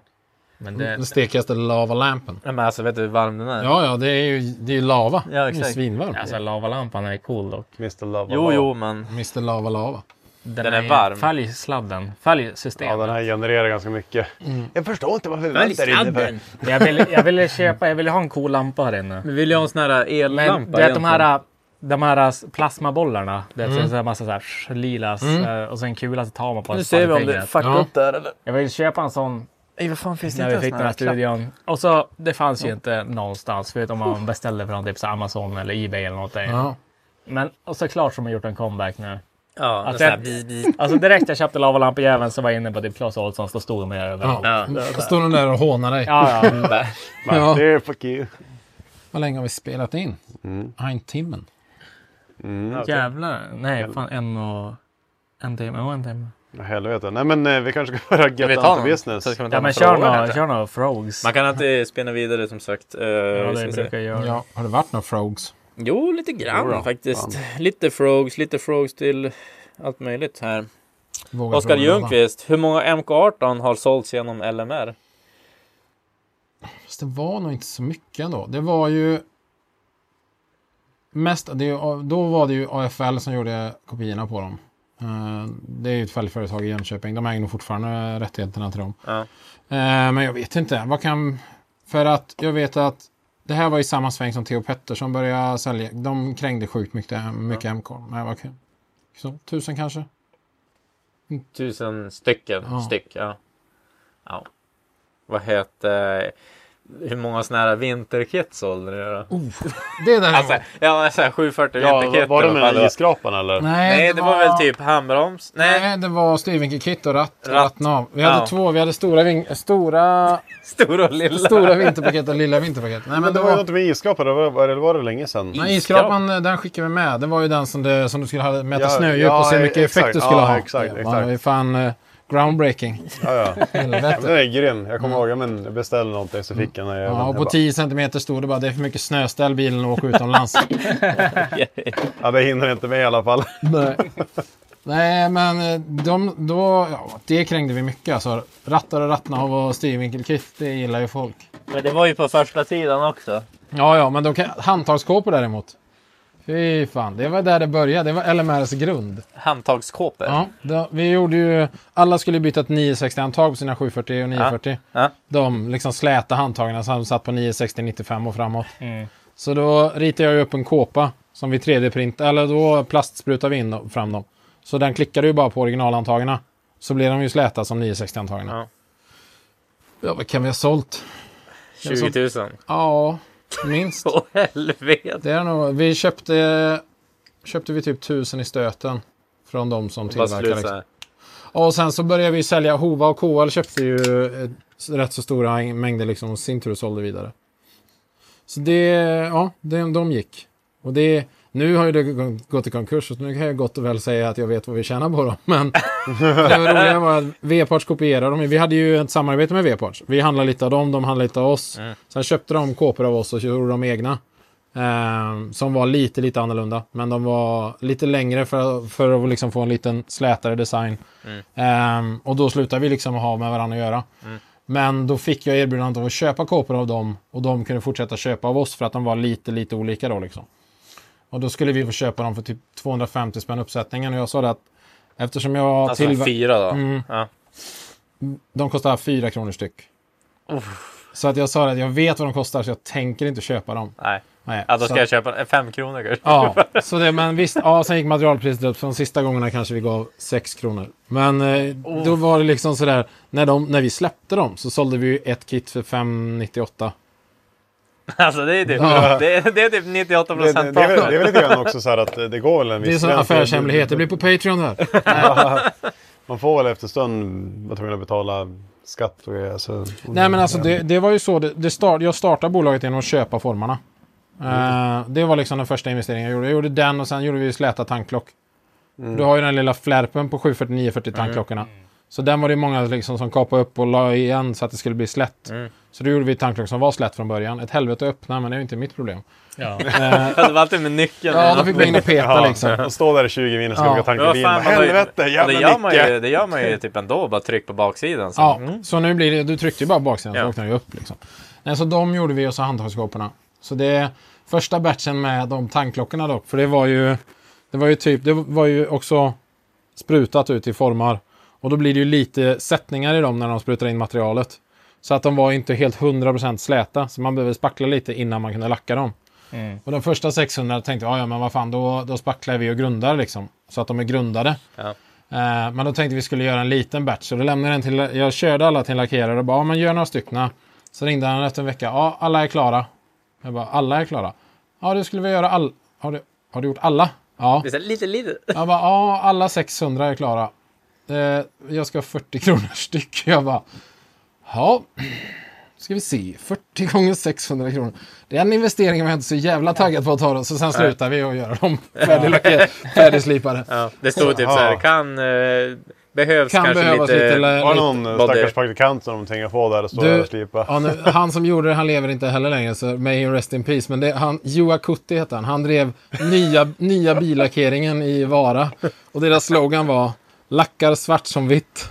S3: Men det,
S4: Den stekigaste lavalampen.
S6: Nej, Men alltså vet du hur varm den är?
S4: Ja, ja, det är ju, det är ju lava.
S6: Ja,
S4: det är
S6: exakt.
S4: svinvarmt.
S3: alltså lavalampan är cool dock.
S2: Mr. Love
S6: Jo, jo, men
S4: Mr Lava Lava.
S3: Den,
S6: är varm.
S3: Följ sladden. Följ systemet.
S2: Ja, den här genererar ganska mycket. Jag förstår inte varför vi väntar inne. För...
S3: Men Jag ville jag vill köpa, jag ville ha en cool lampa här inne.
S6: Vi vill ju ha en sån här
S3: Men
S6: ellampa
S3: du vet de
S6: egentligen. Mm.
S3: här, de här plasmabollarna. Det är så här massa så här sh- lilas eh, och sen kula så tar man på
S6: Nu ser vi om Alltså, det
S3: fingret.
S6: fuckar
S4: Ja.
S6: upp där eller?
S3: Jag vill köpa en sån
S6: Nej, vad fan finns det
S3: när vi
S6: inte
S3: fick
S6: ens
S3: den här
S6: några klappar?
S3: studion. Och så, det fanns ju inte någonstans. Förutom om man beställde från typ så här Amazon eller Ebay eller någonting.
S4: Ja.
S3: Men och såklart som har gjort en comeback nu.
S6: Ja, en
S3: Att
S6: sån här
S3: det-
S6: bi- bi-
S3: Alltså direkt jag köpte lavalampjäveln så var jag inne på typ Clas Ohlson. Så stod de med överallt.
S4: Ja. Står den där och hånar dig.
S3: Ja, ja.
S4: Ja.
S2: Det är fuck you.
S4: Vad länge har vi spelat in?
S2: Mm.
S4: Ja, en timmen.
S6: Mm.
S2: typ.
S3: Jävlar. Nej, fan en och... En timme. Ja, en timme.
S2: Ja, Helvete. Nej men eh, vi kanske ska börja
S6: vi
S2: get
S6: ta
S2: down
S6: någon?
S2: to business.
S6: Så ska vi ta Ja, någon men kör fråga några- kanske? kör några
S3: frogs.
S6: Man kan alltid spinna vidare som sagt. Eh, vi ska se.
S4: Ja, har det varit några frogs?
S6: Jo, lite grann
S4: Jo då,
S6: faktiskt.
S4: fan.
S6: Lite frogs, lite frogs till allt möjligt här.
S4: Våga
S6: Oskar
S4: fråga någon
S6: Ljungqvist, hur många MK18 har sålts genom LMR?
S4: Fast det var nog inte så mycket ändå. Det var ju... Mest, det, då var det ju AFL som gjorde kopiorna på dem. Eh, Det är ju ett fälgföretag i Jönköping. De äger nog fortfarande rättigheterna till dem.
S6: Ja.
S4: Eh, Men jag vet inte. Vad kan... För att jag vet att det här var i samma sväng som Theo Pettersson började sälja. De krängde sjukt mycket, mycket MK. Men vad kan... Så, tusen kanske?
S6: Tusen stycken.
S4: Ja.
S6: Styck, ja. ja. Vad heter... Hur många sådana här vinterkit sålde ni då?
S4: det där
S6: alltså, Ja, men så här 740
S2: Ja,
S6: vinterkit.
S2: var det
S6: i alla
S2: med
S6: fall,
S2: den isskrapan, eller?
S6: Nej, det, var... väl typ handbroms. Nej,
S4: det var styvvinkelkit och ratt.
S6: Ratt.
S4: Rattnav. Vi hade
S6: Ja.
S4: två. Vi hade stora, ving, stora
S6: Stora och lilla.
S4: Stora vinterpaket och lilla vinterpaket. Nej, men,
S2: det
S4: det
S2: var ju
S4: var...
S2: något med isskrapan, det var, eller var det länge sedan?
S4: Nej, isskrapan den skickade vi med. Det var ju den som du, som du skulle ha, mäta
S2: Ja,
S4: snödjup
S2: ja,
S4: och se hur mycket
S2: exakt.
S4: effekt du skulle
S2: Ja,
S4: ha.
S2: exakt,
S4: det var ju
S2: exakt.
S4: fan eh, groundbreaking.
S2: Ja, ja. Den
S4: Helvete.
S2: är grym. Jag kommer ihåg, ja, men jag beställde någonting så fick jag den. här jäveln.
S4: Ja, och
S2: Jag
S4: på
S2: bara,
S4: 10 centimeter stod det bara det är för mycket snöställ bilen och åka utomlands.
S2: Ja, det hinner inte med i alla fall.
S4: Nej. Nej, men eh, de, då, ja, det krängde vi mycket. Alltså, rattar och rattnav och styrvinkelkit, det gillar ju folk.
S6: Men det var ju på första sidan också.
S4: Ja, ja, men de kan, handtagskåpor däremot. Fy fan, det var där det började. Det var LMRs grund.
S6: Handtagskåpor.
S4: Ja, då, vi gjorde ju... Alla skulle byta ett 960-handtag på sina 740 och 940.
S6: Ja.
S4: De liksom släta handtagen som satt på 960, 95 och framåt.
S3: Mm.
S4: Så då ritade jag ju upp en kåpa som vi 3D-printade, eller då plastsprutade vi in dem- fram dem. Så den klickade ju bara på originalhandtagen. Så blev de ju släta som 960-handtagen.
S6: Ja.
S4: ja, vad kan vi ha sålt? Kan vi ha sålt-
S6: 20 000.
S4: Ja, minst.
S6: Åh helvete.
S4: Det är nog, vi köpte, köpte vi typ tusen i stöten från de som
S6: Bara
S4: tillverkar. Liksom.
S6: sluta. Alltså,
S4: Och sen så började vi sälja. Hova och KL köpte ju eh, rätt så stora mängder liksom och sin tur sålde vidare. Så det, ja, det, de gick. Och det, nu har ju det gå- gått i konkurs så nu kan jag gott och väl säga att jag vet vad vi tjänar på dem. Men det roliga var att V-parts kopierade dem. Vi hade ju ett samarbete med V-parts. Vi handlade lite av dem, de handlade lite av oss.
S6: Mm.
S4: Sen köpte de kåpor av oss och gjorde de egna. Ehm, som var lite, lite annorlunda. Men de var lite längre för, för att liksom få en liten slätare design.
S6: Mm.
S4: Ehm, och då slutade vi liksom ha med varandra att göra.
S6: Mm.
S4: Men då fick jag erbjudandet av att köpa kåpor av dem och de kunde fortsätta köpa av oss för att de var lite, lite olika då liksom. Och då skulle vi få köpa dem för typ 250 spänn uppsättningen och jag sa det att eftersom jag...
S6: Alltså
S4: tillver-
S6: fyra då?
S4: Mm,
S6: Ja.
S4: de kostar 4 kronor styck. Så att jag sa det att jag vet vad de kostar så jag tänker inte köpa dem.
S6: Nej.
S4: Nej,
S6: Ja, då
S4: så
S6: ska jag
S4: att-
S6: köpa eh, fem kronor kanske.
S4: Ja, så det, men visst, ja, sen gick materialpriset upp. Så de sista gångerna kanske vi gav 6 kronor. Men eh, då var det liksom sådär, när, de, när vi släppte dem så sålde vi ju ett kit för 598.
S6: Alltså det är typ,
S4: Ja.
S6: det, är- det är typ 98
S2: Det, det,
S6: procent
S2: det, är väl, det är väl lite grann också så här att eh, det går väl en viss
S4: Det är en sån
S2: gräns.
S4: affärshemlighet, det blir på Patreon det här.
S2: Man får väl efter stund vara tvungen att betala skatt och grejer. Så...
S4: Nej men alltså det, det var ju så, det, det start, jag startade bolaget genom att köpa formarna. Eh, det var liksom den första investeringen jag gjorde. Jag gjorde den och sen gjorde vi ju släta tankklock.
S2: Mm.
S4: Du har ju den lilla flärpen på 740-940 tankklockorna. Så den var det ju många liksom som kapade upp och la igen så att det skulle bli slätt.
S6: Mm.
S4: Så då gjorde vi tanklock som var slätt från början. Ett helvete att öppna men det är ju inte mitt problem.
S3: Ja.
S4: Eh,
S6: det var alltid med nyckeln.
S4: Ja, då fick man in och peta
S2: Ja,
S4: liksom.
S2: och stå där i 20 minuter och ska
S4: Ja.
S2: åka tanka
S6: Men vad
S2: bilen. Bara,
S6: fan, man har ju-
S2: Helvete,
S6: Ja, det,
S2: jävla
S6: gör man ju,
S2: Nicke!
S6: det gör man ju typ ändå, bara tryck på baksidan. Så.
S4: Ja,
S6: Mm.
S4: så nu blir det, du tryckte ju bara baksidan
S6: Ja.
S4: så åkte den ju upp. Liksom. Nej, så de gjorde vi och så handtagskåporna. Så det första batchen med de tankklockorna dock, för det var ju, det var ju typ, det var ju också sprutat ut i formar. Och då blir det ju lite sättningar i dem när de sprutar in materialet. Så att de var inte helt 100% släta, så man behöver spackla lite innan man kunde lacka dem.
S3: Mm.
S4: Och den första 600 tänkte jag, "Ja, ja men vad fan, då, då spacklar vi och grundar liksom. Så att de är grundade.
S6: Ja.
S4: Eh, men då tänkte vi skulle göra en liten batch. Så då lämnade jag den till, jag körde alla till en lackerare och bara, ja men gör några stycken. Så ringde han efter en vecka, ja alla är klara. Jag bara, alla är klara. Ja, du skulle vi göra all... Har du, har du gjort alla? Ja.
S6: Det är så här lite, lite.
S4: Jag bara, ja alla 600 är klara. Eh, jag ska ha 40 kronor styck. Jag bara, ja. Ska vi se, 40 gånger 600 kronor. Den investeringen var jag inte så jävla taggad på att ta då. Så sen slutar vi och gör dem färdig- färdigslipade.
S6: Ja, det stod typ så här, kan eh, behövs
S4: Kan
S6: kanske
S4: behövas
S6: lite...
S4: lite lä-
S2: Var det
S4: lite-
S2: någon eh,
S6: vad det-
S2: stackars praktikant som de tvingade på där och stå där
S4: Du,
S2: och slipa?
S4: ja, nu, han som gjorde det, han lever inte heller längre, så may he rest in peace. Men det, han, Juha Kutti hette han. Han drev nya, nya billackeringen i Vara. Och deras slogan var Lackar svart som vitt.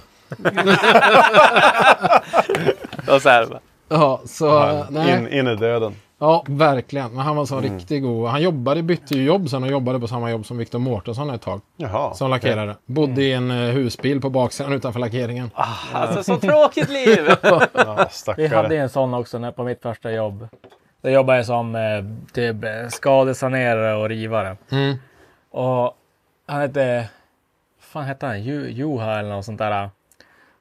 S6: och så här, va?
S4: Ja, så... nej.
S2: in, in i döden.
S4: Ja, verkligen. Men han var så
S3: Mm.
S4: riktigt god. Han jobbade, bytte ju jobb sen och jobbade på samma jobb som Viktor Mårtensson ett tag.
S2: Jaha.
S4: Som lackerare. Bodde i
S3: Mm.
S4: en eh, husbil på baksidan utanför lackeringen.
S6: Alltså så tråkigt liv!
S2: Ja,
S3: Vi hade
S2: stackare.
S3: ju en sån också när, på mitt första jobb. Då jobbade jag som eh, typ eh, skadesanerare och rivare.
S4: Mm.
S3: Och han hette... fan hette han? Ju- Juha eller något sånt där.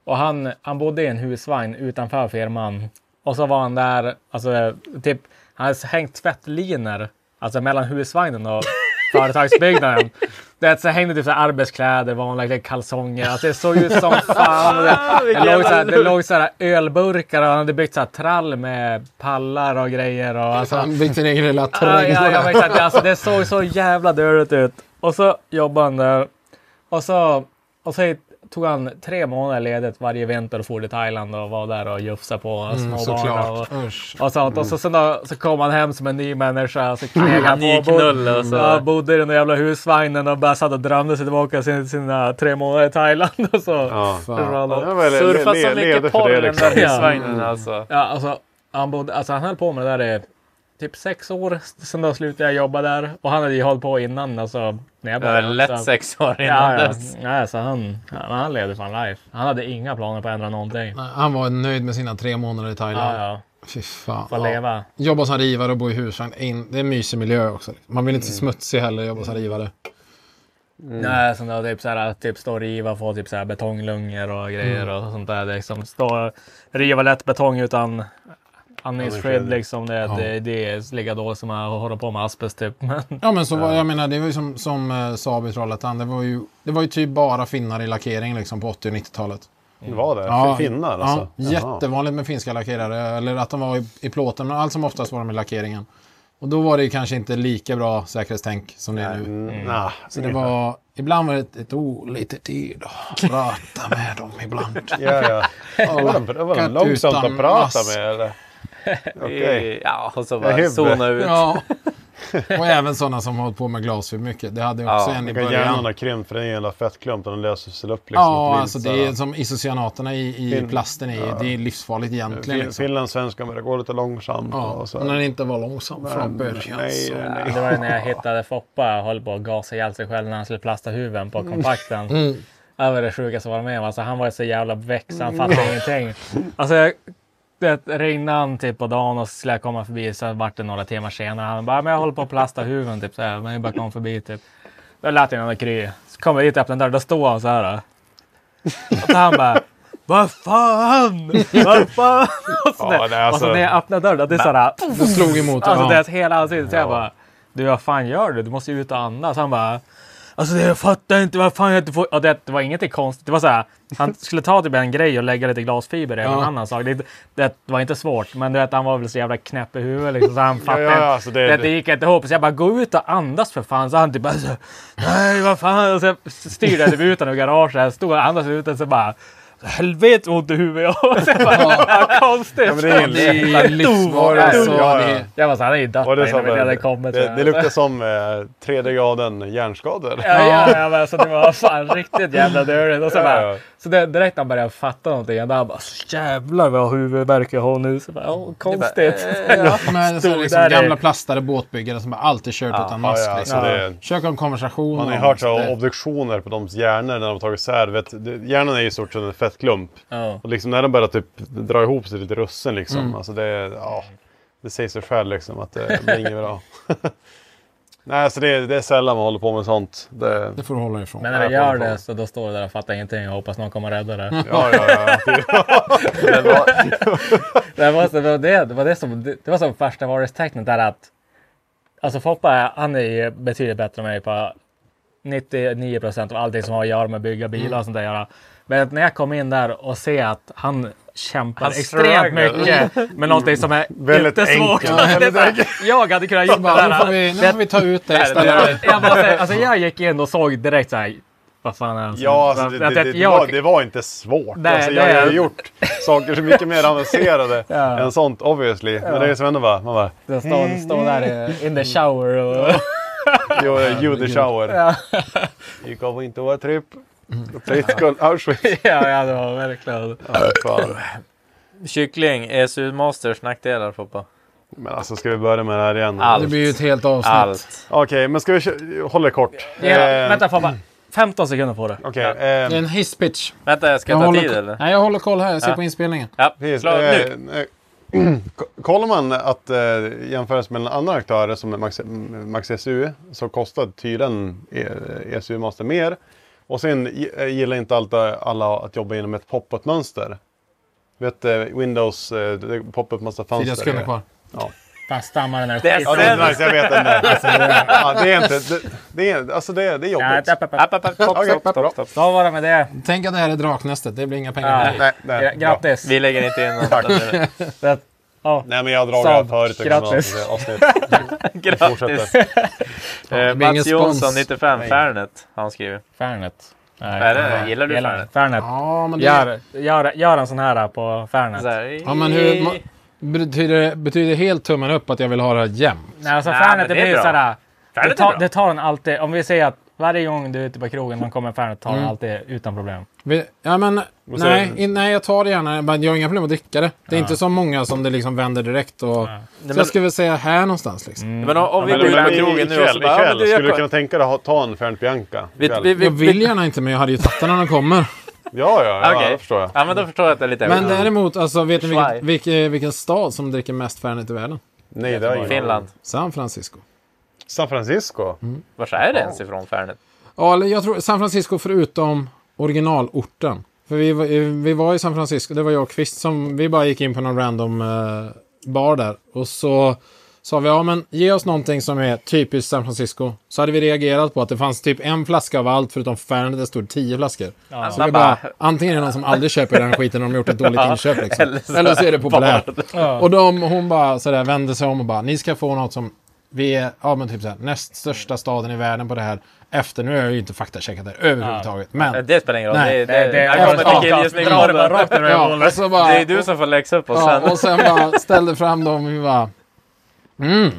S3: Och han, han bodde i en husvagn utanför firman. Och så var han där, alltså eh, typ, han hade hängt tvättlinor. Alltså mellan husvagnen och företagsbyggnaden. Det är att så hängde typ så här arbetskläder, vanliga kläder, kalsonger. Alltså det såg ut som fan. Och Det, det låg, så här, det låg så här ölburkar och han hade byggt så här trall med pallar och grejer. Och,
S4: Så
S3: alltså,
S4: han byggde en egen lilla
S3: Ja,
S4: terräng.
S3: ja, ja, exakt. Alltså, det såg så jävla dåligt ut. Och så jobbade han där. Och så, och så tog han tre månader ledigt varje vinter och for till Thailand och var där och jufsade på
S4: Mm,
S3: småbarn och,
S4: såklart. Usch.
S3: och sånt. Och så, sen då, så kom han hem som en ny människa. Och så knegade han
S6: Han
S3: på.
S6: gick knull och så.
S3: ja, bodde i den där jävla husvagnen och bara satt och drömde sig tillbaka till sina tre månader i Thailand. Och så.
S2: Ja.
S3: försvann han.
S2: Jag var le-
S6: Surfa
S2: le-
S6: så
S2: levde
S6: mycket
S2: för
S6: porr
S2: det,
S6: i den
S2: liksom.
S6: där husvagnen alltså.
S3: Ja, alltså, han, bodde, alltså, han höll på med det där i typ sex år. Sen då slutade jag jobba där. Och han hade ju hållit på innan. Alltså, när jag
S6: Det var
S3: började.
S6: lätt
S3: Så-
S6: sex år innan
S3: Ja, ja.
S6: dess.
S3: Nej, så han, han, han levde fan life. Han hade inga planer på att ändra någonting.
S4: Nej, Han var nöjd med sina tre månader i Thailand.
S3: Ja, ja.
S4: Fy fan.
S3: Få
S4: Ja.
S3: leva.
S4: Jobba som rivare och bo i husvagn. In- Det är en mysig miljö också. Man vill
S3: Mm.
S4: inte se smutsig heller jobba som rivare.
S6: Mm.
S3: Nej, sen då typ så här, typ stå och riva, få typ så här betonglungor och grejer
S6: Mm.
S3: och sånt där. Liksom, stå och riva lätt betong utan andningsskydd liksom. Det, det, det är lika dåligt som att hålla på med asbest typ. Men,
S4: Ja men så var, jag menar det var ju som, som eh, Saab i Trollhättan. Det var, ju, det var ju typ bara finnar i lackering liksom på 80 och 90-talet.
S2: Det var det? Finnar alltså?
S4: Ja, jättevanligt med finska lackerare. Eller att de var i, i plåten. Men allt som oftast var de i lackeringen. Och då var det ju kanske inte lika bra säkerhetstänk som det är nu.
S2: Mm. Nah,
S4: Så det var, ibland var det ett, ett oh, lite tid att prata med dem ibland.
S2: Ja, ja. Det var, det var
S4: Katt
S2: långsamt
S4: utan
S2: att prata
S4: mask.
S2: med. eller? Okej.
S6: Ja, och så
S2: Jag är
S6: bara
S2: hubbe.
S6: zona ut.
S4: Ja. Och även sådana som har hållit på med glas för mycket. Det hade jag också
S6: Ja,
S4: en i
S2: Jag kan Hjärnan
S4: början.
S2: har krympt för den är en jävla fettklump och den löser sig upp. Liksom, och
S4: Ja,
S2: blir
S4: alltså
S2: så
S4: det
S2: här-
S4: är som isocyanaterna i, i
S2: Fin-
S4: plasten är, det är livsfarligt egentligen.
S2: Fin,
S4: Liksom.
S2: Finlandssvenskan börjar gå lite långsamt.
S4: Ja,
S2: och så här.
S4: när det inte var långsamt från början.
S2: Nej,
S4: så.
S2: nej.
S3: Det var ju när jag hittade Foppa och höll på att gasa ihjäl sig själv när han skulle plasta huven
S2: Mm.
S3: på kompakten. Det var det sjukaste jag var med om. Alltså, han var ju så jävla väck så han
S2: Mm.
S3: fattade ingenting. Alltså, jag, det ringde han typ på dagen och så skulle jag komma förbi. Så vart det några timmar senare. Han bara, men jag håller på att plasta huven typ. Så här, men jag bara kom förbi typ. Då lät jag honom kry. Så kom jag dit och öppnade dörren. Då stod han så här. då. Och så han bara, vad fan! Vad fan! Och så,
S2: Ja, det är
S3: och så
S2: alltså-
S3: när jag öppnade dörren, det är så här.
S4: Det slog emot
S3: Alltså
S4: ja.
S3: deras hela ansikte. Så jag bara, du vad fan gör du? Du måste ju ut och andas. Han bara, alltså det, jag fattar inte vad fan jag inte får. Och det, det var ingenting konstigt. Det var så här, han skulle ta typ en grej och lägga lite glasfiber i en
S4: Ja.
S3: annan sak. Det, det var inte svårt, men du vet, han var väl så jävla knäpp i huvudet liksom, så han fattade
S2: ja,
S3: inte.
S2: alltså, det-
S3: det, det gick inte ihop. Så jag bara, gå ut och andas för fan. Så han typ bara, så, nej vad fan. Och så styrde jag typ ut honom ur garaget. Stod och andades ute så bara, helvete vad ont i huvudet jag har. Så jag bara, "Ja, Konstigt.
S2: Ja, men det är ingen
S4: Det är
S2: lek.
S4: ju livsfarligt.
S2: Ja,
S4: Alltså,
S2: ja,
S4: det
S2: ja.
S4: är-
S3: Jag var såhär, han är ju
S2: Och
S3: dött
S2: det, är
S3: innan
S2: som,
S3: vi hade
S2: en-
S3: kommit.
S2: det, det luktar som eh, tredje graden hjärnskador.
S3: Ja, ja, ja, men alltså det var fan riktigt jävla dåligt. Och så,
S2: Ja,
S3: bara,
S2: ja.
S3: så det, direkt när han började fatta någonting, då han bara så jävlar vad huvudvärk jag har nu. Så bara, eh, "Åh, konstigt.
S4: Men så
S3: Stod
S4: liksom
S3: där i-
S4: gamla plastare båtbyggare som bara alltid kört utan mask.
S2: ja, alltså
S4: liksom.
S2: det-
S4: Försök ha en konversation.
S2: Man har ju
S4: om
S2: hört så
S4: det.
S2: här obduktioner på de hjärnor när de tagit isär. Vet, det- hjärnan är ju i stort sett en fettklump.
S3: Ja.
S2: Och liksom när de börjar typ dra ihop sig lite russin liksom.
S3: Mm.
S2: Alltså det, ja, det säger sig själv liksom att det blir inget bra. Nej, alltså det, det är sällan man håller på med sånt. Det,
S4: Det får du hålla dig ifrån.
S3: Men när det gör det så då står det där och fattar ingenting och hoppas någon kommer rädda det.
S2: ja, ja, ja, ja.
S3: Det var, så- det, var det, det, var det, som, det, det var som första varningstecknet där att alltså Foppa han är ju betydligt bättre än mig på 99 procent av allting som har att göra med bygga
S2: Mm.
S3: bilar och sånt där att göra. Men att när jag kom in där och ser att han kämpar
S6: Han
S3: extremt
S6: struggle.
S3: mycket med någonting som är
S2: Väldigt
S3: inte svårt.
S2: enkelt.
S3: Det är så här, Jag hade kunnat jobba
S4: Bara, nu, får
S3: där.
S4: vi, nu får vi ta ut det
S3: Jag,
S4: istället.
S3: bara, så här, alltså jag gick in och såg direkt så här. okej, Vad fan är han?
S2: Ja, alltså, det,
S3: Att-
S2: det,
S3: att
S2: det,
S3: jag-
S2: var, det var inte svårt.
S3: Nej,
S2: alltså,
S3: det
S2: jag
S3: är-
S2: har ju gjort saker så mycket mer avancerade
S3: Ja.
S2: än sånt obviously.
S3: Ja.
S2: Men det är som ändå bara... Man bara
S3: Den står, står där i- in the shower och...
S2: Jo, you the shower.
S3: Ja.
S2: Det kommer inte att vara tripp. Trittkun Auschwitz.
S3: ja, ja, det var verkligen.
S2: Ja, fan.
S6: Kyckling, ESU Masters nackdelar Foppa.
S2: Men alltså ska vi börja med det här igen?
S6: Allt.
S4: Det blir ju ett helt avsnitt.
S6: Allt.
S2: Okej, men ska vi kö- hålla det kort? Eh, Ehm.
S3: Ja, vänta Foppa. 15 sekunder på det.
S2: Okej,
S4: Det är
S2: ehm,
S4: en hisspitch.
S6: Vänta, jag ska
S4: Jag
S6: ta
S4: håller
S6: tid
S4: ko-
S6: eller?
S4: Nej, jag håller koll här. Jag ser
S6: Ja.
S4: på inspelningen.
S6: Ja,
S2: precis.
S6: klar nu.
S2: Eh, eh, ko- Kollar man att eh, jämförs med andra aktörer som Max, Max ESU så kostar tydligen eh, ESU Master mer. Och sen gi- eh, gillar inte alltid alla att jobba inom ett pop-up mönster. Vet eh, Windows, eh, det- pop-up massa fönster.
S4: Fyra sekunder kvar.
S3: Fan, stammar den här
S6: Det är
S2: Ja,
S3: skiten.
S2: det är nice, jag vet den där. Alltså, det, är- ja, det är inte... Det, det är, alltså det, är- det är
S3: Ja,
S2: jobbigt.
S3: tapp, tapp, tapp.
S6: App, app, app, stopp,
S2: Okej,
S6: stopp, stopp,
S2: bra.
S6: stopp.
S3: Då var det med det.
S4: Tänk att det här är Draknästet. Det blir inga pengar.
S3: Ja.
S2: Nej, nej,
S3: Gra-
S2: bra.
S3: Grattis.
S6: Vi lägger inte in något. annat.
S3: Det- ja.
S2: Nej men jag har dragit det
S3: Saab,
S2: här förut. det kan vara
S3: grattis.
S2: ett avsnitt.
S6: Grattis.
S4: det
S6: Eh,
S4: blir ingen
S6: Mats Jonsson,
S4: spons.
S6: 95, Fairnet har han skrivit.
S3: Fernet. Nej,
S6: Är det- gillar du Fernet?
S3: Fernet.
S4: Ja, men det...
S3: Gör, gör, gör en sån här på Fernet.
S6: Så här,
S4: Ja, men hur... ma- Betyder, det- betyder helt tummen upp att jag vill ha det här jämt?
S3: Nej, alltså
S6: Nej, men
S3: Fernet det
S6: det är
S3: blir ju
S6: bra.
S3: sådär.
S6: Fernet
S3: Det
S6: är
S3: tar,
S6: bra.
S3: det tar en alltid, om vi säger att varje gång du är ute på krogen man kommer Fernet tar den alltid utan problem.
S4: Vi- Ja, men, nej, in, nej, jag tar det gärna. Men jag har inga problem att dricka det. Det är inte så många som det liksom vänder direkt. Och, så jag skulle vilja säga här någonstans. Liksom.
S6: Men om, om vi
S2: Men,
S6: går ut
S2: men,
S6: på
S2: i-
S6: krogen nu och så
S2: ikväll,
S6: bara... ja, men
S2: ikväll
S6: du, jag
S2: skulle du
S6: kom-
S2: kunna tänka dig att ha- ta en Fernet Bianca?
S6: Vi,
S2: ikväll?
S6: vi, vi,
S4: Jag vill
S6: vi,
S4: gärna inte, men jag hade ju tagit den när den kommer.
S2: Ja, ja, ja
S6: Okej.
S2: det förstår jag.
S6: ja, men då förstår jag att det är lite...
S4: Men däremot, alltså, vet ni vilket,
S6: Schweiz.
S4: vilken, vilken stad som dricker mest Fernet i världen?
S2: Nej, det har jag ingen
S6: Finland.
S4: San Francisco.
S2: San Francisco?
S6: Vars är det ens ifrån Fairnet?
S4: Ja, eller jag tror San Francisco förutom originalorten. För vi, var- vi var i San Francisco, det var jag och Kvist som, vi bara gick in på någon random eh, bar där. Och så sa vi, ja men ge oss någonting som är typiskt San Francisco. Så hade vi reagerat på att det fanns typ en flaska av allt förutom Fernet, det stod tio flaskor. Så vi bara, antingen är det någon som aldrig köper den skiten om de gjort ett dåligt inköp liksom.
S6: Eller så-
S4: Eller så är det populärt. Och de, hon bara sådär vände sig om och bara, ni ska få något som vi är, ja men typ såhär, näst största staden i världen på det här. Efter, nu har jag ju inte faktacheckat det överhuvudtaget.
S6: Eh,
S4: Men,
S6: Det spelar ingen roll.
S4: Nej.
S6: Det, det,
S3: det-
S6: jag kommer
S4: ja,
S6: till
S3: dra det bara
S6: killgissningpodden.
S3: rakt över
S4: ja, och så bara,
S6: Det är du som får läxa upp oss
S4: ja,
S6: sen.
S4: och sen bara ställde fram dem och vi bara, mm,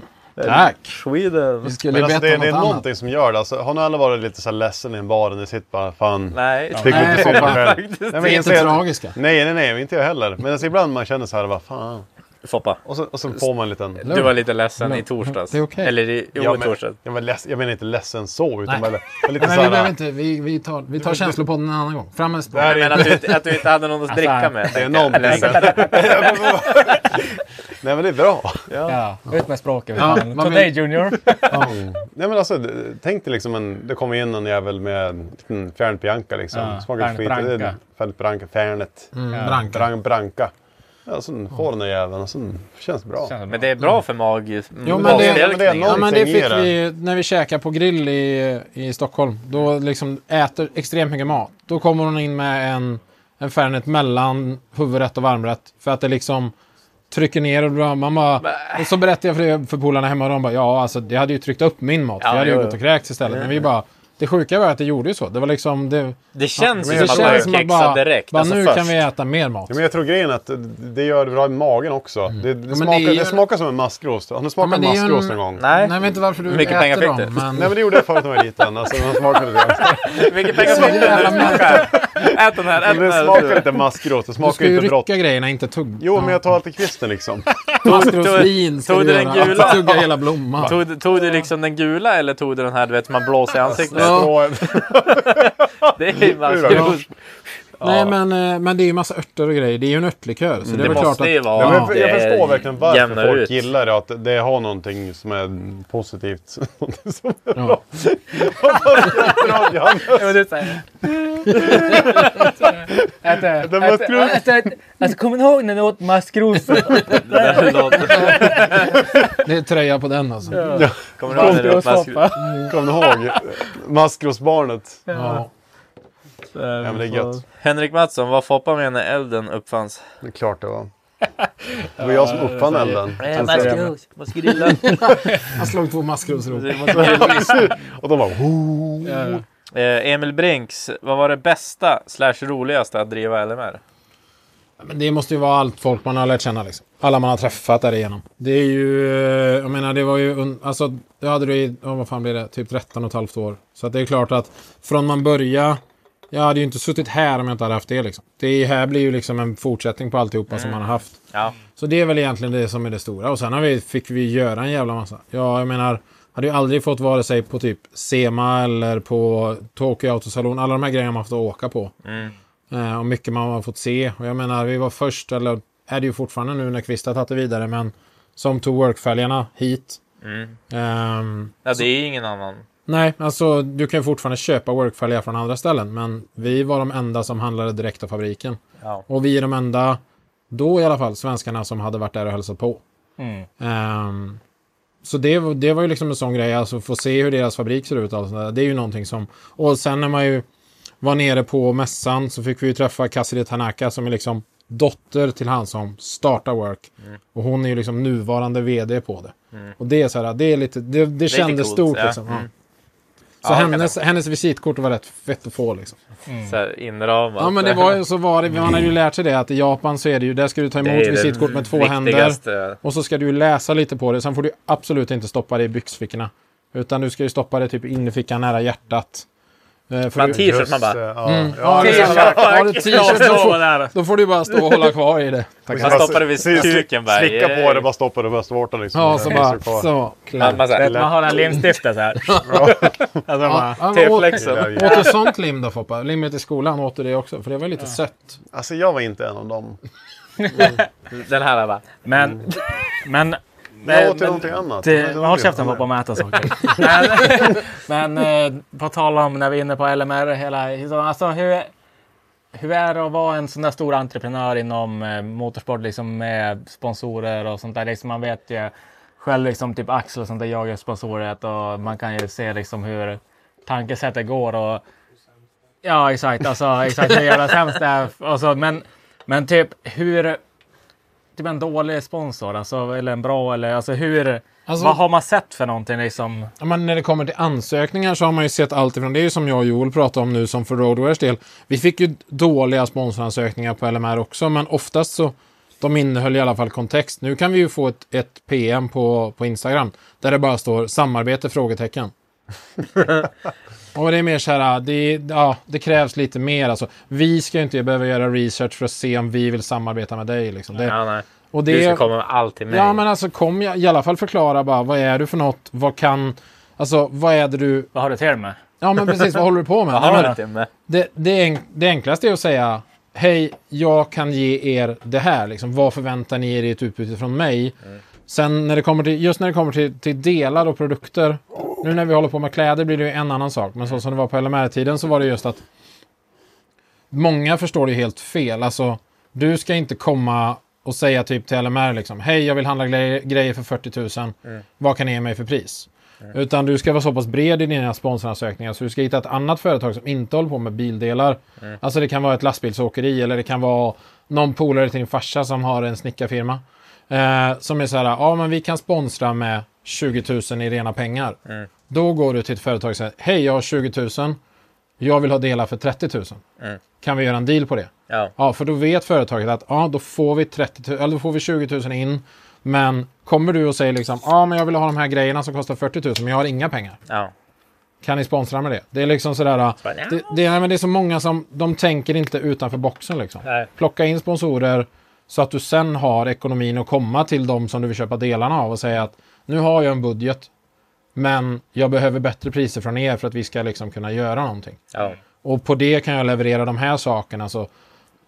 S4: tack.
S6: Sweden.
S4: Vi skulle
S2: Men alltså,
S4: bett
S2: det,
S4: om
S2: det är
S4: något annat.
S2: någonting som gör det. Alltså, har ni alla varit lite så här ledsen i en bar och ni sitter bara fan...
S6: Nej,
S2: Fick
S4: Nej,
S2: inte se
S4: fan.
S2: själv.
S6: faktiskt.
S2: Nej,
S4: Vi
S2: men
S4: är
S2: inte
S4: inte
S2: jag-
S4: tragiska.
S2: Nej, nej, nej, inte jag heller. Men alltså, ibland man känner så här, vad fan.
S6: Foppa,
S2: Och så, och så får man en liten...
S6: du var lite ledsen i torsdags.
S4: Det är okej.
S6: Eller i, jo,
S2: Ja,
S6: i
S2: men,
S6: torsdags.
S2: jag, men leds, jag menar inte ledsen så, utan bara, bara lite
S4: Nej, vi
S2: så
S4: behöver
S2: här...
S4: inte, vi, vi tar, vi tar känslopodden en annan gång. Fram med språk.
S2: Det här är
S6: Men att du, inte- att du inte hade någon att dricka med.
S2: Det är någonting. Nej men det är bra.
S3: Ja. Ut med språket.
S4: Ja,
S3: fan.
S4: man
S3: Today
S4: vill-
S3: Junior.
S2: Nej men alltså d- tänk dig liksom en, det kommer in en jävel med en liten Fernet Bianca liksom.
S3: Ja,
S2: Smakar
S3: Fernet
S2: skit. Det är en
S3: Branca.
S2: Fernet Branca. Fernet.
S4: Mm, Branka.
S2: Bran, branca. Ja, sen får den där jäveln och sen känns det bra.
S6: Men det är bra för mag...
S4: men det-
S2: ja, men det är
S6: magspjälkning.
S2: någon-
S4: Ja men det
S2: Någonting
S4: fick
S2: i det.
S4: vi när vi käkade på grill i, i Stockholm. Då liksom äter extremt mycket mat. Då kommer hon in med en, en Fernet mellan huvudrätt och varmrätt. För att det liksom trycker ner och bra. man bara, Och så berättade jag för, det- för polarna hemma och de bara ja alltså jag hade ju tryckt upp min mat.
S6: Ja,
S4: jag hade ju
S6: jo,
S4: gått och
S6: jo.
S4: kräkts istället. Men vi bara det sjuka var att det gjorde ju så. Det var liksom det,
S6: Mm. Det känns ju
S4: det
S6: som att man
S4: att bara,
S6: kexar direkt.
S4: bara
S6: alltså
S4: nu
S6: först.
S4: kan vi äta mer mat.
S2: Ja, men jag tror grejen är att det gör det bra i magen också. Det, det,
S4: men
S2: smakar,
S4: det är
S2: det,
S4: ju-
S2: smakar som en maskros. Har ni
S4: Ja, men
S2: smakat
S4: det är ju
S2: maskros
S4: en-
S2: någon gång?
S6: Nej.
S4: Nej jag vet inte varför du
S6: Mycket
S4: äter
S6: pengar fick du.
S4: dem. Men...
S2: Nej men det gjorde jag förut när jag var liten. Alltså, man smakade det.
S6: Vilket pengar fick du?
S4: jävla
S6: Ät den här,
S2: Men
S6: ät den
S2: det
S6: här.
S2: smakar inte maskros. Det
S4: Du
S2: smakar
S4: ska ju
S2: inte brott.
S4: rycka grejerna, inte tugga.
S2: Jo, men jag tar alltid kvisten liksom.
S4: Maskrosvin ska
S6: tog
S4: du
S6: du den
S4: göra.
S6: gula?
S4: Att Tugga hela blomman.
S6: Tog, du- tog du liksom den gula eller tog du den här du vet man blåser i ansiktet?
S2: Ja.
S6: Det är ju
S2: Ja.
S6: maskros.
S4: Nej men, eh, men det är ju massa örter och grejer. Det är ju en örtlikör. Så Mm, det, är
S6: Det
S4: väl klart
S6: måste ju
S4: att...
S6: vara...
S2: Ja, men
S6: det
S2: jag förstår verkligen varför
S6: jämnar
S2: folk
S6: ut.
S2: gillar det. Att det har någonting som är positivt. Någonting som är
S4: Ja.
S2: bra. Bra, Johannes.
S3: Ja, men du säger det.
S2: Den maskros.
S3: Alltså kommer ni ihåg när ni åt maskros?
S6: Det där låter-
S4: Det är tröja på den alltså. Ja.
S6: Kommer du ihåg när du åt maskros?
S2: Kommer ni ihåg? Maskrosbarnet. Ja,
S4: Ja.
S2: men det är gött.
S6: Henrik Mattsson, vad foppar med när elden uppfanns?
S2: Det är klart det var. Det var jag som uppfann elden.
S6: Maskros, man ska grilla.
S4: Han slog två maskrosrot.
S2: "Oh, Och de bara... "Woo."
S5: Eh, Emil Brinks, vad var det bästa slash roligaste att driva LMR?
S4: Men det måste ju vara allt folk man har lärt känna. Liksom. Alla man har träffat därigenom. Det är ju... eh, Jag menar, det var ju... un- Alltså, jag hade det i... ja, vad fan blir det? Typ 13 och ett halvt år. Så att det är klart att från man börjar... Jag hade ju inte suttit här om jag inte hade haft det. Liksom. Det här blir ju liksom en fortsättning på alltihopa som man har haft.
S5: Ja.
S4: Så det är väl egentligen det som är det stora. Och sen har vi, fick vi göra en jävla massa. Ja, jag menar, hade ju aldrig fått vare sig på typ SEMA eller på Tokyo Autosalon. Alla de här grejerna man haft att åka på.
S5: Mm.
S4: Eh, och mycket man har fått se. Och jag menar, vi var först, eller är det ju fortfarande nu när Kvist har tagit det vidare, men som tog workfälgarna hit.
S5: Mm.
S4: Ehm,
S5: Ja, det är ju ingen annan.
S4: nej, alltså du kan ju fortfarande köpa workfälgar från andra ställen, men vi var de enda som handlade direkt av fabriken.
S5: Ja.
S4: Och vi är de enda, då i alla fall, svenskarna som hade varit där och hälsat på.
S3: Mm.
S4: Ehm, så det, var- det var ju liksom en sån grej, alltså få se hur deras fabrik ser ut. och allt sånt där. Det är ju någonting som... Och sen när man ju var nere på mässan så fick vi ju träffa Kassiri Tanaka som är liksom dotter till han som startar Work.
S5: Mm.
S4: Och hon är ju liksom nuvarande vd på det.
S5: Mm.
S4: Och det är så här, det är lite, det, det
S5: lite
S4: kändes
S5: coolt,
S4: stort
S5: ja.
S4: liksom. Ja.
S5: Mm.
S4: Så
S5: Ja, det kan
S4: hennes, hennes visitkort var rätt fett att få liksom.
S5: Så här inramat.
S4: Ja men det var ju så var det, man har ju lärt sig det att i Japan så är det ju, där ska du ta
S5: Det
S4: emot
S5: är det
S4: visitkort med två händer.
S5: viktigaste.
S4: Och så ska du ju läsa lite på det, sen får du absolut inte stoppa det i byxfickorna. Utan du ska ju stoppa det typ in i fickan nära hjärtat. Eh, för
S5: Man
S4: du-
S5: t-shirt, man bara...
S2: Ja,
S4: Mm.
S2: ja,
S4: Ja, det är så. Har du t-shirt då får, då får du bara stå och hålla kvar i det. Tack.
S5: Man stoppar det vid kuken bara.
S2: Slicka på det, bara stoppa det, bara starta liksom.
S4: Ja, så
S2: Det
S4: bara
S2: finns ju kvar.
S4: så.
S5: Man,
S4: Klart.
S5: man, så här,
S3: Man har den limstiften så här. alltså,
S4: Ja,
S3: bara,
S4: ja,
S6: "Typ
S4: men åt-
S6: liksom."
S5: T-flexen.
S2: Gillar jag.
S4: Åt du sånt lim då Foppa? Limmet i skolan, åt du det också? För det var lite sött.
S2: Alltså jag var inte en av dem.
S5: Den här bara.
S3: men... Men...
S2: Jag åt ju någonting annat. Jag vet
S3: Det,
S2: inte
S3: håll
S2: det.
S3: käften på att mäta saker. men, men eh, på tal om när vi är inne på LMR och hela historien. Alltså hur, hur är det att vara en sån där stor entreprenör inom eh, motorsport liksom med sponsorer och sånt där? Liksom, man vet ju själv liksom typ Axel och sånt där jagar sponsoret och man kan ju se liksom hur tankesättet går och Ja, exakt. Alltså, exakt hur jävla sämst det är. Alltså, men, men typ hur... Typ en dålig sponsor, alltså, eller en bra, eller alltså hur...
S4: Alltså-
S3: vad har man sett för någonting liksom?
S4: Ja, men när det kommer till ansökningar så har man ju sett allt ifrån, det är ju som jag och Joel pratade om nu som för Roadwares del. Vi fick ju dåliga sponsoransökningar på LMR också, men oftast så de innehöll i alla fall kontext. Nu kan vi ju få ett, ett PM på, på Instagram där det bara står samarbete? frågetecken. och det är mer så här, det, ja, det krävs lite mer. Alltså, vi ska ju inte behöva göra research för att se om vi vill samarbeta med dig. Liksom. Det,
S6: Ja, nej.
S4: och
S6: Du ska komma med allt till mig.
S4: Ja, men alltså kom jag, i alla fall förklara bara vad är du för något? Vad kan... Alltså vad är det du...
S3: Vad har du till med?
S4: Ja, men precis. Vad håller du på med?
S6: Har
S4: Nej,
S6: du
S4: men
S6: inte med?
S4: det, det, enk- det enklaste är att säga Hej, jag kan ge er det här. Liksom, vad förväntar ni er i ett utbyte från mig? Sen när det kommer till, just när det kommer till, till delar och produkter. Nu när vi håller på med kläder blir det ju en annan sak. Men så som det var på LMR-tiden så var det just att många förstår det helt fel. Alltså, du ska inte komma och säga typ till LMR liksom, hej jag vill handla gre- grejer för 40 000, vad kan ni ge mig för pris? Mm. Utan du ska vara så pass bred i dina sponsoransökningar så du ska hitta ett annat företag som inte håller på med bildelar. Alltså det kan vara ett lastbilsåkeri eller det kan vara någon polare till din farsa som har en snickarfirma. Eh, som är så här, ja men vi kan sponsra med 20 000 i rena pengar. Då går du till ett företag och säger, hej jag har 20 000, jag vill ha delar för 30 000. Kan vi göra en deal på det?
S6: Ja.
S4: Ja, för då vet företaget att ja, då får vi 30 000, eller då får vi 20 000 in. Men kommer du och säger liksom, ja men jag vill ha de här grejerna som kostar 40 000 men jag har inga pengar.
S6: Ja.
S4: Kan ni sponsra med det? Det är liksom sådär, ja,
S6: bara,
S4: det, det, nej, men det är så många som, de tänker inte utanför boxen liksom.
S6: Nej.
S4: Plocka in sponsorer så att du sen har ekonomin att komma till de som du vill köpa delarna av och säga att nu har jag en budget. Men jag behöver bättre priser från er för att vi ska liksom kunna göra någonting.
S6: Ja.
S4: Och på det kan jag leverera de här sakerna. Så.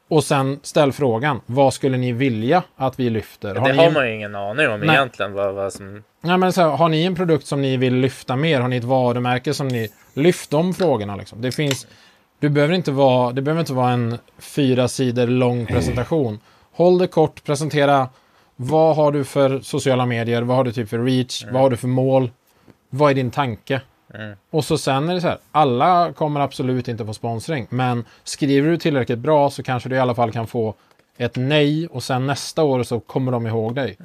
S4: Och sen ställ frågan, vad skulle ni vilja att vi lyfter?
S6: Det
S4: ni,
S6: har man ju ingen aning om
S4: Nej.
S6: egentligen. Vad, vad som...
S4: nej, men så här, har ni en produkt som ni vill lyfta mer? Har ni ett varumärke som ni... Lyft de frågorna. Liksom. Det, finns, du behöver inte vara, det behöver inte vara en fyra sidor lång presentation. Håll det kort, presentera vad har du för sociala medier, vad har du typ för reach, vad har du för mål, vad är din tanke? Och så sen är det så här, alla kommer absolut inte få sponsring, men skriver du tillräckligt bra så kanske du i alla fall kan få ett nej och sen nästa år så kommer de ihåg dig.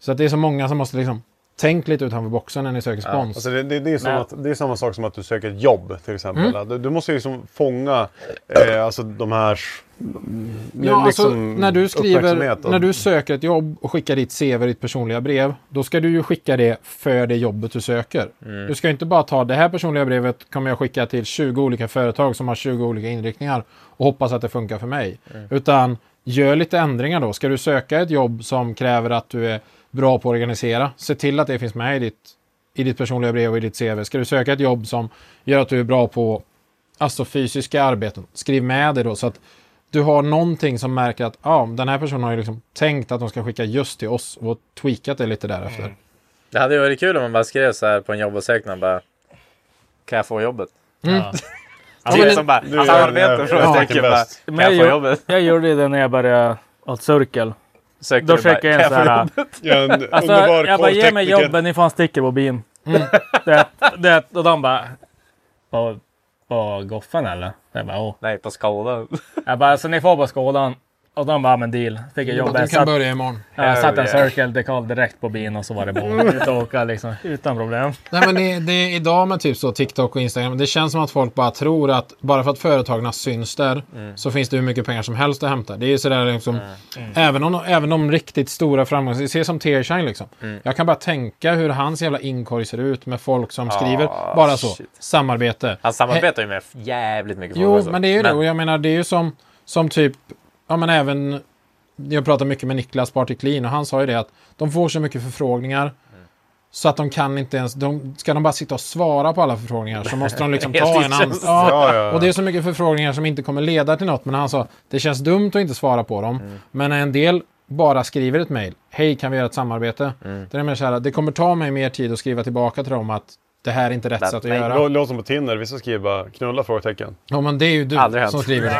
S4: Så att det är så många som måste liksom Tänk lite utanför boxen när ni söker
S2: Ja,
S4: spons.
S2: alltså det, det, det, är som
S4: Men-
S2: att, det är samma sak som att du söker ett jobb till exempel.
S4: Mm.
S2: Att Du, du måste ju liksom fånga eh, alltså de här... liksom
S4: Ja, alltså, när, du
S2: uppmärksamhet
S4: skriver,
S2: och-
S4: när du söker ett jobb och skickar ditt CV, ditt personliga brev, då ska du ju skicka det för det jobbet du söker.
S2: Mm.
S4: Du ska ju inte bara ta det här personliga brevet kommer jag skicka till 20 olika företag som har 20 olika inriktningar och hoppas att det funkar för mig.
S2: Mm.
S4: Utan gör lite ändringar då. Ska du söka ett jobb som kräver att du är bra på att organisera, se till att det finns med i ditt, i ditt personliga brev och i ditt CV. Ska du söka ett jobb som gör att du är bra på alltså fysiska arbeten, skriv med det då så att du har någonting som märker att ja, den här personen har ju liksom tänkt att de ska skicka just till oss och tweakat det lite därefter.
S6: Mm. Det hade ju varit kul om man bara skrev så här på en jobbansökan bara. Kan jag få jobbet?
S4: Mm.
S6: Ja.
S3: Ja,
S6: Typ
S3: men-
S6: som bara,
S3: Nu är
S6: samarbete?
S3: Alltså, jag-
S6: Frågetecken
S3: jag-
S6: bara.
S3: Men
S6: Kan jag få
S3: gjorde-
S6: jobbet?
S3: Jag gjorde ju det när jag började åt Cirkel.
S6: Sökte
S3: Då
S6: du bara,
S3: skickade jag
S6: "Kan
S3: en
S6: jag
S3: så
S6: få
S3: här...
S6: jobbet?" Ja, en
S3: alltså,
S6: underbar
S3: jag bara, ge mig
S6: korvtekniker.
S3: jobben, ni får en sticker på bin.
S4: Mm.
S3: Det, det, och de bara... På, på Goffen eller? Jag bara, åh.
S6: Nej, på Skådan.
S3: Jag bara, så ni får på Skådan. Och de bara, men deal. Fick jag
S4: Ja,
S3: jobbet.
S4: du kan
S3: Satt-
S4: börja imorgon.
S3: Ja, jag satte en
S4: Hell yeah.
S3: Circle dekal direkt på bin och så var det bara ut och åka liksom. Utan problem.
S4: Nej, men det, det är idag med typ så TikTok och Instagram. Det känns som att folk bara tror att bara för att företagen syns där
S6: Mm.
S4: så finns det hur mycket pengar som helst att hämta. Det är ju sådär liksom.
S6: Mm. Mm.
S4: Även, om, även om riktigt stora framgångar. Se som Tearshine liksom.
S6: Mm.
S4: Jag kan bara tänka hur hans jävla inkorg ser ut med folk som
S6: Ah,
S4: skriver. Bara så.
S6: shit.
S4: Samarbete.
S6: Han samarbetar ju med jävligt mycket folk
S4: Jo,
S6: också.
S4: men det är ju det. Och jag menar, det är ju som, som typ, ja men även, jag pratar mycket med Niklas Partiklin och han sa ju det att de får så mycket förfrågningar så att de kan inte ens, de, ska de bara sitta och svara på alla förfrågningar så måste de liksom ta
S6: Helt
S4: en annan.
S6: känns-
S4: Ja,
S6: Ja, ja, ja.
S4: Och det är så mycket förfrågningar som inte kommer leda till något. Men han sa, det känns dumt att inte svara på dem. Men när en del bara skriver ett mejl, hej kan vi göra ett samarbete?
S6: Mm.
S4: Det är mer så här, det kommer ta mig mer tid att skriva tillbaka till dem att det här är inte rätt sätt att göra.
S2: Lå- Låt som på Tinder, vissa skriver bara knulla? frågetecken.
S4: Ja men det är ju du
S2: Aldrig hänt.
S4: som skriver det.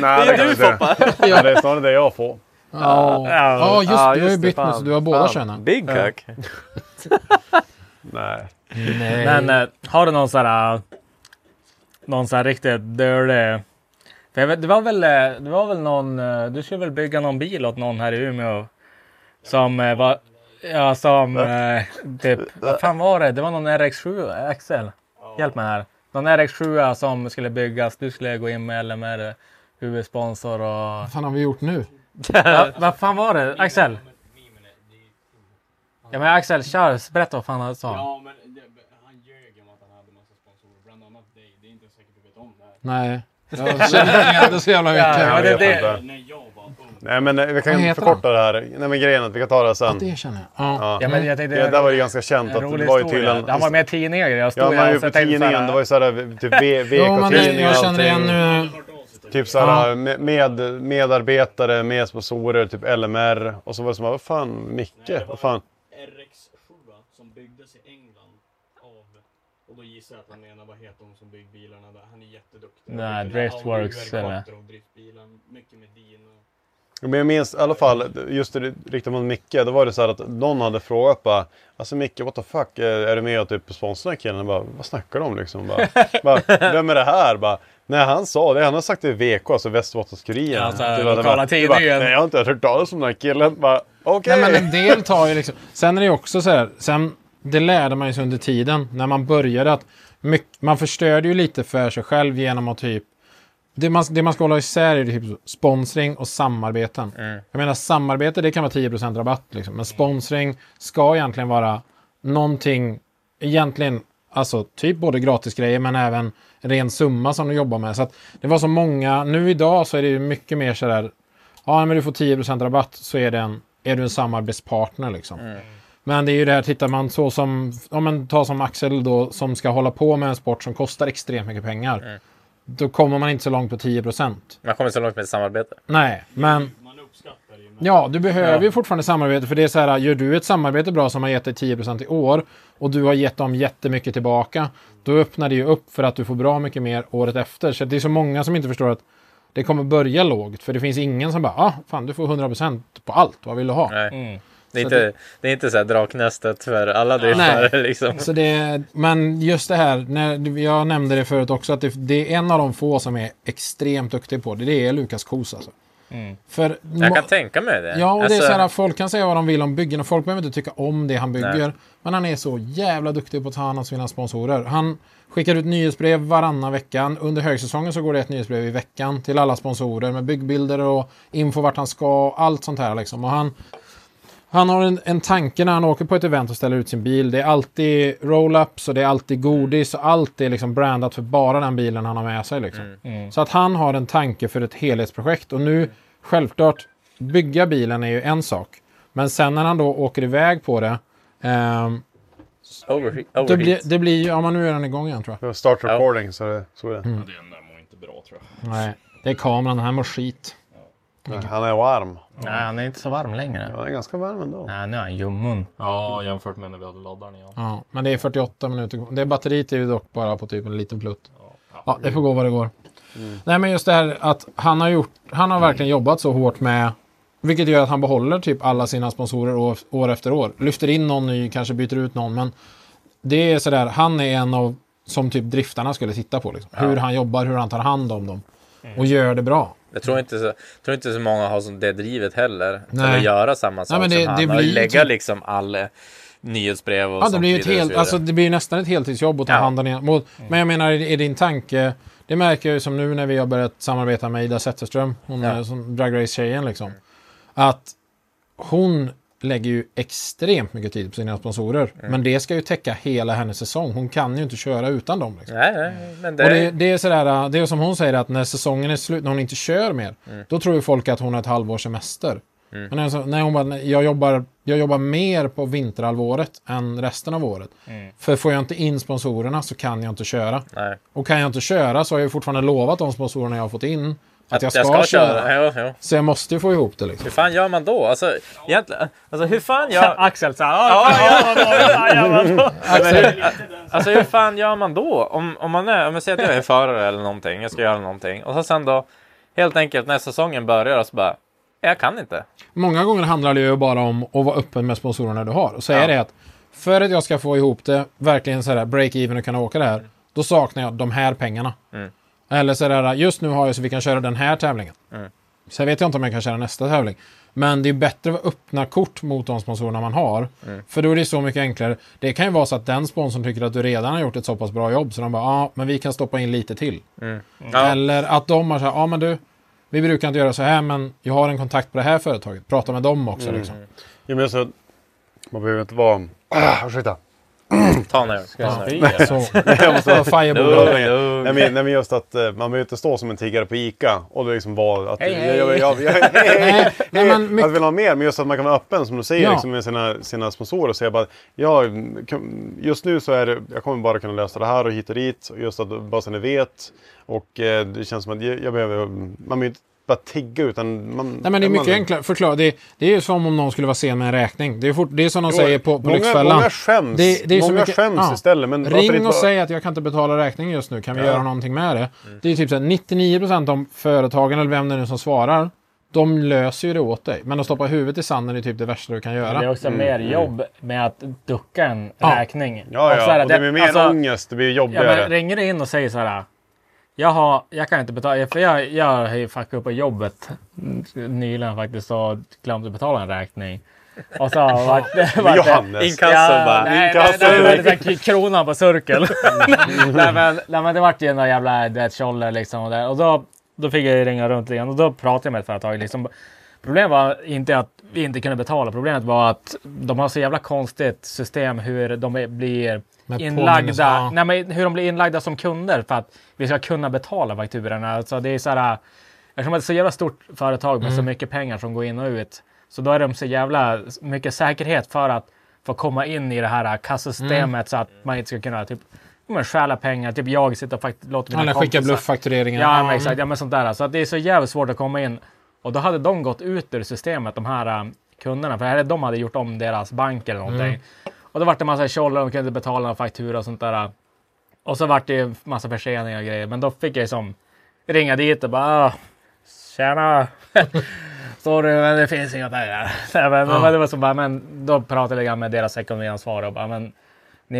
S2: Nej,
S4: Det är
S2: kan
S4: du,
S2: vi inte.
S4: Foppa.
S2: Ja, det är snarare det jag får.
S4: Ja, Ja, just det. Du har ju bytt nu
S6: fan.
S4: så du har båda
S6: Fan.
S4: könen.
S6: Big
S4: Ja.
S6: cock.
S2: Nej.
S4: Nej.
S3: Men eh, har du någon sån här... eh, Någon sån här riktigt dörlig... För jag vet, det, var väl, eh, det var väl någon... eh, Du skulle väl bygga någon bil åt någon här i Umeå? Som eh, var... Ja, som... eh, Typ, vad fan var det? Det var någon RX7, Axel. Hjälp mig här. Någon RX7 som skulle byggas. Du skulle gå in med LMR, huvudsponsor och...
S4: Vad fan har vi gjort nu?
S3: Va- Vad fan var det? Axel? Ja men Axel, kör. Berätta vad fan han sa.
S8: Ja, men det, han ljög om att han hade massa sponsorer. Bland annat dig. Det är inte säkert du vet om det här.
S4: Nej. Jag känner inte igen det så jävla mycket.
S2: Jag vet
S8: det-
S2: inte.
S8: När jag var ung.
S2: Nej men eh, vi
S4: Vad
S2: kan
S4: heter
S2: förkorta det här. Nej men grejen är att vi kan ta det här sen.
S4: Ja, det känner jag.
S2: Ja.
S4: Ja.
S3: Ja, men jag tänkte-
S2: det där var ju ganska känt
S3: En
S2: att det
S3: rolig
S2: var ju
S3: historia.
S2: tydligen...
S3: Han var med i tidningar. Jag stod
S2: Ja,
S3: här
S2: man är
S3: och
S2: ju
S3: så
S2: på
S3: jag tänkte så här-
S2: tidningen. Det var ju såhär typ V-
S4: Jo, men det,
S2: VK-tidning
S4: jag känner igen nu.
S2: Typ såhär med, med, medarbetare, med sponsorer, typ LMR. Och så var det som, vad fan Micke? Vad fan?
S8: RX7 som byggdes i England av, och då gissar jag att han menar vad heter hon som byggde bilarna där? Han är
S4: Mm,
S8: jätteduktig.
S3: Nej,
S8: Byggde den här
S3: Driftworks,
S8: Audi
S3: eller?
S8: R4 och driftbilen, mycket med din och...
S2: Men jag minns i alla fall, just det riktat mot Micke, då var det så här att någon hade frågat bara Alltså Micke, what the fuck, eh, är du med och typ sponsrar den här killen? Jag Bara, vad snackar du om liksom? Bara, bara, vem är det här? Bara, Nej, han sa det. Han har sagt det i VK, alltså Västerbottenskuriren.
S3: Ja, alltså,
S2: Du bara-
S3: lokala
S2: du bara,
S3: tidningen.
S2: Nej, jag har inte hört talas om den här killen. Bara, Okej!
S4: Nej, men en del tar ju liksom... Sen är det ju också så här, sen, det lärde man ju sig under tiden när man började att myck- man förstörde ju lite för sig själv genom att typ det man, det man ska hålla isär är typ sponsring och samarbeten. Jag menar samarbete det kan vara 10% rabatt liksom. Men sponsring ska egentligen vara någonting, egentligen alltså typ både gratisgrejer men även ren summa som du jobbar med. Så att det var så många, nu idag så är det ju mycket mer sådär, ja men du får 10% rabatt så är, det en, är du en samarbetspartner liksom. Men det är ju det här, tittar man så som, om man tar som Axel då som ska hålla på med en sport som kostar extremt mycket pengar. Då kommer man inte så långt på 10 procent.
S6: Man kommer så långt med samarbete.
S4: Nej, men... Ja, du behöver ju fortfarande samarbete. För det är så här, gör du ett samarbete bra som har gett dig 10 procent i år och du har gett dem jättemycket tillbaka. Då öppnar det ju upp för att du får bra mycket mer året efter. Så det är så många som inte förstår att det kommer börja lågt. För det finns ingen som bara, ah, fan du får 100 procent på allt. Vad vill du ha?
S6: Nej. Det, är
S4: Så
S6: inte, det... är inte så här draknästet för alla driftare liksom.
S4: Så det, men just det här, när, jag nämnde det förut också, att det, det är en av de få som är extremt duktig på det. Det är Lukas Kos alltså.
S6: Mm.
S4: För
S6: Jag kan
S4: ma-
S6: tänka mig det.
S4: Ja, och det är så
S6: Alltså-
S4: här, folk kan säga vad de vill om byggen och folk behöver inte tycka om det han bygger.
S6: Nej.
S4: Men han är så jävla duktig på att ta hand om sina sponsorer. Han skickar ut nyhetsbrev varannan veckan. Under högsäsongen så går det ett nyhetsbrev i veckan till alla sponsorer med byggbilder och info vart han ska och allt sånt här. Liksom. Och han, han har en, en tanke när han åker på ett event och ställer ut sin bil. Det är alltid roll-ups och det är alltid godis och allt är liksom brandat för bara den bilen han har med sig. Liksom. Så att han har en tanke för ett helhetsprojekt. Och nu, självklart, bygga bilen är ju en sak. Men sen när han då åker iväg på det. ehm,
S6: Overhe-
S4: det,
S6: overheat.
S4: blir, det blir ju... Ja, men nu är den igång igen tror jag.
S2: Start recording, så det, så är det.
S4: Mm.
S7: Den där mår inte bra tror jag.
S4: Nej, det är kameran. Den här mår skit.
S2: Nej, Han är varm.
S3: Nej, han är inte så varm längre.
S2: Han är ganska varm ändå.
S3: Nej, nu är han ljummen.
S7: Ja, jämfört med när vi hade laddaren igen.
S4: Ja, men det är 48 minuter kvar. Det batteriet är ju dock bara på typ en liten plutt. Ja, det får gå vad det går. Nej, men just det här att han har, gjort, han har verkligen jobbat så hårt med vilket gör att han behåller typ alla sina sponsorer år, år efter år. Lyfter in någon ny, kanske byter ut någon, men det är sådär, han är en av som typ driftarna skulle titta på. Liksom. Hur han jobbar, hur han tar hand om dem. Och gör det bra.
S6: Jag tror inte, så, tror inte så många har som det drivet heller. Till
S4: Nej.
S6: att göra samma sak
S4: men det-
S6: som han.
S4: det blir ju
S6: och lägga
S4: typ-
S6: liksom alla nyhetsbrev och
S4: Ja, det
S6: sånt
S4: blir ju ett
S6: vidare och så
S4: helt,
S6: vidare.
S4: alltså, det blir ju nästan ett heltidsjobb att ta
S6: Ja. Mm.
S4: hand om det. Mot- Men jag menar, är din tanke... Det märker jag ju som nu när vi har börjat samarbeta med Ida Zetterström, hon är som Drag Race-tjejen liksom. Att hon lägger ju extremt mycket tid på sina sponsorer.
S6: Mm.
S4: Men det ska ju täcka hela hennes säsong. Hon kan ju inte köra utan dem. Liksom.
S6: Nej, nej, men det...
S4: Och det, det, är sådär, äh, det är som hon säger att när säsongen är slut, när hon inte kör mer, då tror ju folk att hon har ett halvårs semester. Men alltså, när hon bara, "Nej, jag jobbar, jag jobbar mer på vinterhalvåret än resten av året. För får jag inte in sponsorerna så kan jag inte köra.
S6: nej.
S4: Och kan jag inte köra så har jag ju fortfarande lovat de sponsorerna jag har fått in att, jag, ska köra.
S6: Jo, jo.
S4: Så jag måste ju få ihop det liksom.
S6: Hur fan gör man då? Alltså, egentligen, alltså hur fan gör...
S3: Axel så här.
S6: Ja,
S3: "Ah,
S6: ja, ja,
S4: Axel,
S6: Alltså hur fan gör man då? Om, om man är, om jag säger att jag är förare eller någonting, jag ska göra någonting. Och så sen då, helt enkelt när säsongen börjar och så bara, jag kan inte.
S4: Många gånger handlar det ju bara om att vara öppen med sponsorerna du har. Och säga
S6: Ja.
S4: det att för att jag ska få ihop det, verkligen sådär break-even och kunna åka det här, då saknar jag de här pengarna. Eller sådär, just nu har jag så vi kan köra den här tävlingen. Sen vet jag inte om jag kan köra nästa tävling. Men det är bättre att öppna kort mot de sponsorerna man har. För då är det så mycket enklare. Det kan ju vara så att den sponsorn tycker att du redan har gjort ett så pass bra jobb så de bara, ja, ah, men vi kan stoppa in lite till.
S6: Ja.
S4: Eller att de har så här, ja ah, men du, vi brukar inte göra så här men jag har en kontakt på det här företaget. Prata med dem också
S3: Mm.
S4: liksom.
S2: Jag menar så att man behöver inte vara... Ah, ursäkta.
S6: Ta nu. Ta nu.
S4: Så,
S2: Jag måste
S4: så fireball.
S2: Nej men, nej men just att eh, man behöver inte stå som en tiggare på ICA och det liksom vara att...
S6: Hej, hej.
S2: Jag, jag, jag, jag, hej, hej.
S4: Nej, nej, men
S2: Att
S4: mycket,
S2: vill ha mer, men just att man kan vara öppen som du säger
S4: Ja.
S2: liksom, med sina, sina sponsorer och säga bara ja, kan- just nu så är det, jag kommer bara kunna lösa det här och hit och dit. Och Just att bara så ni vet. Och eh, det känns som att jag, jag behöver, man behöver inte bara tigga utan man...
S4: nej men det är mycket
S2: man,
S4: enklare. Förklara, det, det är ju som om någon skulle vara sen med en räkning. Det är, fort, det är som de säger på, på
S2: många,
S4: Lyxfällan.
S2: Många skäms,
S4: Det- det är så
S2: många
S4: mycket-
S2: skäms
S4: ja.
S2: istället. Men varför inte
S4: Ring
S2: bara-
S4: och säg att jag kan inte betala räkningen just nu, kan vi göra någonting med det?
S2: Mm.
S4: Det är typ så här, 99% av företagen, eller vem det nu som svarar, de löser ju det åt dig. Men att stoppa huvudet i sanden är typ det värsta du kan
S3: Det är
S4: göra.
S3: också mer jobb med att ducka en
S4: Ja.
S3: räkning.
S2: Mm. Ja,
S3: så här,
S2: ja. Och det blir mer
S3: alltså,
S2: ångest, det blir
S3: Ja,
S2: jobbigare.
S3: men ringer du in och säger så här. Jag, har, jag kan inte betala, för jag, jag har ju fuckat upp på jobbet nyligen faktiskt och glömt att betala en räkning. Och så har varit,
S2: Men
S3: varit,
S2: Johannes!
S6: Inkasso bara.
S3: nej, nej,
S2: Inkasso.
S3: nej, det var lite såhär kronan på cirkel. nej, men, nej, men det vart ju någon jävla du vet, tjolle liksom. Och, där. och då, då fick jag ju ringa runt lite grann och då pratade jag med ett företag. Liksom. Problemet var inte att vi inte kunde betala. Problemet var att de har så jävla konstigt system hur de är- blir
S4: Med påminnelse, ja.
S3: inlagda. Nej, men hur de blir inlagda som kunder för att vi ska kunna betala fakturorna. Alltså, det är så här, eftersom det är ett så jävla stort företag med
S4: Mm.
S3: så mycket pengar som går in och ut. Så då är de så jävla mycket säkerhet för att få komma in i det här kassasystemet så att man inte ska kunna typ, ja, men, stjäla pengar. Typ jag sitter och fakt- låter mina
S4: Eller skicka
S3: kompisar-
S4: blufffaktureringar.
S3: Ja, men exakt. Ja, men sånt där. Så att det är så jävligt svårt att komma in. Och då hade de gått ut ur systemet, de här eh, kunderna. För här, de hade gjort om deras bank eller någonting. Och då vart det en massa tjoll och de kunde inte betala någon faktura och sånt där. Och så vart det en massa förseningar och grejer. Men då fick jag som ringa dit och bara "Ah, Tjena! Sorry, men det finns inga pengar. Nej, men, men det var så bara, men då pratade jag med deras ekonomiansvariga och bara, men ni,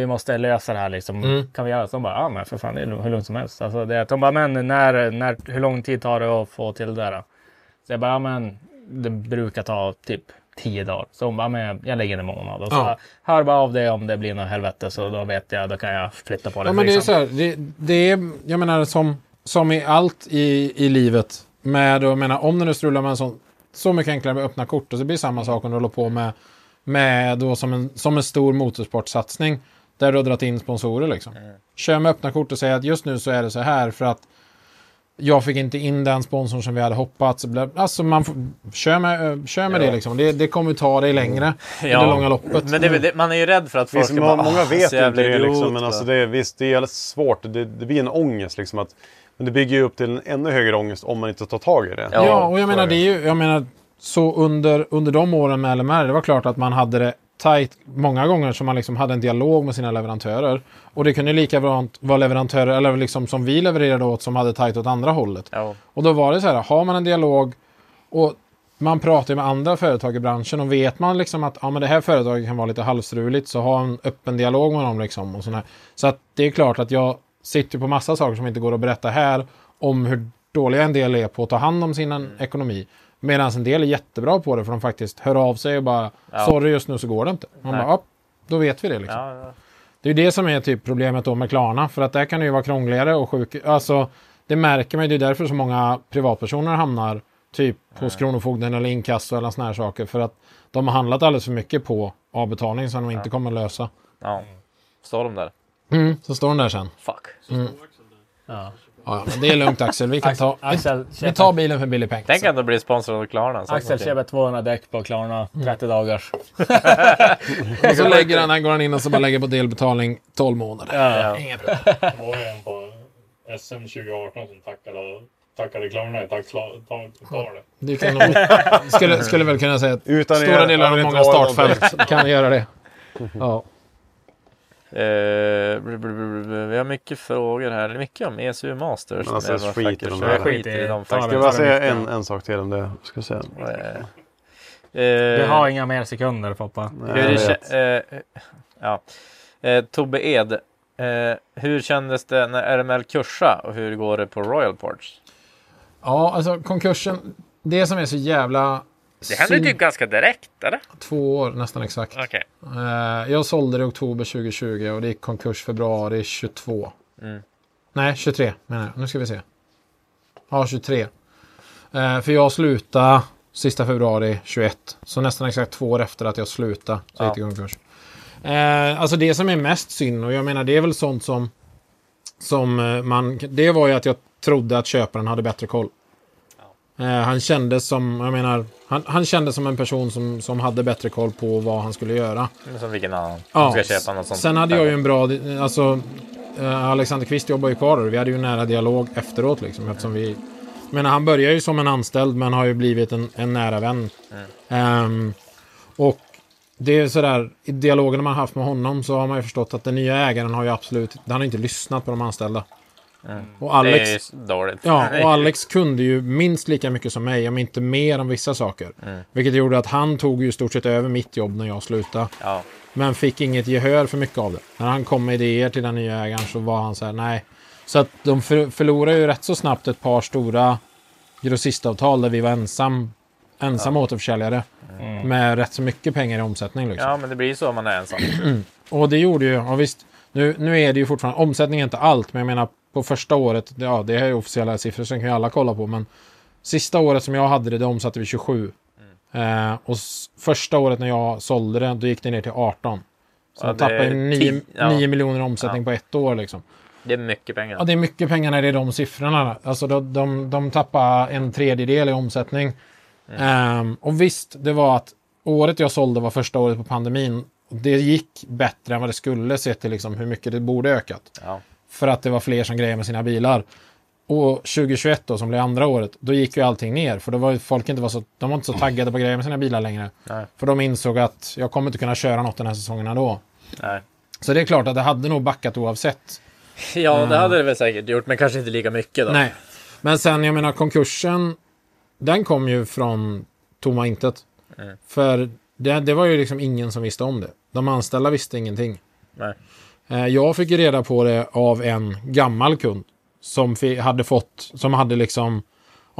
S3: vi måste lösa det här liksom.
S4: Mm.
S3: Kan vi göra så? De bara, ja men för fan det är lu- hur lugnt som helst. Alltså, det, de bara, men när, när, hur lång tid tar det att få till det där? då?" Så jag bara, ja, men det brukar ta typ tio dagar. Så hon bara, men jag- jag lägger en månad. Och så
S4: Ja.
S3: bara, hör bara av dig om det blir något helvete så då vet jag, då kan jag flytta på det.
S4: Ja, men det är
S3: liksom.
S4: så här, det, det är, jag menar som, som i allt i, i livet. Med, och jag menar, om det nu strular med en sån, så mycket enklare med öppna kort och så blir det samma sak om du håller på med, med då som, en, som en stor motorsportsatsning. Där du har dragit in sponsorer liksom. Kör med öppna kort och säg att just nu så är det så här för att jag fick inte in den sponsorn som vi hade hoppats. Bla- Alltså man får, kör med, eh, kör med det liksom. Det, det kommer ta dig längre i det långa loppet.
S6: Men det, är väl det, man är ju rädd för att folk
S2: Visst,
S6: ska
S2: må-
S6: bara,
S2: många
S6: "Ah,
S2: vet inte
S6: så jävla
S2: det,
S6: idiot,
S2: liksom, men
S6: va?"
S2: alltså det, är- visst, det är jävligt svårt. Det, det blir en ångest. Liksom, att, men det bygger ju upp till en ännu högre ångest om man inte tar tag i det.
S4: Ja, och jag menar, det är ju, jag menar, så under, under de åren med LMR, det var klart att man hade det tajt många gånger som man liksom hade en dialog med sina leverantörer. Och det kunde lika bra vara leverantörer, eller liksom som vi levererade åt, som hade tajt åt andra hållet.
S6: Ja.
S4: Och då var det så här, har man en dialog och man pratar ju med andra företag i branschen och vet man liksom att ja, men det här företaget kan vara lite halvstruligt så ha en öppen dialog med dem. Liksom och sån här. Så att det är klart att jag sitter på massa saker som inte går att berätta här om hur dåliga en del är på att ta hand om sin ekonomi. Medan en del är jättebra på det för de faktiskt hör av sig och bara sorry just nu så går det inte. Man
S6: Nej.
S4: bara, ja, då vet vi det liksom.
S6: Ja, ja.
S4: Det är ju det som är typ problemet då med Klarna. För att där kan det ju vara krångligare och sjuk... Alltså, det märker man ju. Det är därför så många privatpersoner hamnar typ hos Kronofogden eller inkasso eller såna här saker. För att de har handlat alldeles för mycket på avbetalning som de inte kommer lösa.
S6: ja. Står de där?
S4: Mm. Så står de där sen. Mm.
S6: Fuck.
S3: Ja.
S4: Ja, men det är lugnt Axel. Vi kan ta...
S3: Axel,
S4: Vi tar bilen för billig peng.
S6: Tänk att de blir sponsrade av Klarna. sånt
S3: Axel
S6: någonting.
S3: köper 200 däck på Klarna,
S4: Mm.
S3: 30 dagars.
S4: Och så lägger han, han går han in och så bara lägger på delbetalning 12 månader.
S3: Ja.
S4: Inga problem.
S7: Det var ju en på SM 2018 som tackade, tackade Klarna i tacktalet.
S4: Det kan nog... skulle, skulle väl kunna säga att
S2: Utan
S4: stora
S2: er
S4: delar av
S2: hade det
S4: många
S2: inte varit någonting.
S4: startfält kan göra det. Ja.
S6: Eh, br- br- br- br- vi har mycket frågor här. Det är Mycket om ECU Masters.
S2: Men alltså,
S6: Det var
S2: skit i
S6: faktiskt-
S2: de där.
S6: jag skiter i dem
S2: Ska
S6: faktiskt.
S2: jag bara säga en, en sak till om det? Ska jag säga.
S6: Eh,
S3: Du
S6: eh,
S3: har inga mer sekunder Foppa.
S6: Hur
S2: jag
S6: det
S2: vet.
S6: kä- eh, ja. eh, Tobbe Ed, eh, hur kändes det när RML kursa och hur går det på Royal Ports?
S4: Ja, alltså konkursen. Det som är så jävla... synd-
S6: typ ganska direkt, eller?
S4: Två år nästan exakt.
S6: Okej.
S4: Eh, jag sålde det i oktober 2020 och det gick konkurs februari 22.
S6: Mm.
S4: Nej, 23 menar jag. Nu ska vi se. Ja, 23. Eh, för jag slutade sista februari 21. Så nästan exakt två år efter att jag slutade så gick det konkurs. Eh, alltså det som är mest synd och jag menar det är väl sånt som, som eh, man... Det var ju att jag trodde att köparen hade bättre koll. Eh, han kändes som, jag menar, han, han kändes som en person som, som hade bättre koll på vad han skulle göra.
S6: Men Som vilken annan
S4: Ja,
S6: som ska köpa något sånt.
S4: Sen hade jag ju en bra... Alltså, eh, Alexander Kvist jobbar ju kvar där. Vi hade ju en nära dialog efteråt liksom. Eftersom vi, men han börjar ju som en anställd men har ju blivit en, en nära vän.
S6: Mm.
S4: Ehm, och det är sådär, i dialogen man haft med honom så har man ju förstått att den nya ägaren har ju absolut, han har inte lyssnat på de anställda. Och
S6: Mm. Det
S4: Alex,
S6: är ju dåligt.
S4: Ja, och Alex kunde ju minst lika mycket som mig, om inte mer om vissa saker.
S6: Mm.
S4: Vilket gjorde att han tog ju i stort sett över mitt jobb när jag slutade.
S6: Ja.
S4: Men fick inget gehör för mycket av det. När han kom med idéer till den nya ägaren så var han så här, nej. Så att de för- förlorade ju rätt så snabbt ett par stora grossistavtal där vi var ensam, ensam återförsäljare. Med rätt så mycket pengar i omsättning. Liksom.
S6: Mm. ja, men det blir ju så om man är ensam.
S4: Och det gjorde ju, ja visst, nu, nu är det ju fortfarande, omsättning är inte allt, men jag menar på första året, det- ja det är ju officiella siffror som kan ju alla kolla på, men sista året som jag hade det, det omsatte vi 27. Eh, och s- första året när jag sålde det, då gick det ner till 18. Så
S6: Ja,
S4: de
S6: det är
S4: tappade ju 9,
S6: ti- ja.
S4: miljoner i omsättning på ett år liksom.
S6: Det är mycket pengar.
S4: Ja, det är mycket pengar när det är de siffrorna. Alltså de, de, de tappar en tredjedel i omsättning.
S6: Mm.
S4: Ehm, och visst, det var att året jag sålde var första året på pandemin. Det gick bättre än vad det skulle sett till liksom hur mycket det borde ökat.
S6: Ja.
S4: För att det var fler som grejade med sina bilar. Och 2021 då, som blev andra året, då gick ju allting ner. För då var ju folk inte, var så, de var inte så taggade på att greja med sina bilar längre. För de insåg att jag kommer inte kunna köra något den här säsongen ändå.
S6: Nej.
S4: Så det är klart att det hade nog backat oavsett.
S6: ja, det hade det väl säkert gjort, men kanske inte lika mycket då.
S4: Nej. Men sen, jag menar konkursen, den kom ju från tomma intet.
S6: Mm.
S4: För det, det var ju liksom ingen som visste om det. De anställda visste ingenting.
S6: Nej.
S4: Eh, Jag fick ju reda på det av en gammal kund som fi- hade fått, som hade liksom, ja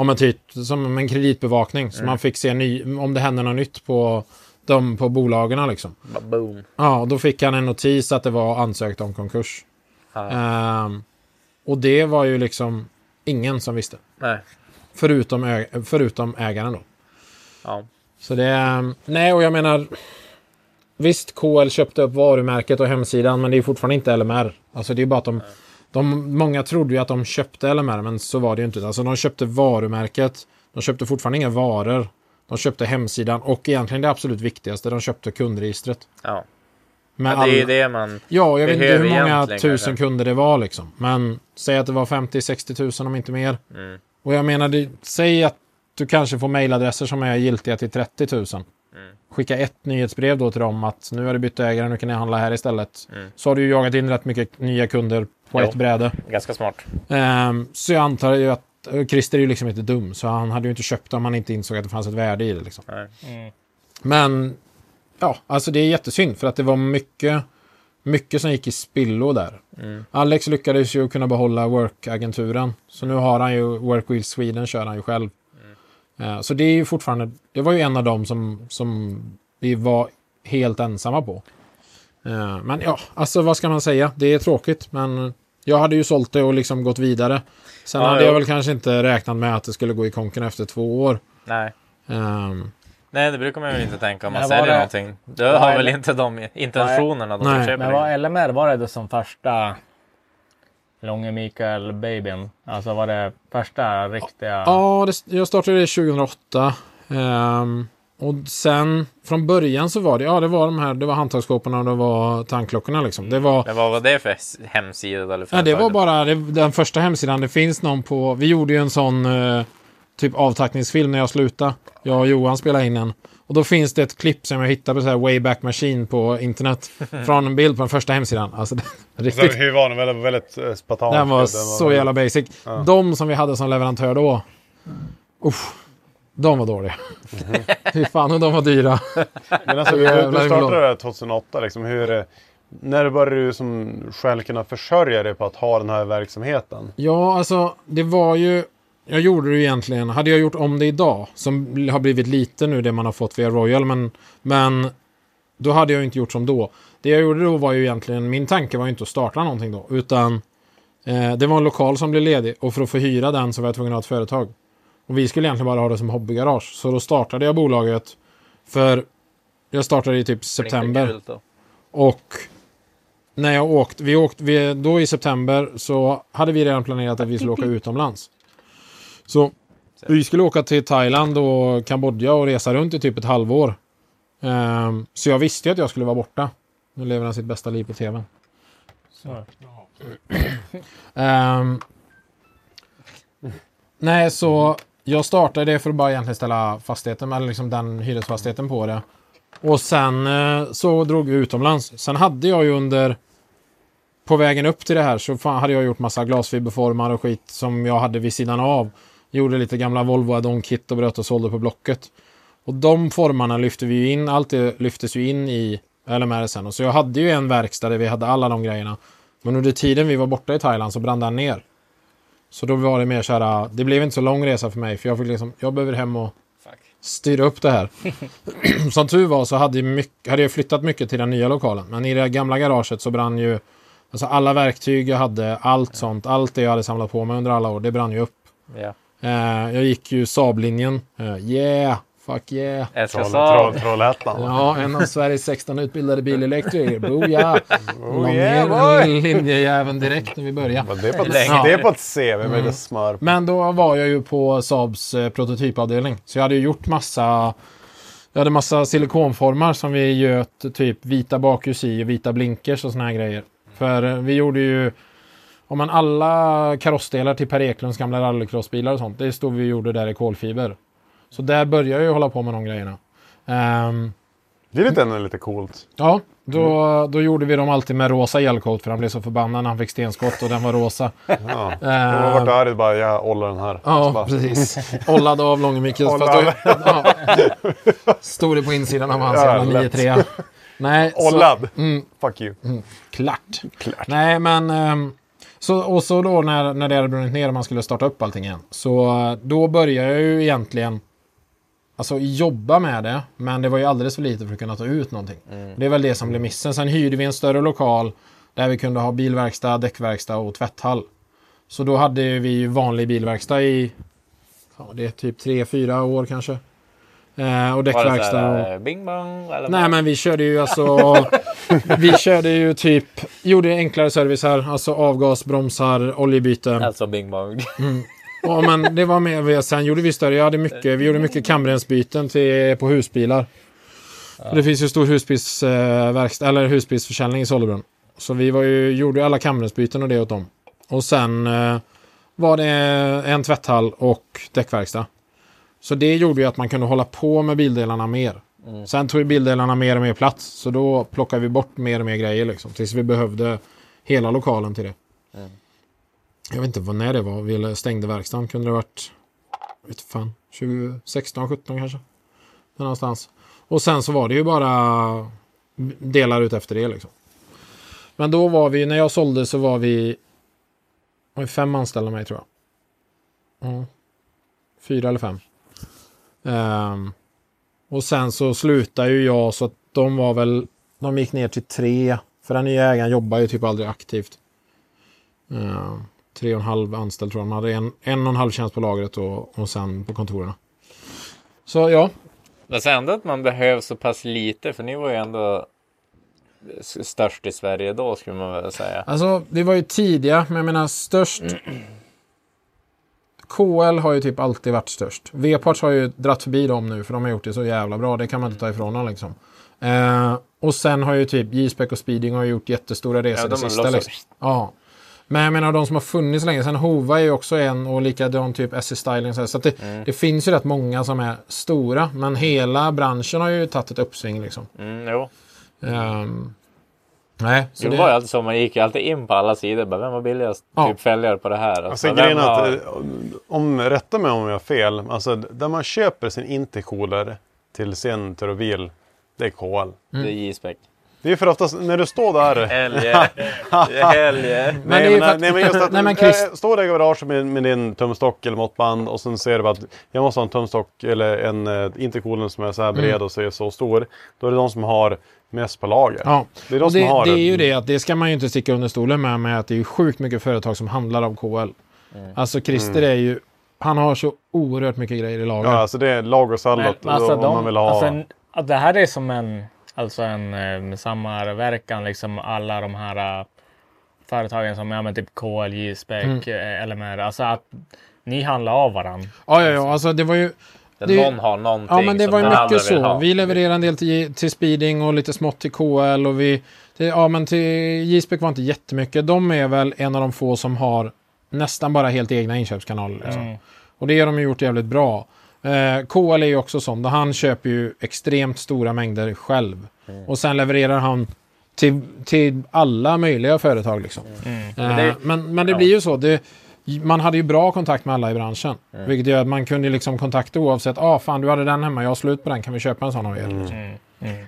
S4: om en typ, som en kreditbevakning. Så
S6: Mm.
S4: man fick se ny, om det hände något nytt på, de, på bolagen. Liksom.
S6: Bara boom.
S4: Ja, och då fick han en notis att det var ansökt om konkurs.
S6: Ja.
S4: Ehm, och det var ju liksom ingen som visste.
S6: Nej.
S4: Förutom, äg- förutom ägaren då.
S6: Ja.
S4: Så det... ehm, Nej, och jag menar... Visst, KL köpte upp varumärket och hemsidan, men det är fortfarande inte LMR. Alltså det är bara att de... de många trodde ju att de köpte LMR, men så var det ju inte. Alltså de köpte varumärket. De köpte fortfarande inga varor. De köpte hemsidan och egentligen det absolut viktigaste, de köpte kundregistret.
S6: Ja.
S4: Med
S6: ja, det är ju
S4: all-
S6: det man
S4: Ja, jag vet inte
S6: behöver
S4: hur många
S6: egentligen,
S4: tusen
S6: kanske.
S4: kunder det var liksom. Men säg att det var 50-60 tusen om inte mer.
S6: Mm.
S4: Och jag menar, det, säg att du kanske får mejladresser som är giltiga till 30 tusen.
S6: Mm.
S4: Skicka ett nyhetsbrev då till dem att nu har du bytt ägare, nu kan ni handla här istället.
S6: Mm.
S4: Så har du ju jagat in rätt mycket nya kunder på
S6: Jo.
S4: ett bräde.
S6: Ganska smart.
S4: Ehm, så jag antar ju att och Christer är ju liksom inte dum, så han hade ju inte köpt det om han inte insåg att det fanns ett värde i det. Liksom.
S6: Nej.
S4: Men ja, alltså det är jättesynd för att det var mycket, mycket som gick i spillo där.
S6: Mm.
S4: Alex lyckades ju kunna behålla Work-agenturen. Så nu har han ju Work Wheel Sweden kör han ju själv.
S6: Mm.
S4: Eh, Så det är ju fortfarande, det var ju en av dem som, som vi var helt ensamma på. Eh, Men ja, alltså vad ska man säga? Det är tråkigt men jag hade ju sålt det och liksom gått vidare. Sen
S6: Ja,
S4: hade
S6: jo.
S4: jag väl kanske inte räknat med att det skulle gå i konken efter två år.
S6: Nej.
S4: Ehm,
S6: Nej, det brukar man väl inte tänka om man
S3: Men var
S6: säljer
S3: det-
S6: någonting. Du
S3: var
S6: har
S3: det-
S6: väl inte de intentionerna då
S4: Nej.
S6: du köper
S3: Men
S6: det.
S3: var LMR, var det då som första Långe Mikael babyn? Alltså var det första riktiga?
S4: Ja, det, jag startade det 2008. Ehm, och sen från början så var det, ja det var de här, det var handtagsskåporna och det var tandklockorna liksom. Det var,
S6: Men vad var det för s- hemsida eller
S4: ja, det var
S6: företag?
S4: bara det, den första hemsidan. Det finns någon på, vi gjorde ju en sån eh, typ avtackningsfilm när jag slutade. Jag och Johan spelade in en. Och då finns det ett klipp som jag hittade på så här Wayback Machine på internet. Från en bild på den första hemsidan. Alltså, det,
S2: Så
S4: riktigt
S2: hur var den? Väldigt, väldigt eh, spartansk.
S4: Den var så jävla basic. De som vi hade som leverantör då. Usch, de var dåliga. Fy fan hur de var dyra.
S2: Men alltså, du,
S4: Jävlar,
S2: du
S4: hur lång-
S2: startade det här 2008. Liksom, hur, eh, när började du som själv kunna försörja dig på att ha den här verksamheten?
S4: Ja, alltså det var ju... Jag gjorde det ju egentligen. Hade jag gjort om det idag, som har blivit lite nu det man har fått via Royal, men, men då hade jag ju inte gjort som då. Det jag gjorde då var ju egentligen, min tanke var ju inte att starta någonting då, utan eh, det var en lokal som blev ledig och för att få hyra den så var jag tvungen att ha ett företag. Och vi skulle egentligen bara ha det som hobbygarage, så då startade jag bolaget för jag startade i typ september.
S6: Blinkar gult då.
S4: Och när jag åkte, vi åkte, vi, då i september så hade vi redan planerat att vi skulle åka utomlands. Så vi skulle åka till Thailand och Kambodja och resa runt i typ ett halvår. Ehm, så jag visste ju att jag skulle vara borta. Nu lever han sitt bästa liv på tvn.
S3: Så.
S4: Ehm, nej, så jag startade det för att bara egentligen ställa fastigheten, eller liksom den hyresfastigheten på det. Och sen eh, så drog vi utomlands. Sen hade jag ju under på vägen upp till det här så fan hade jag gjort massa glasfiberformar och skit som jag hade vid sidan av. Gjorde lite gamla Volvo add kit och bröt och sålde på Blocket. Och de formarna lyfte vi ju in, allt det lyftes ju in i LMR sen. Och så jag hade ju en verkstad där vi hade alla de grejerna. Men under tiden vi var borta i Thailand så brann den ner. Så då var det mer så här, det blev inte så lång resa för mig för jag fick liksom, jag behöver hem och styra upp det här. Som tur var så hade, mycket, hade jag flyttat mycket till den nya lokalen. Men i det gamla garaget så brann ju alltså alla verktyg jag hade, allt sånt, allt det jag hade samlat på mig under alla år, det brann ju upp.
S6: Ja.
S4: Eh, jag gick ju Saablinjen. Eh, yeah, fuck yeah.
S6: Älskar
S2: Troll,
S6: Saab.
S2: troll, Trollhättan.
S4: Ja, en av Sveriges 16 utbildade bilelektriker. Boja! La
S2: Oh, yeah,
S4: ner min linjejäveln direkt när vi började.
S2: Vad Det är på ett,
S6: Längre.
S2: det är på ett CV med lite smör.
S4: Men då var jag ju på Saabs eh, prototypavdelning. Så jag hade ju gjort massa... Jag hade massa silikonformar som vi göt typ vita bakhus i och vita blinkers och såna här grejer. För eh, vi gjorde ju... Om man alla karossdelar till Per Eklunds gamla rallycrossbilar och sånt, det stod vi och gjorde där i kolfiber. Så där började jag ju hålla på med de grejerna. Ehm,
S2: Det är lite, ändå lite coolt.
S4: Ja, då, då gjorde vi dem alltid med rosa gelcoat för han blev så förbannad när han fick stenskott och den var rosa.
S2: Ja.
S4: Eh,
S2: Jag har varit arg bara, jag ollar den här. Så
S4: Ja,
S2: bara,
S4: precis. Ollad av Långemyckes. fast
S2: Ollad.
S4: då- ja. Stod det på insidan av hans
S2: Ja,
S4: jävla
S2: lätt.
S4: 9-3. Nej, så-
S2: Ollad!
S4: Mm,
S2: Fuck you.
S4: klart. Nej, men... ehm, Så, och så då när, när det hade brunnit ner och man skulle starta upp allting igen. Så eh, då började jag ju egentligen alltså, jobba med det. Men det var ju alldeles för lite för att kunna ta ut någonting.
S6: Mm.
S4: Det är väl det som blev missen. Sen hyrde vi en större lokal där vi kunde ha bilverkstad, däckverkstad och tvätthall. Så då hade ju vi ju vanlig bilverkstad i ja, det är typ tre fyra år kanske. Eh, och
S6: Var det
S4: däckverkstad. och...
S6: såhär eh, bing bong? Eller
S4: Nej, men vi körde ju alltså... vi körde ju typ... Gjorde enklare servicer, alltså avgas, bromsar, oljebyten.
S6: Alltså bing bong.
S4: Ja, men det var med. vi- Sen gjorde vi större. Jag hade mycket, vi gjorde mycket kamrensbyten till, på husbilar. Det finns ju stor husbilsverkstad, eller husbilsförsäljning i Sollebrunn. Så vi var ju, gjorde ju alla kamrensbyten och det åt dem. Och sen eh, var det en tvätthall och däckverkstad. Så det gjorde ju att man kunde hålla på med bildelarna mer. Sen tog ju bildelarna mer och mer plats. Så då plockade vi bort mer och mer grejer liksom. Tills vi behövde hela lokalen till det. Jag vet inte vad när det var. Vi stängde verkstaden. Kunde det ha varit... jag Vet fan. 2016, 17 kanske. Där någonstans. Och sen så var det ju bara delar ut efter det liksom. Men då var vi, när jag sålde så var vi... Var vi fem anställda med tror jag. Ja. Fyra eller fem. Ehm, och sen så slutade ju jag så att de var väl... De gick ner till tre. För den nya ägaren jobbar ju typ aldrig aktivt. Eh, tre och en halv anställd tror jag. De hade en, en och en halv tjänst på lagret och, och sen på kontoren. Så ja,
S6: Men sen ändå att man behöver så pass lite för ni var ju ändå s- störst i Sverige då skulle man väl säga.
S4: alltså det var ju tidiga, men jag menar störst. KL har ju typ alltid varit störst. V-parts har ju dratt förbi dem nu för de har gjort det så jävla bra. Det kan man inte ta ifrån dem liksom. Eh, och sen har ju typ J-Spec och Speeding har ju gjort jättestora resor det
S6: Ja, de har
S4: sista.
S6: lossat.
S4: Liksom. Ja. Men jag menar de som har funnits länge. Sen Hova är ju också en och likadan typ SC Styling. Så, här. så att det,
S6: Mm.
S4: det finns ju rätt många som är stora. Men hela branschen har ju tagit ett uppsving liksom.
S6: Mm, jo.
S4: Ehm, nej, så
S6: Jo, det
S4: det,
S6: var ju alltid så. Alltså, Man gick ju alltid in på alla sidor. Bara, vem var billigast?
S4: Ja.
S6: Typ följare på det här.
S2: Alltså
S6: vem
S2: grejen är
S6: har-
S2: att, eh, om, rätta mig om jag har fel, alltså där man köper sin intercooler till sin turbobil, det är KL.
S3: Mm.
S6: Det är J-spec.
S2: Det är för oftast när du står där.
S6: Helge. Helge.
S4: Men det
S2: Nej,
S4: är ju
S2: men,
S4: för att-
S2: nej, men just att
S4: Nej, men
S2: men
S4: Chris-
S2: står där i garaget med, med din tumstock eller måttband och sen ser du bara att jag måste ha en tumstock eller en eh, intercooler som är så här
S4: Mm.
S2: bred och så, är så stor. Då är det de som har mest på lager.
S4: ja.
S2: Det är de
S4: Och
S2: som
S4: det,
S2: har
S4: det är ju det att det ska man ju inte sticka under stolen med, med att det är ju sjukt mycket företag som handlar av KL.
S2: Mm.
S4: Alltså Christer är ju, han har så oerhört mycket grejer i lager.
S2: Ja, alltså det är lagersallot
S3: Men, alltså,
S2: om
S3: de,
S2: man vill ha.
S3: alltså, en, att det här är som en, alltså en eh, samverkan, liksom alla de här eh, företagen som ja, men typ KLJ, Spec, mm. LMR. Alltså att ni handlar av varandra.
S4: Ja, ja, ja. Alltså det var ju...
S6: Där
S4: det-
S6: Någon har någonting
S4: Ja, men det
S6: som
S4: var ju
S6: den andra
S4: mycket
S6: vill
S4: så.
S6: ha.
S4: Vi levererade en del till, till Speeding och lite smått till KL. Och vi, till, ja, men till J-Spec var inte jättemycket. De är väl en av de få som har nästan bara helt egna inköpskanaler. Liksom.
S6: Mm.
S4: Och det har de ju gjort jävligt bra. Eh, KL är ju också sån. där Han köper ju extremt stora mängder själv.
S6: Mm.
S4: Och sen levererar han till, till alla möjliga företag. Liksom. Eh,
S6: Mm. det-
S4: men, men det blir ju så. Det, man hade ju bra kontakt med alla i branschen. Vilket gör att man kunde liksom kontakta oavsett. Ah, fan, du hade den hemma. Jag har slut på den. Kan vi köpa en sån av er? Liksom.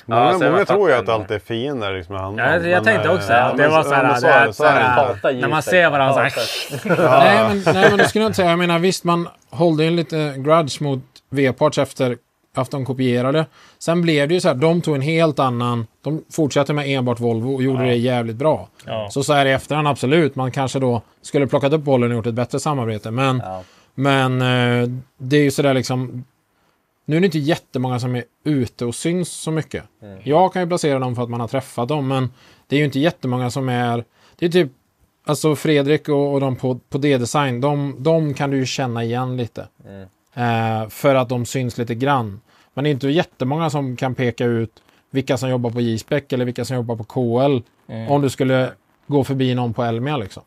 S2: Många,
S6: Ja, så jag
S2: många
S6: fattar
S2: tror ju att
S6: det.
S2: allt är fiender. Liksom, han,
S3: Ja, jag, jag tänkte också att det var så här,
S2: Så
S3: det
S2: är
S3: är
S2: det, så är det.
S3: så här,
S6: Hatar
S3: när man
S6: J-spec.
S3: ser varandra så här.
S6: Hatar.
S4: Nej, men, nej, men det skulle jag inte säga. Jag menar visst, man hållde en lite grudge mot V-parts efter att de kopierade. Sen blev det ju så här, de tog en helt annan... De fortsatte med enbart Volvo och gjorde det jävligt bra. Så så här i efterhand, absolut, man kanske då skulle plockat upp bollen och gjort ett bättre samarbete. Men, men eh, det är ju sådär liksom... Nu är det inte jättemånga som är ute och syns så mycket. Jag kan ju placera dem för att man har träffat dem, men det är ju inte jättemånga som är... Det är typ Alltså Fredrik och, och de på, på D-design, de, de kan du ju känna igen lite. Eh, för att de syns lite grann. Men det är inte jättemånga som kan peka ut vilka som jobbar på J-spec eller vilka som jobbar på KL. Om du skulle gå förbi någon på Elmia liksom.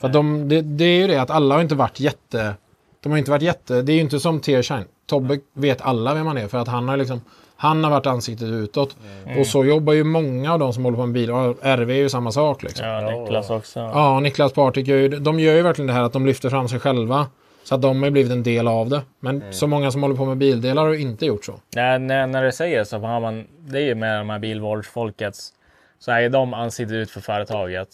S4: För att de, det, det är ju det att alla har inte varit jätte... De har inte varit jätte... Det är ju inte som Tearshine. Tobbe vet alla vem han är för att han har liksom... Han har varit ansiktet utåt. Och så jobbar ju många av de som håller på med bil. Och RV är ju samma sak liksom.
S3: Ja, Niklas också.
S4: Ja, och Niklas Partik gör ju, de gör ju verkligen det här att de lyfter fram sig själva. Så att de har ju blivit en del av det. Men så många som håller på med bildelar har ju inte gjort så.
S3: När, när, när du säger så har man, det är ju med de här bilvårdsfolkets, så är ju de ansiktet ut för företaget.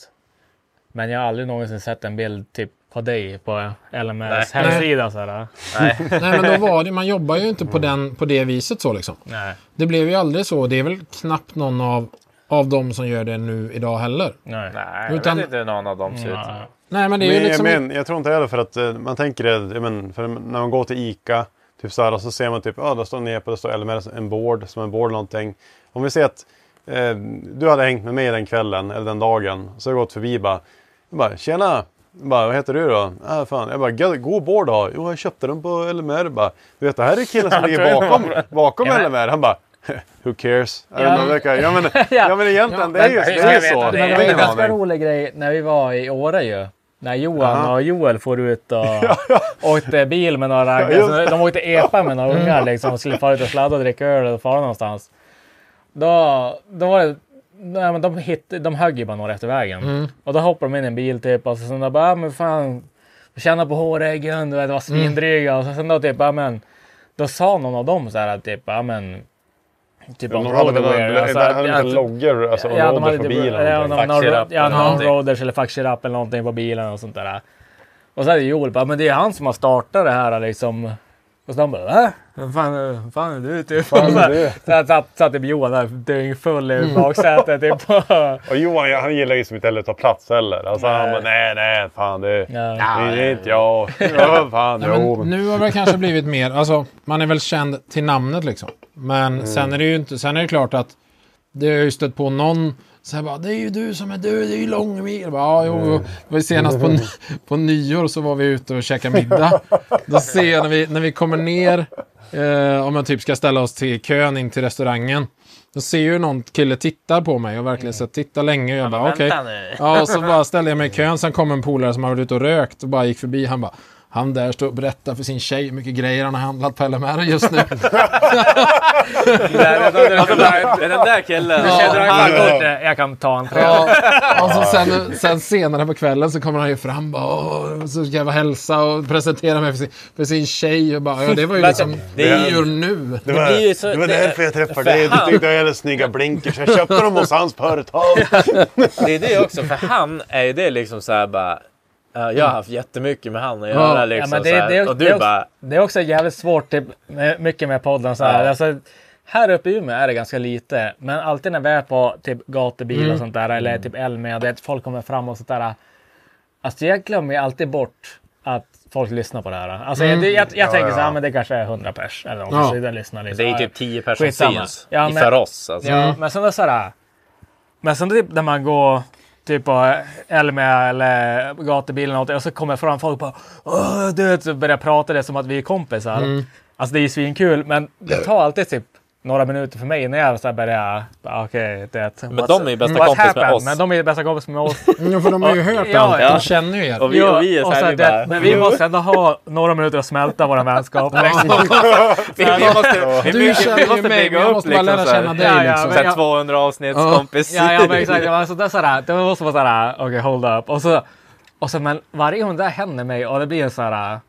S3: Men jag har aldrig någonsin sett en bild typ på dig på LMS
S4: Nej.
S3: hemsida. Så här.
S4: Nej men då var det, man jobbar ju inte på, den, på det viset så liksom.
S3: Nej.
S4: Det blev ju aldrig så. Det är väl knappt någon av, av dem som gör det nu idag heller.
S3: Nej.
S6: Nej, jag
S4: Utan-
S6: vet inte hur någon av dem ser ut.
S3: Nej.
S4: Nej men det är ju
S2: Men,
S4: liksom...
S2: men jag tror inte heller för att eh, man tänker det, ja, men, för när man går till ICA typ så, här, och så ser man typ, ah, där står Nepa, där står LMS, en board, som en board eller någonting. Om vi ser att eh, du hade hängt med mig den kvällen eller den dagen, så har jag gått förbi bara, jag bara tjena, jag bara, vad heter du då? Ah, fan. Jag bara, "God- god board då? Jo, jag köpte den på LMR. Bara, du vet, det här är killen som ligger bakom, bakom LMR. Han bara, Who cares? Ja, men, verkar- ja, men, ja, men egentligen, det är ju det är ju så.
S3: Men det
S2: Jag
S3: var
S2: har
S3: en
S2: ingen
S3: ganska
S2: aning.
S3: rolig grej när vi var i Åre ju. När Johan och Joel for ut och åkte bil med några
S2: just
S3: raggare. De åkte epa med några ungar liksom och skulle fara ut och sladda och dricka öl och fara någonstans. Då, då var det... Nej, men de, hit, de högg ju bara några efter vägen.
S2: Mm.
S3: Och då hoppade de in i en bil typ och så sen då bara, "Ja, men fan. Känna på håräggen, du vet, var svindryga. Och så sen då typ, ja men. Då sa någon av dem så här att typ, ja men. Typ om
S2: Några hade
S3: Roadwear.
S2: väl
S3: alltså,
S2: där hade de
S3: att-
S2: inte loggor, alltså
S3: Ja,
S2: roder
S3: de hade
S2: på
S3: typ,
S2: bilen.
S3: ja,
S2: eller
S3: de-
S2: någonting.
S3: några-
S6: Faxirapp
S3: Ja,
S6: eller
S3: någon
S6: någonting.
S3: roaders eller faxirapp eller någonting på bilen och sånt där. Och så hade Joel bara, men det är han som har startat det här liksom. Och så de bara, va? Vem fan, är- vem fan är du typ? Och så,
S2: du?
S3: så här satt, satt typ Johan där dyngfull i baksätet typ. Och-
S2: Och Johan ja, han gillar ju som inte heller att ta plats heller. Alltså, han bara nej, nej, fan det,
S3: Nej.
S2: det är inte jag. Ja, fan,
S4: Nej,
S2: jo,
S4: men
S2: men,
S4: nu har det kanske blivit mer, alltså man är väl känd till namnet liksom. Men sen är det ju inte, sen är det klart att det har ju stött på någon så här bara, det är ju du som är du, det är ju Långmyr. Jag bara, Ja, jo, jo. Det var ju senast på, ny- på nyår så var vi ute och käkade middag. Då ser jag när vi, när vi kommer ner, eh, om jag typ ska ställa oss till kön in till restaurangen. Då ser ju någon kille tittar på mig och verkligen så här, titta länge. Och jag bara, okej.
S6: Vänta nu.
S4: Ja, och så bara ställde jag mig i kön. Sen kom en polare som hade varit ute och rökt och bara gick förbi. Han bara, han där står och berättar för sin tjej hur mycket grejer han har handlat på LMR just nu.
S6: Nej, det är den där- det är den där killen.
S3: Jag drar ifrån kortet, Jag kan ta en träd.
S4: ja, alltså sen, sen senare på kvällen så kommer han ju fram bara, "Åh", så ska jag bara hälsa och presentera mig för sin, för sin tjej. Och bara, ja, det var ju liksom
S6: det är-
S4: nyår nu.
S2: det var,
S6: det är ju så-
S2: det var
S6: det-
S2: därför jag
S6: för
S2: träffade dig. Du
S6: han-
S2: tyckte jag hade snygga blinkers. Jag köpte dem hos hans företag.
S6: Det är det också, för han är ju det liksom så här bara... "Ja, Jag har haft jättemycket med han att göra
S4: Ja,
S6: liksom.
S3: men det-
S6: så här.
S3: det är-
S6: och
S3: det är
S6: du
S3: också-
S6: bara...
S3: Det är också jävligt svårt, typ, med, mycket med podden. Så här.
S6: Ja.
S3: Alltså, här uppe i Umeå är det ganska lite, men alltid när vi är på typ gatubil
S6: Mm.
S3: och sånt där, eller typ Elmia, det är att folk kommer fram och sånt där. Alltså jag glömmer ju alltid bort att folk lyssnar på det här. Alltså,
S6: Mm.
S3: jag, jag, jag tänker så här, men det kanske är 100 pers eller något,
S4: Ja.
S3: så den lyssnar liksom.
S6: Det är ju typ 10 personer
S3: Skitsamma.
S6: syns
S3: Ja,
S6: i
S3: men-
S6: för oss. Alltså.
S3: Ja, men sen då så här. äh. Men sen typ när man går typ på Elmia eller gatubilen och, någonting, och så kommer fram folk och bara Åh, du vet, så börjar prata det som att vi är kompisar.
S6: Mm.
S3: Alltså det är ju svinkul, men det tar alltid typ några minuter för mig innan jag så här börjar... bara, Okej, det...
S6: Men de är ju bästa
S3: what's
S6: kompis med
S3: happened?
S6: oss.
S3: Men de är ju bästa kompis med oss.
S4: Ja, för de har ju hört
S3: Ja,
S4: allt.
S3: ja.
S4: De känner ju er.
S6: Och vi, och vi är så
S3: och
S6: här,
S3: så
S6: vi
S3: här,
S6: bara...
S3: det, men vi måste ändå ha några minuter att smälta våra vänskap. liksom.
S6: Vi, vi måste, vi,
S4: Du känner ju mig, men jag måste bara lära
S6: så här.
S4: känna
S3: Ja,
S4: dig
S3: ja,
S4: liksom.
S6: Så här
S3: jag-
S6: 200 avsnitt
S4: Ja.
S6: kompis.
S3: Ja, ja men exakt. Man, så där, sådär, det måste vara sådär, okej hold up. Och så, och så men varje gång det där händer mig och det blir en sådär,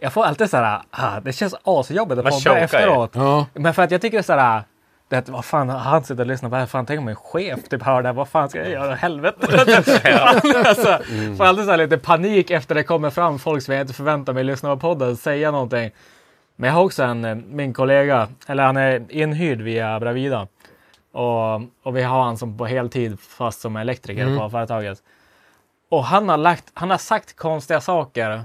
S3: jag får alltid sådär, ah, det känns asjobbigt
S6: Man
S3: att podda
S6: chokar ju.
S3: efteråt.
S4: Ja.
S3: Men för att jag tycker sådär, det, att, vad fan, han sitter och lyssnar på det här, fan tänk om min chef typ hör det här, vad fan ska jag göra, helvete. alltså, Får alltid såhär lite panik efter det kommer fram folk som jag inte förväntar mig lyssna på podden, säga någonting. Men jag har också en, eh, min kollega, eller han är inhyrd via Bravida. Och, och vi har han som på heltid fast som elektriker
S4: Mm.
S3: på företaget. Och han har, lagt, han har sagt konstiga saker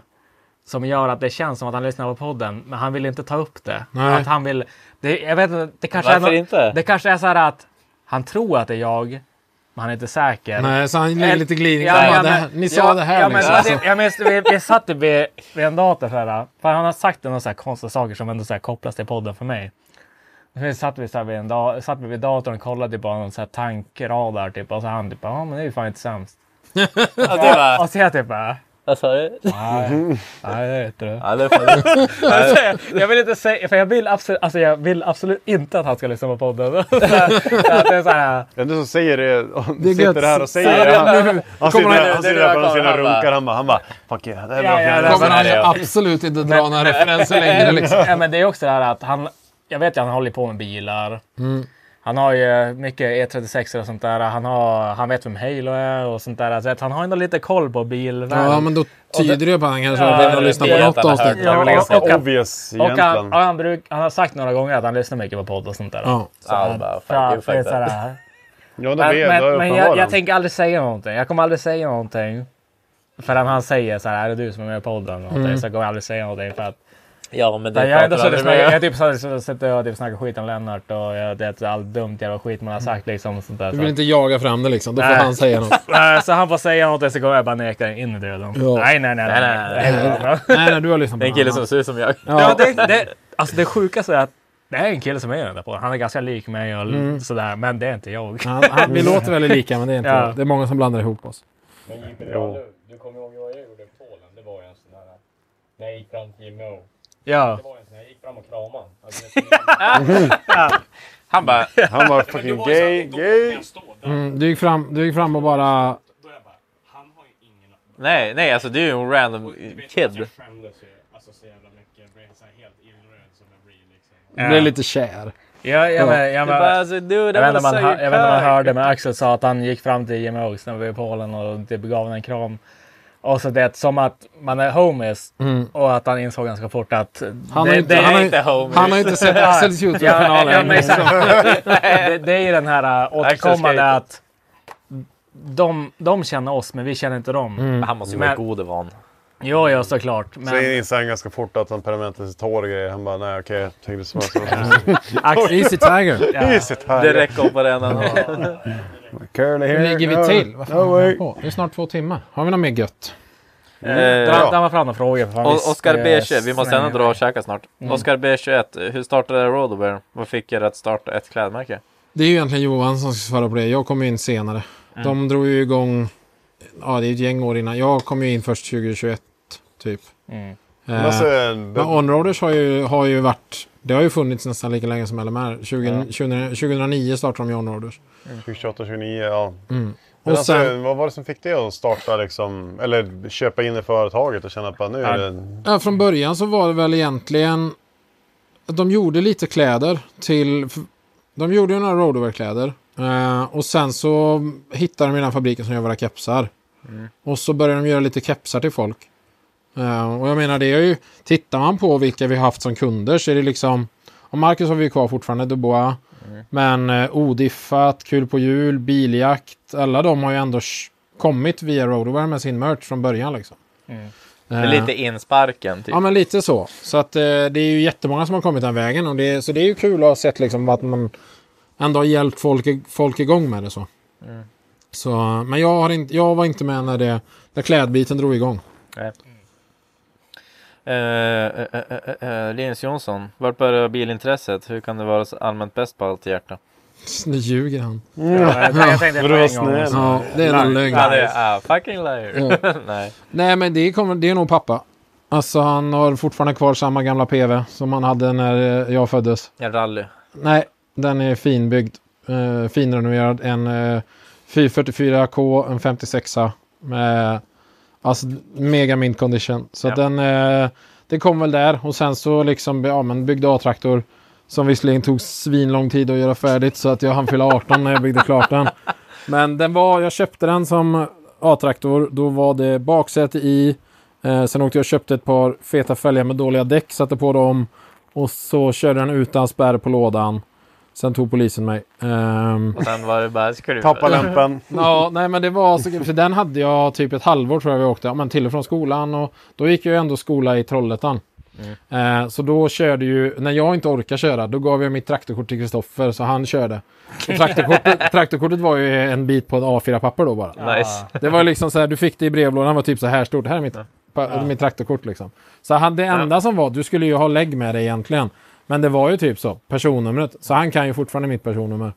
S3: som gör att det känns som att han lyssnar på podden. Men han vill inte ta upp det.
S4: Nej.
S3: Att han vill, det jag vet inte, det kanske
S6: Varför
S3: är, nå-
S6: inte?
S3: Det kanske är så här att han tror att det är jag, men han är inte säker.
S4: Nej, så han lägger lite glidning.
S3: Ja,
S4: Han bara,
S3: ja,
S4: "Det
S3: men-
S4: här- Ni
S3: ja,
S4: sa det här
S3: ja, men,
S4: liksom.
S3: ja,
S4: alltså.
S3: det- Jag minns, vi, vi satt typ vid, vid en dator så här. För han har sagt några så här konstiga saker som ändå så här kopplas till podden för mig. Vi satt vi, så här vid, en da, satt vi vid datorn och kollade typ på någon så här tankradar typ. Och så han typ, ja men det är ju fan inte sämst.
S6: Ja, det var-
S3: Och så jag typ, "Äh,
S6: Vad sa du?
S3: nej, nej det vet du.
S6: Ja, det var-
S3: Jag vill inte säga, för jag vill absolut, alltså jag vill absolut inte att han ska lyssna på podden. Så, så att det är så här,
S2: Den som säger det, och
S4: Det är
S2: sitter
S4: gött.
S2: här och säger
S6: Ja,
S2: det.
S6: det-
S2: Han, han sitter
S6: Kommer han-
S2: där, han sitter
S6: det är
S2: där
S6: det
S2: på
S6: jag
S2: sina
S6: kollar, han
S2: runkar.
S6: bara-
S2: Han bara, han bara, fuck yeah, det här är
S3: Ja,
S2: bra. för
S3: ja,
S2: henne."
S3: det är
S4: kommer
S6: så
S4: han
S6: här är jag.
S4: absolut inte dra några referenser längre liksom. Mm.
S3: ja, men det är också det här att han, jag vet ju att han håller på med bilar. Han har ju mycket E36 och sånt där. Han, har, han vet vem Halo är och sånt där. Så att han har ändå lite koll på bilvärlden.
S4: Ja, men då tyder det ju på att han kanske
S3: Ja,
S4: har
S3: det-
S4: lyssnat
S3: det-
S4: på något
S3: det-
S4: avsnitt.
S3: Ja, och-
S2: ganska
S3: och han-
S2: obvious
S3: Och han,
S2: egentligen.
S3: och han, bruk, han har sagt några gånger att han lyssnar mycket på podd och sånt där.
S4: Ja.
S3: Så att-
S6: bara, fuck
S3: så att
S6: you, fuck
S3: det är
S6: that.
S3: sådär.
S2: Ja, det
S3: Men,
S2: vet
S3: men,
S2: jag
S3: men jag, jag
S2: uppenbarligen.
S3: tänker aldrig säga någonting. Jag kommer aldrig säga någonting. Förrän han säger så här, är det du som är med i podden? eller
S4: Mm.
S3: någonting?" Så jag kommer aldrig säga någonting. För att,
S6: Ja, men
S3: jag
S6: det
S3: har ändå
S6: pratar
S3: suttit och
S6: aldrig
S3: snackat-
S6: med.
S3: jag har typ så- suttit och typ snackat skit om Lennart och jag, det är allt dumt jävla skit man har sagt liksom. och Sånt där,
S4: Du
S3: så.
S4: vill inte jaga fram det liksom. Då får
S3: Nej.
S4: han säga något.
S3: Nej, så han får säga någonting så går jag bara nekar in i döden.
S4: Ja.
S3: Nej, nej, nej. nej, nej, nej, nej.
S4: Nej, nej, du har lyssnat på
S6: Det är en kille
S4: någon
S6: som ser ut som jag.
S3: Ja, det, det, alltså det sjukaste är att det är en kille som är den där på. Han är ganska lik mig och
S4: Mm.
S3: sådär, men det är inte jag.
S4: annan. Han, han, vi låter väldigt lika, men det är, inte,
S3: Ja.
S4: det är många som blandar ihop oss.
S8: Men Jimmy Wahlöö, du kommer ihåg vad jag gjorde i Polen? Det var ju en sån där... När jag gick fram till Jimmy O.
S3: Ja.
S8: Det var ju en sån där, jag gick fram och kramade alltså,
S6: Han bara,
S2: Han var fucking gay, gay.
S4: Mm, du, gick fram, du gick fram och bara...
S8: Då är jag bara, han har ju ingen...
S6: nej, nej, alltså du är ju en random
S8: Du vet att
S6: kid.
S8: Jag skämdes ju alltså, så jävla mycket. Jag blev så här helt illröd som jag blir liksom.
S4: Du blev lite kär.
S3: Ja, jag, men- jag,
S6: Jag bara,
S3: men-
S6: alltså dude,
S3: jag
S6: I
S3: vet inte
S6: wanna
S3: om man
S6: suck
S3: hör- jag vet inte om man
S6: your
S3: hörde, men Axel sa att han gick fram till Jimmy Oaks när vi var i Polen och typ gav honom en kram. Och så det som att man är homies och att han insåg ganska fort att...
S4: Mm. Han
S3: det,
S4: har ju inte,
S3: det,
S4: han har,
S6: inte
S4: ju-
S6: homies.
S4: han har ju inte sett Axels
S3: Ja, ja,
S4: Youtube-kanal
S3: men
S4: än.
S3: exakt. det, det är ju den här äh, återkommande
S6: Axel
S3: att de, de känner oss, men vi känner inte dem.
S4: Mm.
S6: Men Han måste ju
S3: Men-
S6: vara god och van.
S3: Jo, ja, såklart. Men
S2: Så insåg han ganska fort att han permanentade sitt hår och grejer. Han bara, nej okej, jag tänkte så. så-
S3: Axel,
S4: Easy Tiger.
S2: Det är sitt här.
S6: Det Eh, räcker på den han har.
S2: Curly hair.
S4: Hur ligger vi
S2: no-
S4: till? Vad fan
S2: no
S4: har
S2: way.
S4: vi på? Det är snart två timmar. Har vi något mer gött?
S6: Eh,
S3: dra, dra fram några frågor. för fan, vi
S6: O- Oscar
S3: ska-
S6: B21, vi måste ändå dra och käka snart.
S3: Mm.
S6: Oscar B21, hur startade Roadaware? Vad fick er att starta ett klädmärke?
S4: Det är ju egentligen Johan som ska svara på det. Jag kom ju in senare. De drog ju igång... Ja, det är ett gäng år innan. Jag kom ju in först 2021, typ.
S3: Mm.
S2: Men alltså,
S4: Eh, Men
S2: det-
S4: Onroaders har ju, har ju varit... Det har ju funnits nästan lika länge som LMR. 20, 20, 2009 startade de ju Onroaders.
S2: 2028, 29, ja.
S4: Mm. Och
S2: Men alltså,
S4: sen,
S2: vad var det som fick dig att starta liksom, eller köpa in i företaget och känna på att nu är det...
S4: ja, från början så var det väl egentligen... att De gjorde lite kläder till... f- De gjorde ju några roadwear-kläder. Eh, och sen så hittade de ju den fabriken som gör våra kepsar.
S6: Mm.
S4: Och så började de göra lite kepsar till folk. Eh, och jag menar det är ju... Tittar man på vilka vi har haft som kunder så är det liksom... Och Marcus har vi ju kvar fortfarande, Dubois.
S6: Mm.
S4: Men eh, Odiffat, Kul på jul, Biljakt. Alla de har ju ändå sh- kommit via roadwear med sin merch från början liksom.
S6: Mm. Det är
S4: Eh,
S6: lite insparken, typ.
S4: Ja, men lite så. Så att eh, det är ju jättemånga som har kommit den vägen. Och det, så det är ju kul att ha sett liksom att man ändå har hjälpt folk, folk igång med det så.
S6: Mm.
S4: så men jag, har inte, jag var inte med när, det, när klädbiten drog igång.
S6: Eh, eh, eh, eh, eh, Linus Jonsson, vart började bilintresset? Hur kan det vara så allmänt bäst på allt hjärta?
S4: Nu ljuger han.
S3: Ja, jag tänkte- jag tänkte på
S2: du var
S3: en gång.
S2: snäll.
S4: Ja, det är en lögn.
S6: Ja, det är ah, fucking liar. Nej.
S4: Nej, men det, kommer, det är nog pappa. Alltså han har fortfarande kvar samma gamla PV som han hade när eh, jag föddes.
S6: En rally.
S4: Nej, den är finbyggd. Uh, finrenoverad. En eh, 444K, en 56a. Med, alltså mega mint condition. Så att
S6: Ja.
S4: den, eh, det kom väl där. Och sen så liksom, ja men byggde A-traktor. Som visserligen tog svinlång tid att göra färdigt så att jag hann fylla 18 när jag byggde klart den. Men den var, jag köpte den som A-traktor. Då var det baksäte i. Eh, sen åkte jag och köpte ett par feta fälgar med dåliga däck, satte på dem. Och så körde den utan spärr på lådan. Sen tog polisen mig. Ehm,
S6: Och sen var det bara skruv.
S2: Tappa lämpen.
S4: ja, nej men det var så För den hade jag typ ett halvår tror jag vi åkte. Ja, men till och från skolan. Och då gick jag ju ändå skola i Trollhättan. Eh, så då körde ju, när jag inte orkade köra, då gav jag mitt traktorkort till Kristoffer så han körde. Och Traktorkortet, traktorkortet var ju en bit på ett A4-papper då bara.
S6: Nice.
S4: Det var liksom så här, du fick det i brevlådan, var typ så här stort. Här är mitt, pa, mitt traktorkort liksom. Så han, det enda som var, du skulle ju ha lägg med dig egentligen. Men det var ju typ så, personnumret. Så han kan ju fortfarande mitt personnummer.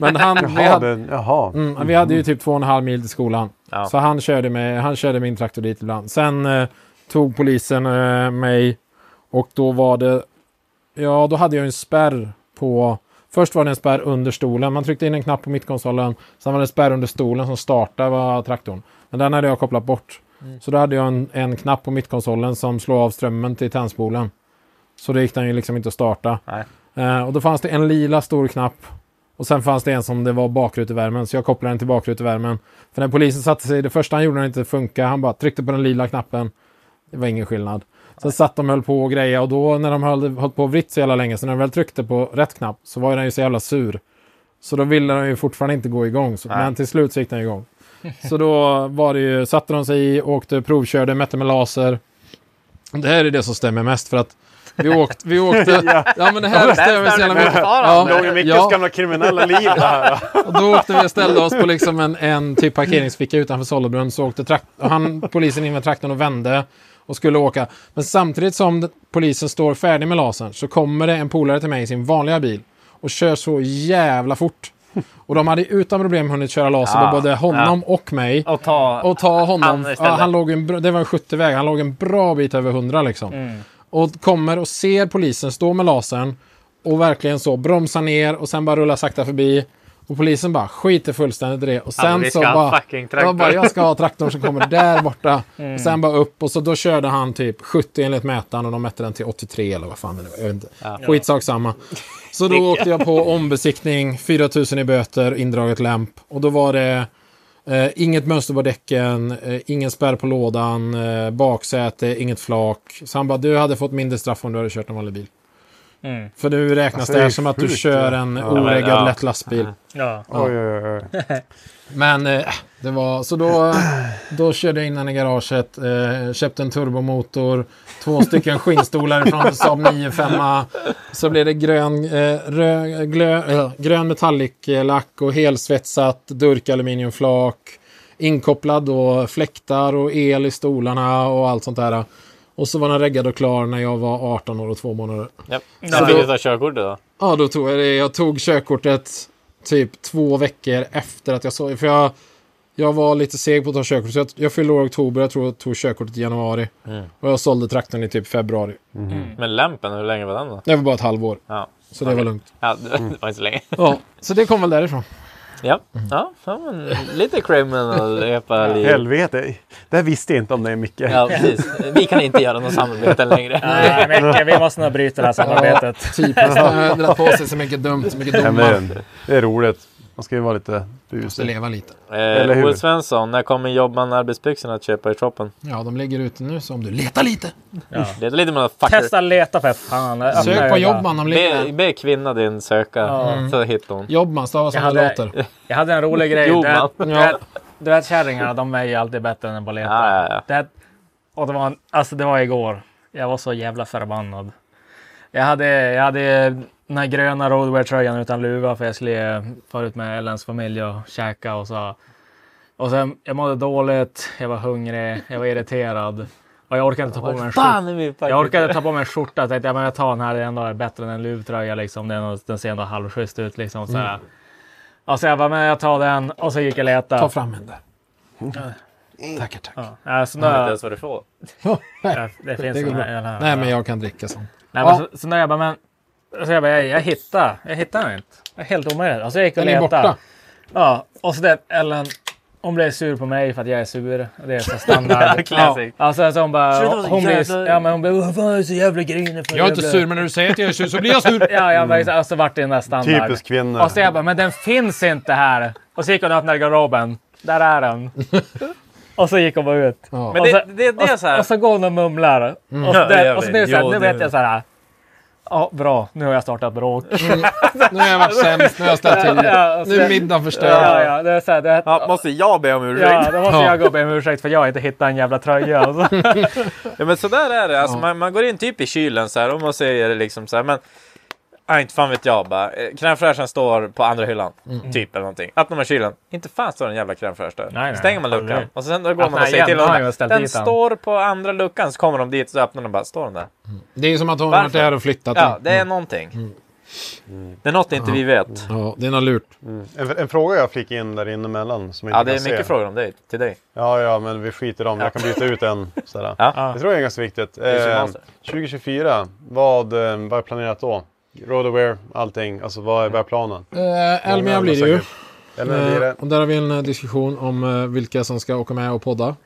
S4: Men han, vi,
S2: Jaha,
S4: hade,
S2: det, jaha.
S4: mm, vi hade ju typ två och en halv mil till skolan.
S6: Ja.
S4: Så han körde, med, han körde min traktor dit ibland. Sen eh, tog polisen eh, mig och då var det... Ja, då hade jag en spärr på... Först var det en spärr under stolen. Man tryckte in en knapp på mittkonsolen. Sen var det en spärr under stolen som startade var traktorn. Men den hade jag kopplat bort.
S6: Mm.
S4: Så då hade jag en, en knapp på mittkonsolen som slår av strömmen till tändspolen. Så det gick den ju liksom inte att starta.
S6: Nej.
S4: Eh, och då fanns det en lila stor knapp Och sen fanns det en som det var bakrutevärmen, så jag kopplade den till bakrutevärmen. För när polisen satte sig, det första han gjorde när det inte funkade, han bara tryckte på den lila knappen. Det var ingen skillnad. Sen satt de och höll på och grejer och då när de höll, höll på och vritt så jävla länge, så när de väl tryckte på rätt knapp så var den ju så jävla sur. Så då ville den ju fortfarande inte gå igång. Så,
S6: Nej.
S4: men till slut så gick den igång. Så då var det ju, satte de sig i, åkte, provkörde, mätte med laser. Det här är det som stämmer mest för att vi åkte... Vi åkte ja. men det här stämmer så jävla mycket.
S2: Låg i Mickes gamla kriminella liv det här.
S4: Och då åkte vi och ställde oss på liksom en, en typ parkeringsficka utanför Sollebrunn. Så åkte trakt- och han, polisen in med traktorn och vände och skulle åka. Men samtidigt som d- polisen står färdig med lasern så kommer det en polare till mig i sin vanliga bil och kör så jävla fort. Och de hade ju utan problem hunnit köra laser på
S6: Ja,
S4: både honom och mig.
S6: Och ta...
S4: Och ta honom.
S6: Han
S4: Han,
S6: istället.
S4: ja, han låg en, bra- det var en 70-väg. Han låg en bra bit över 100 liksom.
S6: Mm.
S4: Och kommer och ser polisen stå med lasern. Och verkligen så bromsa ner och sen bara rulla sakta förbi. Och polisen bara skiter fullständigt i det. Och
S6: Ja, men
S4: sen
S6: vi
S4: så
S6: ska ha
S4: bara,
S6: fucking traktor. Mm.
S4: jag bara... Jag ska ha traktorn som kommer där borta. Och sen bara upp. Och så då körde han typ 70 enligt mätaren. Och de mätte den till 83 eller vad fan det var. Jag vet inte. Skitsak samma. Så då åkte jag på ombesiktning. 4000 i böter, indraget lämp. Och då var det... Eh, inget mönster på däcken, eh, ingen spärr på lådan, eh, baksäte, inget flak. Så han bara, du hade fått mindre straff om du hade kört en vanlig bil.
S3: Mm.
S4: För nu räknas
S2: Alltså,
S4: det
S2: det är
S4: här som att du
S2: sjukt,
S4: kör
S2: ja.
S4: en
S2: Ja,
S6: men,
S4: oreggad
S6: ja.
S4: lätt lastbil.
S3: Ja.
S2: Oj, oj, oj.
S4: Men eh, det var så då, då körde jag in den i garaget, eh, köpte en turbomotor, två stycken skinnstolar från Saab 95. Så blev det grön, eh, rö, glö, eh, grön metalliclack och helsvetsat durkaluminiumflak. Inkopplad och fläktar och el i stolarna och allt sånt där. Och så var den reggad och klar när jag var 18 år och två månader.
S6: Japp.
S3: Så
S6: Sen fick
S4: då-
S6: du ta körkortet då.
S4: Ja, då tog jag det. Jag tog körkortet typ två veckor efter att jag såg För jag, jag var lite seg på att ta körkort. Så jag, jag fyllde år i oktober. Jag tror jag tog körkortet i januari.
S3: Mm.
S4: Och jag sålde traktorn i typ februari.
S6: Men lämpen, hur länge var den då?
S4: Det var bara ett halvår.
S6: Ja,
S4: Så det var lugnt.
S6: ja det det var inte så länge.
S4: Ja, så det kom väl därifrån.
S6: Ja, ja, ja men, lite criminal epa liv.
S2: Helvete. Det här visste jag inte om dig Micke.
S6: Ja, precis. Vi kan inte göra något samarbete längre.
S3: Nej, Micke, vi måste nog bryta det här samarbetet.
S4: Typiskt. Han Typ. har dragit på sig så mycket dumt. Så mycket
S2: Ja,
S4: domar.
S2: men, det är roligt. Man ska ju vara lite busig.
S4: leva lite.
S2: Eller
S6: Eh,
S2: hur?
S6: Will Svensson, när kommer jobban arbetsbyxorna att köpa i shoppen?
S4: Ja, de ligger ute nu. Så om du letar lite.
S6: Det är lite motherfucker.
S3: Testa leta för fan. Öppna
S4: Sök på
S3: ögonen.
S4: Jobman. De ligger
S6: Be,
S4: där.
S6: be kvinna din söka,
S3: Ja.
S6: så hittar hon.
S4: Jobman stavas
S3: Jag
S4: som det
S3: hade,
S4: låter.
S3: jag hade en rolig grej.
S6: Jo,
S3: Du vet-
S6: man.
S3: du vet- Du vet kärringarna, de är ju alltid bättre än att leta.
S6: Ja, ja, ja.
S3: Det, här- och det, var, en- alltså det var igår. Jag var så jävla förbannad. Jag hade, jag hade den här gröna roadwear-tröjan utan luva för jag skulle eh, fara ut med Ellens familj och käka och så. Och sen, jag mådde dåligt, jag var hungrig, jag var irriterad. Och jag orkade inte ta på mig en skjorta.
S6: Fan, är vi
S3: Jag orkade ta på mig en skjorta och tänkte ja, men jag tar den här, den ändå är bättre än en luvtröja. Liksom. Den, den ser ändå halvschysst ut. Liksom, så
S4: Mm.
S3: här. Alltså jag bara, men jag tar den och så gick jag och
S4: Ta
S3: letade.
S4: fram en där. Tackar, tackar.
S3: Ja, så nu,
S6: Jag vet inte ens vad du får.
S3: ja, det finns
S4: Det går
S3: den
S4: bra.
S3: här. Den här.
S4: Nej, men jag kan dricka sånt.
S3: Nej, men
S4: Ja.
S3: så, så när jag bara, men... Så jag, bara, jag, jag hittar jag hittar den inte. Det är helt omöjligt. Alltså jag gick och
S4: Den är
S3: letade.
S4: borta.
S3: Ja, och så det, Ellen, hon blev sur på mig för att jag är sur. Det är så standard.
S6: Ja, classic.
S3: Alltså så hon bara,
S6: Sluta vara
S3: hon,
S6: så
S3: blev ju-
S6: jävla-
S3: ja men hon blev, "Vad fan, jag är så jävla grinig för
S4: Jag är inte
S3: jävla-"
S4: sur, Mm. men när du säger att jag är sur så blir jag sur.
S3: Ja, jag bara, alltså vart är den där standard?
S2: Typiskt kvinnor.
S3: Och så jag bara, men den finns inte här. Och så gick hon och öppnade garderoben. Där är den. och så gick hon bara ut.
S4: Ja.
S6: Men
S3: Och
S6: det,
S3: så-
S6: det, det är så
S3: Och
S6: här.
S3: så går hon och mumlar. Och, så
S6: Ja,
S3: det,
S6: jag
S3: och så nu,
S6: vet.
S3: så här,
S6: Jo,
S3: nu
S6: det-
S3: vet jag så här. Ja, bra. Nu har jag startat bråk.
S4: Nu har jag varit sämst, nu har jag ställt till
S3: Ja,
S4: det.
S3: och
S4: Nu är
S3: sen-
S4: middagen förstörd.
S3: Ja, ja, det är så här, det,
S6: Ja, måste jag be om ursäkt?
S3: ja, då måste
S4: Ja.
S3: jag gå och be om ursäkt för jag har inte hittat en jävla tröja. Alltså. Och så.
S6: Ja men sådär är det. Alltså, man, man går in typ i kylen så här och man säger liksom så här, men Ja, inte fan vet jag bara. Eh, Crème fraîchen står på andra hyllan. Typ eller någonting. Öppnar man kylen. Inte fan står en jävla crème fraîche där.
S3: Mm. Nej, nej,
S6: Stänger man luckan.
S3: aldrig.
S6: Och sen då går man
S3: Öppnar
S6: och säger
S3: igen,
S6: till
S3: har
S6: honom.
S3: jag
S6: Den,
S3: ställt dit den."
S6: står på andra luckan. Så kommer de dit och så öppnar de bara. Står den där?
S4: Det är ju som att hon har varit
S6: Varför?
S4: där och flyttat
S6: Ja,
S4: den.
S3: Mm.
S6: det är någonting. Mm. Det är något inte vi vet.
S4: Ja, det är något lurt.
S2: Mm. En, en fråga jag fick in där inne emellan som jag
S6: Ja,
S2: inte
S6: det
S2: kan
S6: är
S2: se.
S6: mycket frågor om dig. Till dig.
S2: Ja, ja, men vi skiter om. Jag kan byta ut en. Sådär.
S6: Ja.
S2: Det tror jag är ganska viktigt.
S6: är
S2: Eh,
S6: master.
S2: 2024, vad, eh, vad är planerat då? Roadaware, allting. Alltså vad är, vad är planen?
S4: Eh, Elmia
S2: Många
S4: blir det
S2: andra
S4: ju.
S2: säkert. Eller blir det?
S4: Eh, och där har vi en eh, diskussion om eh, vilka som ska åka med och podda.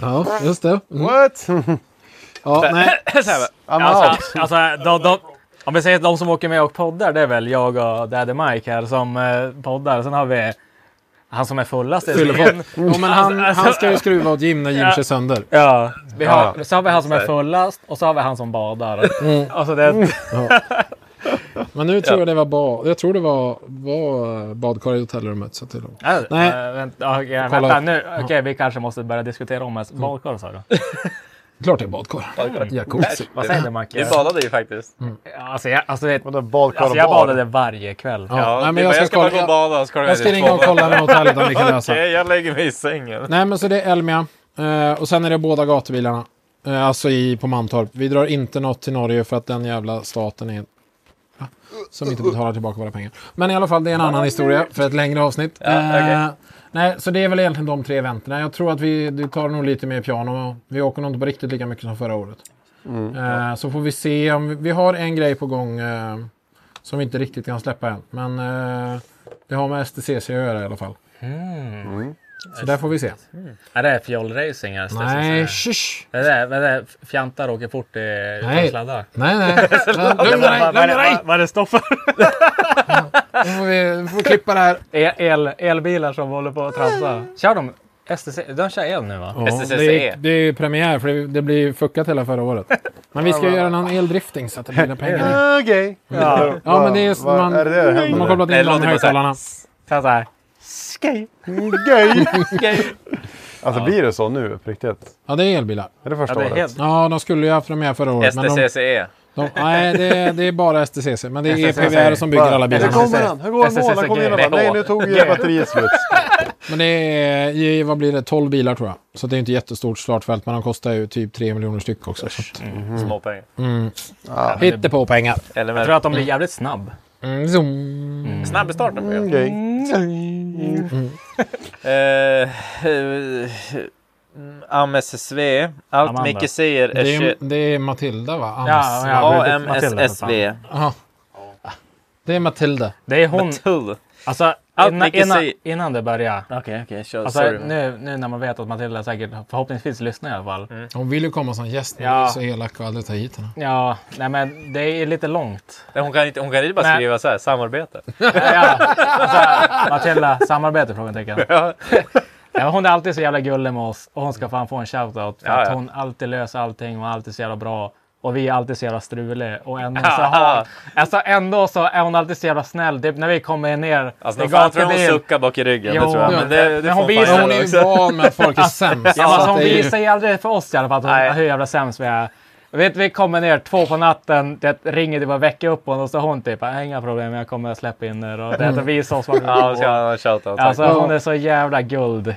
S4: Ja, just det. Mm.
S2: What?
S4: Ja, nej.
S6: Så här,
S2: I'm out.
S3: alltså, alltså, de, de, Om vi säger att de som åker med och poddar, det är väl jag och Daddy Mike här som eh, poddar. Sen har vi han som är fullast. i
S4: Fyllefot.
S3: serien.
S4: Jo, men han,
S3: Alltså-
S4: han ska ju skruva åt Jim när Jim
S3: Ja.
S4: kör sönder.
S3: Ja, vi har,
S4: Ja.
S3: så har vi han som är fullast och så har vi han som badar.
S4: Mm.
S3: Alltså det...
S4: Ja. Men nu tror jag det var bad. Jag tror det var, var eh, badkar i hotellrummet. Så till
S3: Nej.
S4: Nej.
S3: Äh, vänta, okej,
S4: Kolla
S3: vänta
S4: upp.
S3: nu. Okej, vi kanske måste börja diskutera om ens badkar sa du?
S4: Klart det är badkar. Jacuzzi.
S3: Vad säger du Macke?
S6: Vi badade ju faktiskt.
S3: Alltså jag, alltså, det,
S2: badkar
S3: alltså,
S2: och
S3: jag
S2: bad?
S3: badade varje kväll.
S4: Ja,
S6: Ja,
S4: nej,
S6: det
S4: men
S6: är
S4: jag
S6: bara,
S4: ska,
S6: jag ska bara
S4: kolla.
S6: gå och bada, så kollar
S4: jag
S6: jag
S4: ska
S6: ditt
S4: ringa och
S6: badkar.
S4: kolla med hotellet om vi kan lösa.
S6: Okej, jag lägger mig i sängen.
S4: Nej, men så det är Elmia. Eh, och sen är det båda gatubilarna. Eh, alltså i, på Mantorp. Vi drar inte något till Norge för att den jävla staten är... Ja, Som inte betalar tillbaka våra pengar. Men i alla fall, det är en annan historia för ett längre avsnitt.
S6: okej.
S4: Eh, nej, så det är väl egentligen de tre eventen. Jag tror att vi du tar nog lite mer piano. Vi åker nog inte på riktigt lika mycket som förra året. Eh, så får vi se om vi, vi har en grej på gång eh, som vi inte riktigt kan släppa än. Men eh, det har med STCC att göra i alla fall. Så där får vi se.
S3: Är det fjollracing? här, Stefan?
S4: Nej, shush.
S3: Det där, det där fjantar åker fort i utan
S4: Nej.
S3: sladdar.
S4: Nej, nej. Lugna dig, lugna dig!
S3: Vad är det stopp för?
S4: Nu får vi, vi får klippa det här.
S3: El, elbilar som håller på att tramsa. Kör de STC? De kör el nu va?
S4: Ja,
S6: STCC.
S4: det, är, det är ju premiär för det, det blir ju fuckat hela förra året. Men vi ska ju göra någon eldrifting så att det blir några pengar.
S2: Ah, Okej.
S3: Ja.
S4: Ja, men det är just
S2: Vad-
S4: man,
S2: är det det det händer?
S4: man har kopplat
S6: Nej,
S4: in
S6: låt
S4: dem i
S6: det bara så här.
S4: högtalarna.
S3: Så här.
S2: Mm, Gay! Alltså blir det så nu på riktigt?
S4: Ja, det är elbilar.
S2: Är det första
S3: Ja, det är
S2: året?
S3: helt...
S4: Ja, de skulle ju ha haft premiär förra året. Men de,
S6: STCCE.
S4: de, nej, det, är- det är bara STCC. Men det är
S3: STCC.
S4: EPVR som bygger alla
S2: Hur
S4: bilarna.
S2: kommer han? Hur går
S3: SSS
S2: målen? Kom in och bara,
S6: gay.
S2: nej nu tog eh, batteriet slut.
S4: Men det är, i- vad blir det, 12 bilar tror jag. Så det är inte jättestort startfält, men de kostar ju typ 3 miljoner styck också. Så att,
S6: Småpengar.
S4: mm. på pengar.
S6: Eller
S3: Jag tror att de blir jävligt snabb.
S4: Mm, zoom.
S6: Snabb i starten på
S2: Mm,
S6: er.
S2: gay.
S6: Eh, eh, AMSSV. Allt
S3: Amanda.
S6: Micke säger är
S4: Det är,
S6: shit.
S4: det är Matilda va?
S3: Ja, ja.
S6: AMSSV.
S4: Aha. Det är Matilda.
S3: Det är hon.
S6: Matilda.
S3: Alltså
S6: Allt
S3: innan,
S6: Micke
S3: innan,
S6: säger-
S3: innan det börjar.
S6: Okej, okej. Kör.
S3: Alltså,
S6: Sorry.
S3: nu, nu när man vet att Matilda säkert förhoppningsvis lyssnar i alla fall.
S6: Mm.
S4: Hon vill ju komma som gäst nu,
S3: Ja.
S4: så elak och aldrig ta hit henne.
S3: Ja, nej men det är lite långt.
S6: Nej, Hon kan inte, hon kan inte bara
S3: Nej.
S6: skriva så här. Samarbete.
S3: Ja, ja. Alltså, Matilda, samarbete? Frågetecken.
S6: Ja.
S3: Ja, hon är alltid så jävla gullig med oss och hon ska fan få en shoutout. För
S6: Ja,
S3: att
S6: ja.
S3: hon alltid löser allting och alltid så jävla bra. Och vi är alltid så jävla struliga. Och ändå så,
S6: Ja.
S3: har, alltså ändå så är hon alltid så jävla snäll. Typ när vi kommer ner
S6: Alltså, nog fan tror jag hon suckar bak i ryggen.
S3: Jo,
S6: det tror jag. Men
S3: men-
S6: det, det
S3: men
S6: får
S3: hon visar-
S6: fan
S4: Hon är
S6: göra
S4: ju
S6: också.
S4: van med att folk är sämst.
S3: Ja,
S4: så
S3: alltså,
S4: att
S3: hon
S4: det är ju-
S3: visar ju aldrig för oss i alla fall att
S6: Nej.
S3: hon, hur jävla sämst vi är. Vet, vi kommer ner två på natten, det ringer det bara väcka upp hon och så hon typ "Äh, inga problem, jag kommer släppa in er och det visar oss vad vi
S6: Ja, hon ska
S3: ja,
S6: ha en shoutout. tack.
S3: Alltså hon är så jävla guld.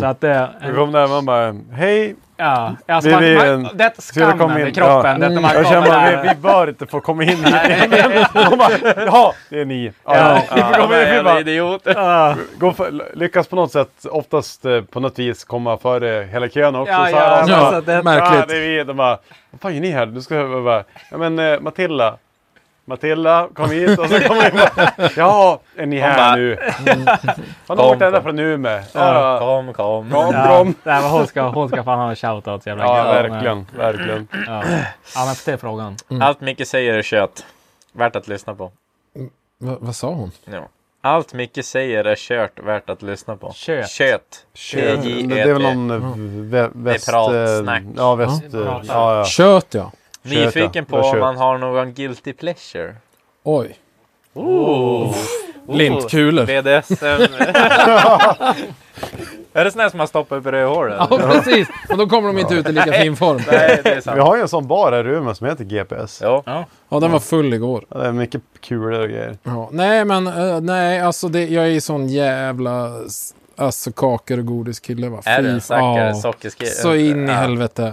S3: Så att det...
S2: Då kom där man bara, hej!
S3: Ja, alltså
S2: Vi-
S3: man,
S2: vi-
S3: man, det är
S2: ska vi
S3: skammen
S2: komma in?
S3: i kroppen.
S2: Ja.
S3: Det, när man
S2: Jag
S3: kommer
S2: känner bara,
S3: där.
S2: vi, vi bör inte få komma in hit. De bara, Jaha, det är ni. Ja, ni får
S6: Ja,
S2: komma in. Vi
S6: jävla
S2: bara,
S6: idioter.
S2: gå för, lyckas på något sätt, oftast eh, på något vis komma före hela kön också.
S3: Ja,
S2: så
S3: ja,
S2: här, och så
S3: ja,
S2: bara,
S3: alltså, det-
S2: Ja,
S4: Märkligt.
S2: det är vi. De bara, vad fan gör ni här? Du ska jag bara, ja men eh, Matilda. Matilda, kom hit. Och så kommer vi bara, ja, är ni här
S6: bara-
S2: nu? Har ni varit
S6: Kom,
S2: ända
S6: kom.
S2: från Umeå? Ja,
S6: Kom, kom.
S2: Kom,
S3: Ja,
S2: kom.
S3: nej, men hon, ska, hon ska fan ha en shoutout. Jävla
S2: Ja,
S3: guld.
S2: verkligen. Verkligen.
S3: Ja, ja men det är frågan.
S4: Mm.
S6: Allt Micke säger är kött. Värt att lyssna på.
S4: Va, vad sa hon?
S6: Ja. Allt Micke säger är kört, värt att lyssna på.
S3: Kött.
S6: Kött.
S2: Det, det är väl någon eh, vä- väst...
S6: prat,
S2: eh,
S6: snack.
S2: Ja, väst... eh,
S3: prat.
S2: Ja, ja.
S4: Kött ja.
S6: Nyfiken
S2: Kött,
S6: på
S2: ja.
S6: om
S2: Kött.
S6: man har någon guilty pleasure.
S4: Oj.
S6: Ooh.
S4: Oh.
S6: Oh.
S4: Lintkulor.
S6: BDSM. är det sån här som man stoppar upp i rövhålet?
S4: Ja, precis. Och då kommer de inte ut i lika fin form.
S6: Nej, det är
S2: Vi
S6: sant.
S2: har ju en sån bar här i Umeå som heter GPS.
S6: Jo.
S4: Ja, den var full igår.
S2: Ja, Det är mycket kulor och grejer.
S4: Ja. Nej, men eh, nej, alltså det, jag är ju sån jävla s- alltså, kakor och godiskille. Va?
S6: Är
S4: Fy
S6: det en
S4: f-
S6: stackare
S4: ja.
S6: sockerskri-
S4: Så in i
S6: Eh, Ja.
S4: helvete.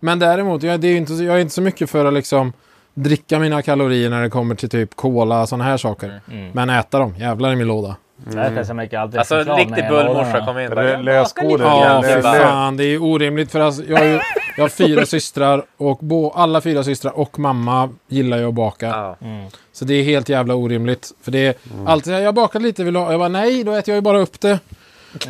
S4: Men däremot, jag, det är ju inte, så- jag är inte så mycket för att liksom dricka mina kalorier när det kommer till typ cola och sådana här saker.
S6: Mm.
S4: Men äta dem, jävlar i min låda.
S3: Det finns så mycket alltid
S6: Alltså en
S3: reklam
S6: riktig
S3: i
S6: bullmorsa
S3: lådorna.
S6: kom in.
S2: Lö-
S6: Bara,
S2: Lösgodis.
S4: Ja,
S6: det
S4: för
S6: är bara-
S4: fan. Det är ju orimligt. För alltså, jag, har ju, jag har fyra systrar och bo, alla fyra systrar och mamma gillar ju att baka.
S6: Ja.
S4: Så det är helt jävla orimligt. För det är
S6: Mm.
S4: alltid, jag bakar lite, vill du
S6: Mm.
S4: ha? Jag bara nej, då äter jag ju bara upp det.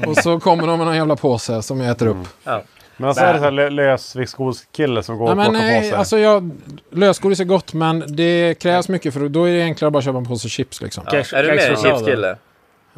S4: Och så kommer de med någon jävla påse som jag äter upp.
S6: Ja.
S2: Men alltså är det så här lö- lösviktsgodskille som går
S4: Nej,
S2: och
S4: men
S2: plockar på
S4: nej,
S2: sig?
S4: alltså jag, lösgodis är gott men det krävs mycket för då är det enklare att bara köpa en påse chips liksom.
S6: Ja. Är du mer en chipskille?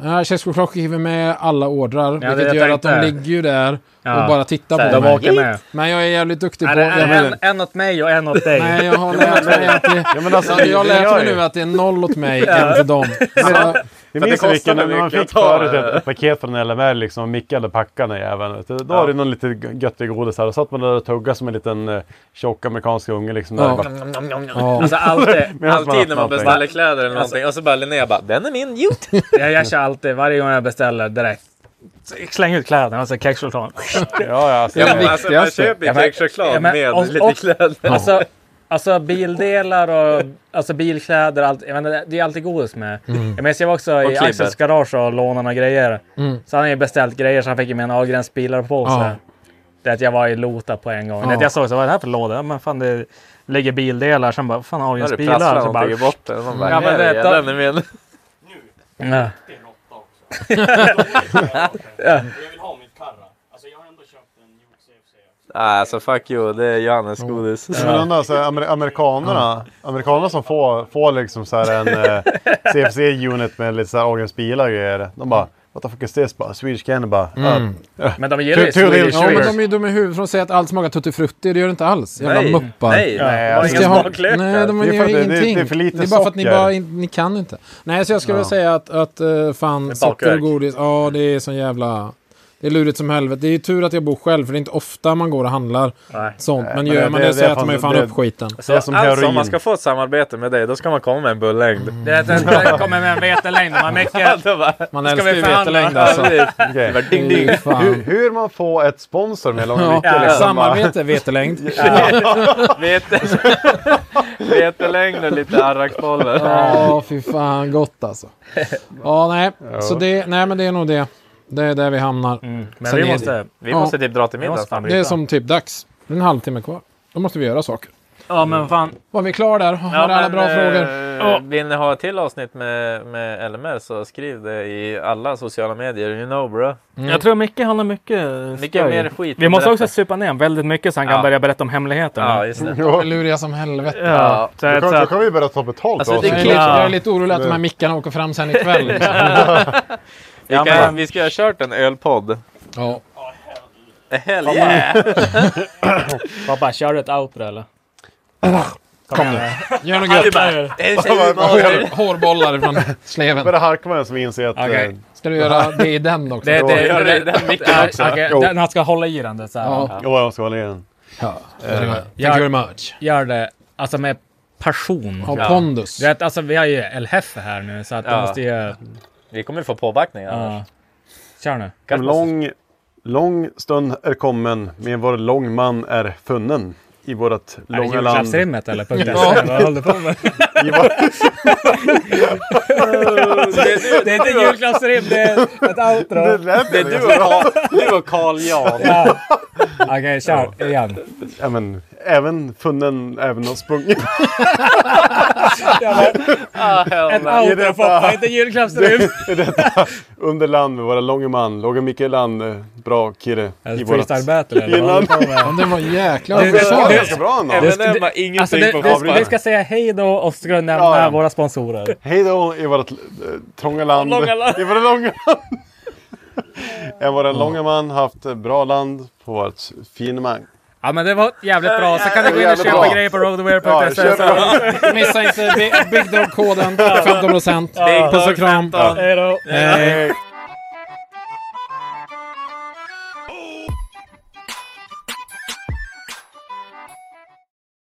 S4: Ja, Chefschoklad skriver med alla ordrar,
S6: det
S4: vilket
S6: jag
S4: gör att de
S6: tänkte.
S4: ligger ju där
S3: Ja.
S4: och bara tittar
S3: Så här,
S4: på
S3: de
S4: mig.
S3: åker med.
S4: Men jag är jävligt duktig
S3: Nej,
S4: på...
S3: det är
S4: jag
S3: en-
S4: menar-
S3: en åt mig och en åt dig.
S4: Nej, jag har
S3: Ja, men-
S4: lärt mig att det...
S2: Ja, men alltså,
S4: jag har
S2: det
S4: lärt
S2: gör
S4: mig
S2: ju.
S4: nu att det är noll åt mig,
S2: Ja.
S4: en till dem. Så,
S2: Det
S4: För att
S2: minns
S4: det
S2: jag vilken,
S4: kostar
S2: när man
S4: mycket
S2: fick
S4: att ta
S2: förut
S4: det.
S2: ett, ett paket från LMR liksom, och Micke hade packat den jäveln. vet du. Då var det någon lite göttig godis här. Då satt man där och tuggade som en liten eh, tjock amerikansk unge liksom. Där
S6: Ja.
S2: och bara...
S6: Alltså alltid,
S2: Medan
S6: alltid när man
S2: öppnar
S6: beställer
S2: allting.
S6: kläder eller någonting och så bara Linnea bara “Den är min, gjort!”
S3: Jag, jag kör alltid, varje gång jag beställer direkt. Släng ut kläderna och så kexchoklad.
S2: Ja, ja, alltså,
S6: Ja, men alltså, man köper ju kexchoklad med lite kläder.
S3: Alltså, alltså bildelar och alltså bilkläder. Allt, jag menar, det är alltid godis med.
S6: Mm.
S3: Jag, minns, jag var också
S6: Och
S3: i
S6: klibber.
S3: Axels garage och lånade några grejer.
S6: Mm.
S3: Så han hade ju beställt grejer så han fick ju med en Ahlgrens bilarpåse.
S6: Ja.
S3: Det att jag var i Lota på en gång.
S6: Ja.
S3: Det att jag såg så vad är det här för låda? Ja, Men fan det ligger bildelar. Sen bara fan Ahlgrens
S6: Har du
S3: bilar.
S6: prasslat
S3: Så
S6: någonting i
S3: bara,
S6: botten? Man bara
S3: Ja,
S6: ja,
S3: men
S6: men
S3: vänta.
S6: “Den är min!”
S3: Ja.
S6: Ja.
S8: Jag vill ha mitt karra. Alltså jag har ändå köpt en
S6: Nej, alltså fuck you, det är Johannes godis.
S2: Ja. Men undrar, så här, amer amerikanerna, amerikanerna som får, får liksom så här en eh, CFC-unit med lite så här Ågrens bilar och grejer. De bara What the fuck is this? Bara, Swedish candy bara.
S4: Mm.
S2: "Ah, eh,
S3: Men de gillar ju
S2: two- two little
S3: Swedish
S4: ja, men
S2: Swedish."
S4: de är ju dumma i huvudet från att säga att allt smakar tuttifrutti. Det gör det inte alls. Jävla
S2: Nej.
S4: muppar.
S2: Nej, nej,
S4: Det
S2: alltså,
S4: ska
S2: det är
S4: ha-
S2: smaklökar.
S4: Nej, de
S2: Det är för
S4: gör
S2: att det- det är-
S4: ingenting.
S2: det är för lite
S4: Det är bara för att ni
S2: socker.
S4: bara in, ni kan inte. Nej, så jag skulle
S2: Ja.
S4: vilja säga att, att eh, fan,
S2: Med
S4: socker och
S2: bakverk.
S4: godis. Ja, det är sån jävla... Det är lurigt som helvete. Det är ju tur att jag bor själv, för det är inte ofta man går och handlar sånt.
S6: Nej,
S4: Men
S6: men
S4: gör
S6: det-
S4: man
S6: det-
S4: det
S6: det
S4: så
S6: är
S4: äter
S6: fan-
S4: man ju fan
S6: det-
S4: upp skiten.
S6: Så alltså om man ska få ett samarbete med dig då ska man komma med en bullängd.
S3: Det, det kommer med en vetelängd. Man, mycket,
S4: man
S3: ska vi förhandla?
S2: vetelängd Okej.
S6: Det var ding, ding.
S2: Fy fan. Hur, hur man får ett sponsor med Långa
S4: Ja,
S2: Micke, liksom,
S4: samarbete,
S2: bara-
S4: vetelängd.
S6: Vete- Vetelängd och lite arrakbollar.
S4: Ja, fy fan gott alltså. Ja, nej.
S6: Ja.
S4: Så det, nej, men det är nog det. Det är där vi hamnar.
S6: men
S4: Sen
S6: vi
S4: är det-
S6: måste- vi måste typ dra till middag,
S4: Vi måste
S6: fan,
S4: Det
S6: bryta.
S4: är som typ dags. Det är en halvtimme kvar. Då måste vi göra saker.
S3: ja men fan.
S4: Var vi klara där? Har alla bra frågor?
S6: Eh, Vill ni ha ett till avsnitt med, med LMR så skriv det i alla sociala medier. You know bro.
S3: Jag tror Micke han Mm. har mycket
S6: Mycket skoj. mer skit
S3: Vi
S6: att
S3: måste
S6: berätta.
S3: också supa ner väldigt mycket så han kan
S6: Ja.
S3: börja berätta om hemligheterna.
S6: Ja, mm. just det.
S4: De är luriga som helvete.
S3: Ja. Ja. Så
S2: Då
S3: att-
S2: kan,
S3: så
S2: då
S3: att-
S2: kan vi börja ta betalt
S4: Alltså,
S2: av
S4: det är
S2: oss.
S4: klart, Jag är lite orolig att de här mickarna åker fram sen ikväll. liksom.
S6: Vi,
S4: Ja,
S6: kan,
S4: men-
S6: vi ska ha kört en ölpodd.
S4: Ja.
S6: Hell yeah!
S3: Pappa, kör du ett outro eller?
S4: Kom nu. Gör något
S6: Han är
S4: gött.
S6: bara, "Det är så hår-
S4: Hårbollar från sleven.
S2: Börjar harka med en som inser att...
S4: Okej.
S2: eh,
S4: Ska du göra det i den också?
S2: Det- det- Ja, det-
S3: den
S2: micken också. Jo.
S3: han ska hålla i den. Det, är så här.
S2: Ja. Jo, jag ska hålla i den.
S4: Ja.
S2: Eh,
S4: Thank you very much.
S3: Gör det alltså med passion.
S4: Ha Ja. pondus.
S3: Du vet, alltså, vi har ju El Hefe här nu så att
S6: Ja.
S3: de måste ju...
S6: Vi kommer få påbackning annars.
S3: Kör nu.
S2: En lång, lång stund är kommen, men vår lång man är funnen. I vårt
S3: det
S2: långa land.
S3: julklappsrimmet eller? Punkt S.
S2: Ja.
S3: Vad håller du på med?
S2: I vår-
S3: det är inte julklappsrim, det är ett outro.
S6: Det lät Det är du och Carl- du och Carl Jan.
S3: Ja. Okej, kör igen.
S2: Ja, men, även funnen, även och sprungit.
S3: Ett
S2: I
S3: outro
S2: detta-
S3: Foppa, inte julklappsrim.
S2: I detta underland med våra långa man, låga Mikael Land, eh, bra kirre. I vårat-
S3: freestyle battle, eller vad
S2: Innan.
S3: håller du på med?
S4: Men den var jäkla
S2: Alltså, Det- det-
S4: bra.
S2: det- ganska bra ändå.
S3: Det-
S2: M&M
S3: det-
S2: har ingenting
S3: alltså, det-
S2: på
S3: det-
S2: papper.
S3: Vi ska säga hej då och så ska vi nämna
S2: Ja, ja.
S3: våra sponsorer.
S2: Hej då i vårt eh, trånga land.
S3: Långa land.
S2: I våra långa land. Är våra långa man haft eh, bra land på vårt finemang.
S3: Ja men det var jävligt bra. Så kan ni gå in och
S2: Jävligt
S3: köpa
S2: bra.
S3: grejer på
S2: Ja,
S3: roadwear.se.
S2: köp
S3: så-
S4: Missa inte Big- Big Dog-koden. 15 procent.
S3: Ja.
S4: Puss och kram.
S3: Hej då.
S4: Hej.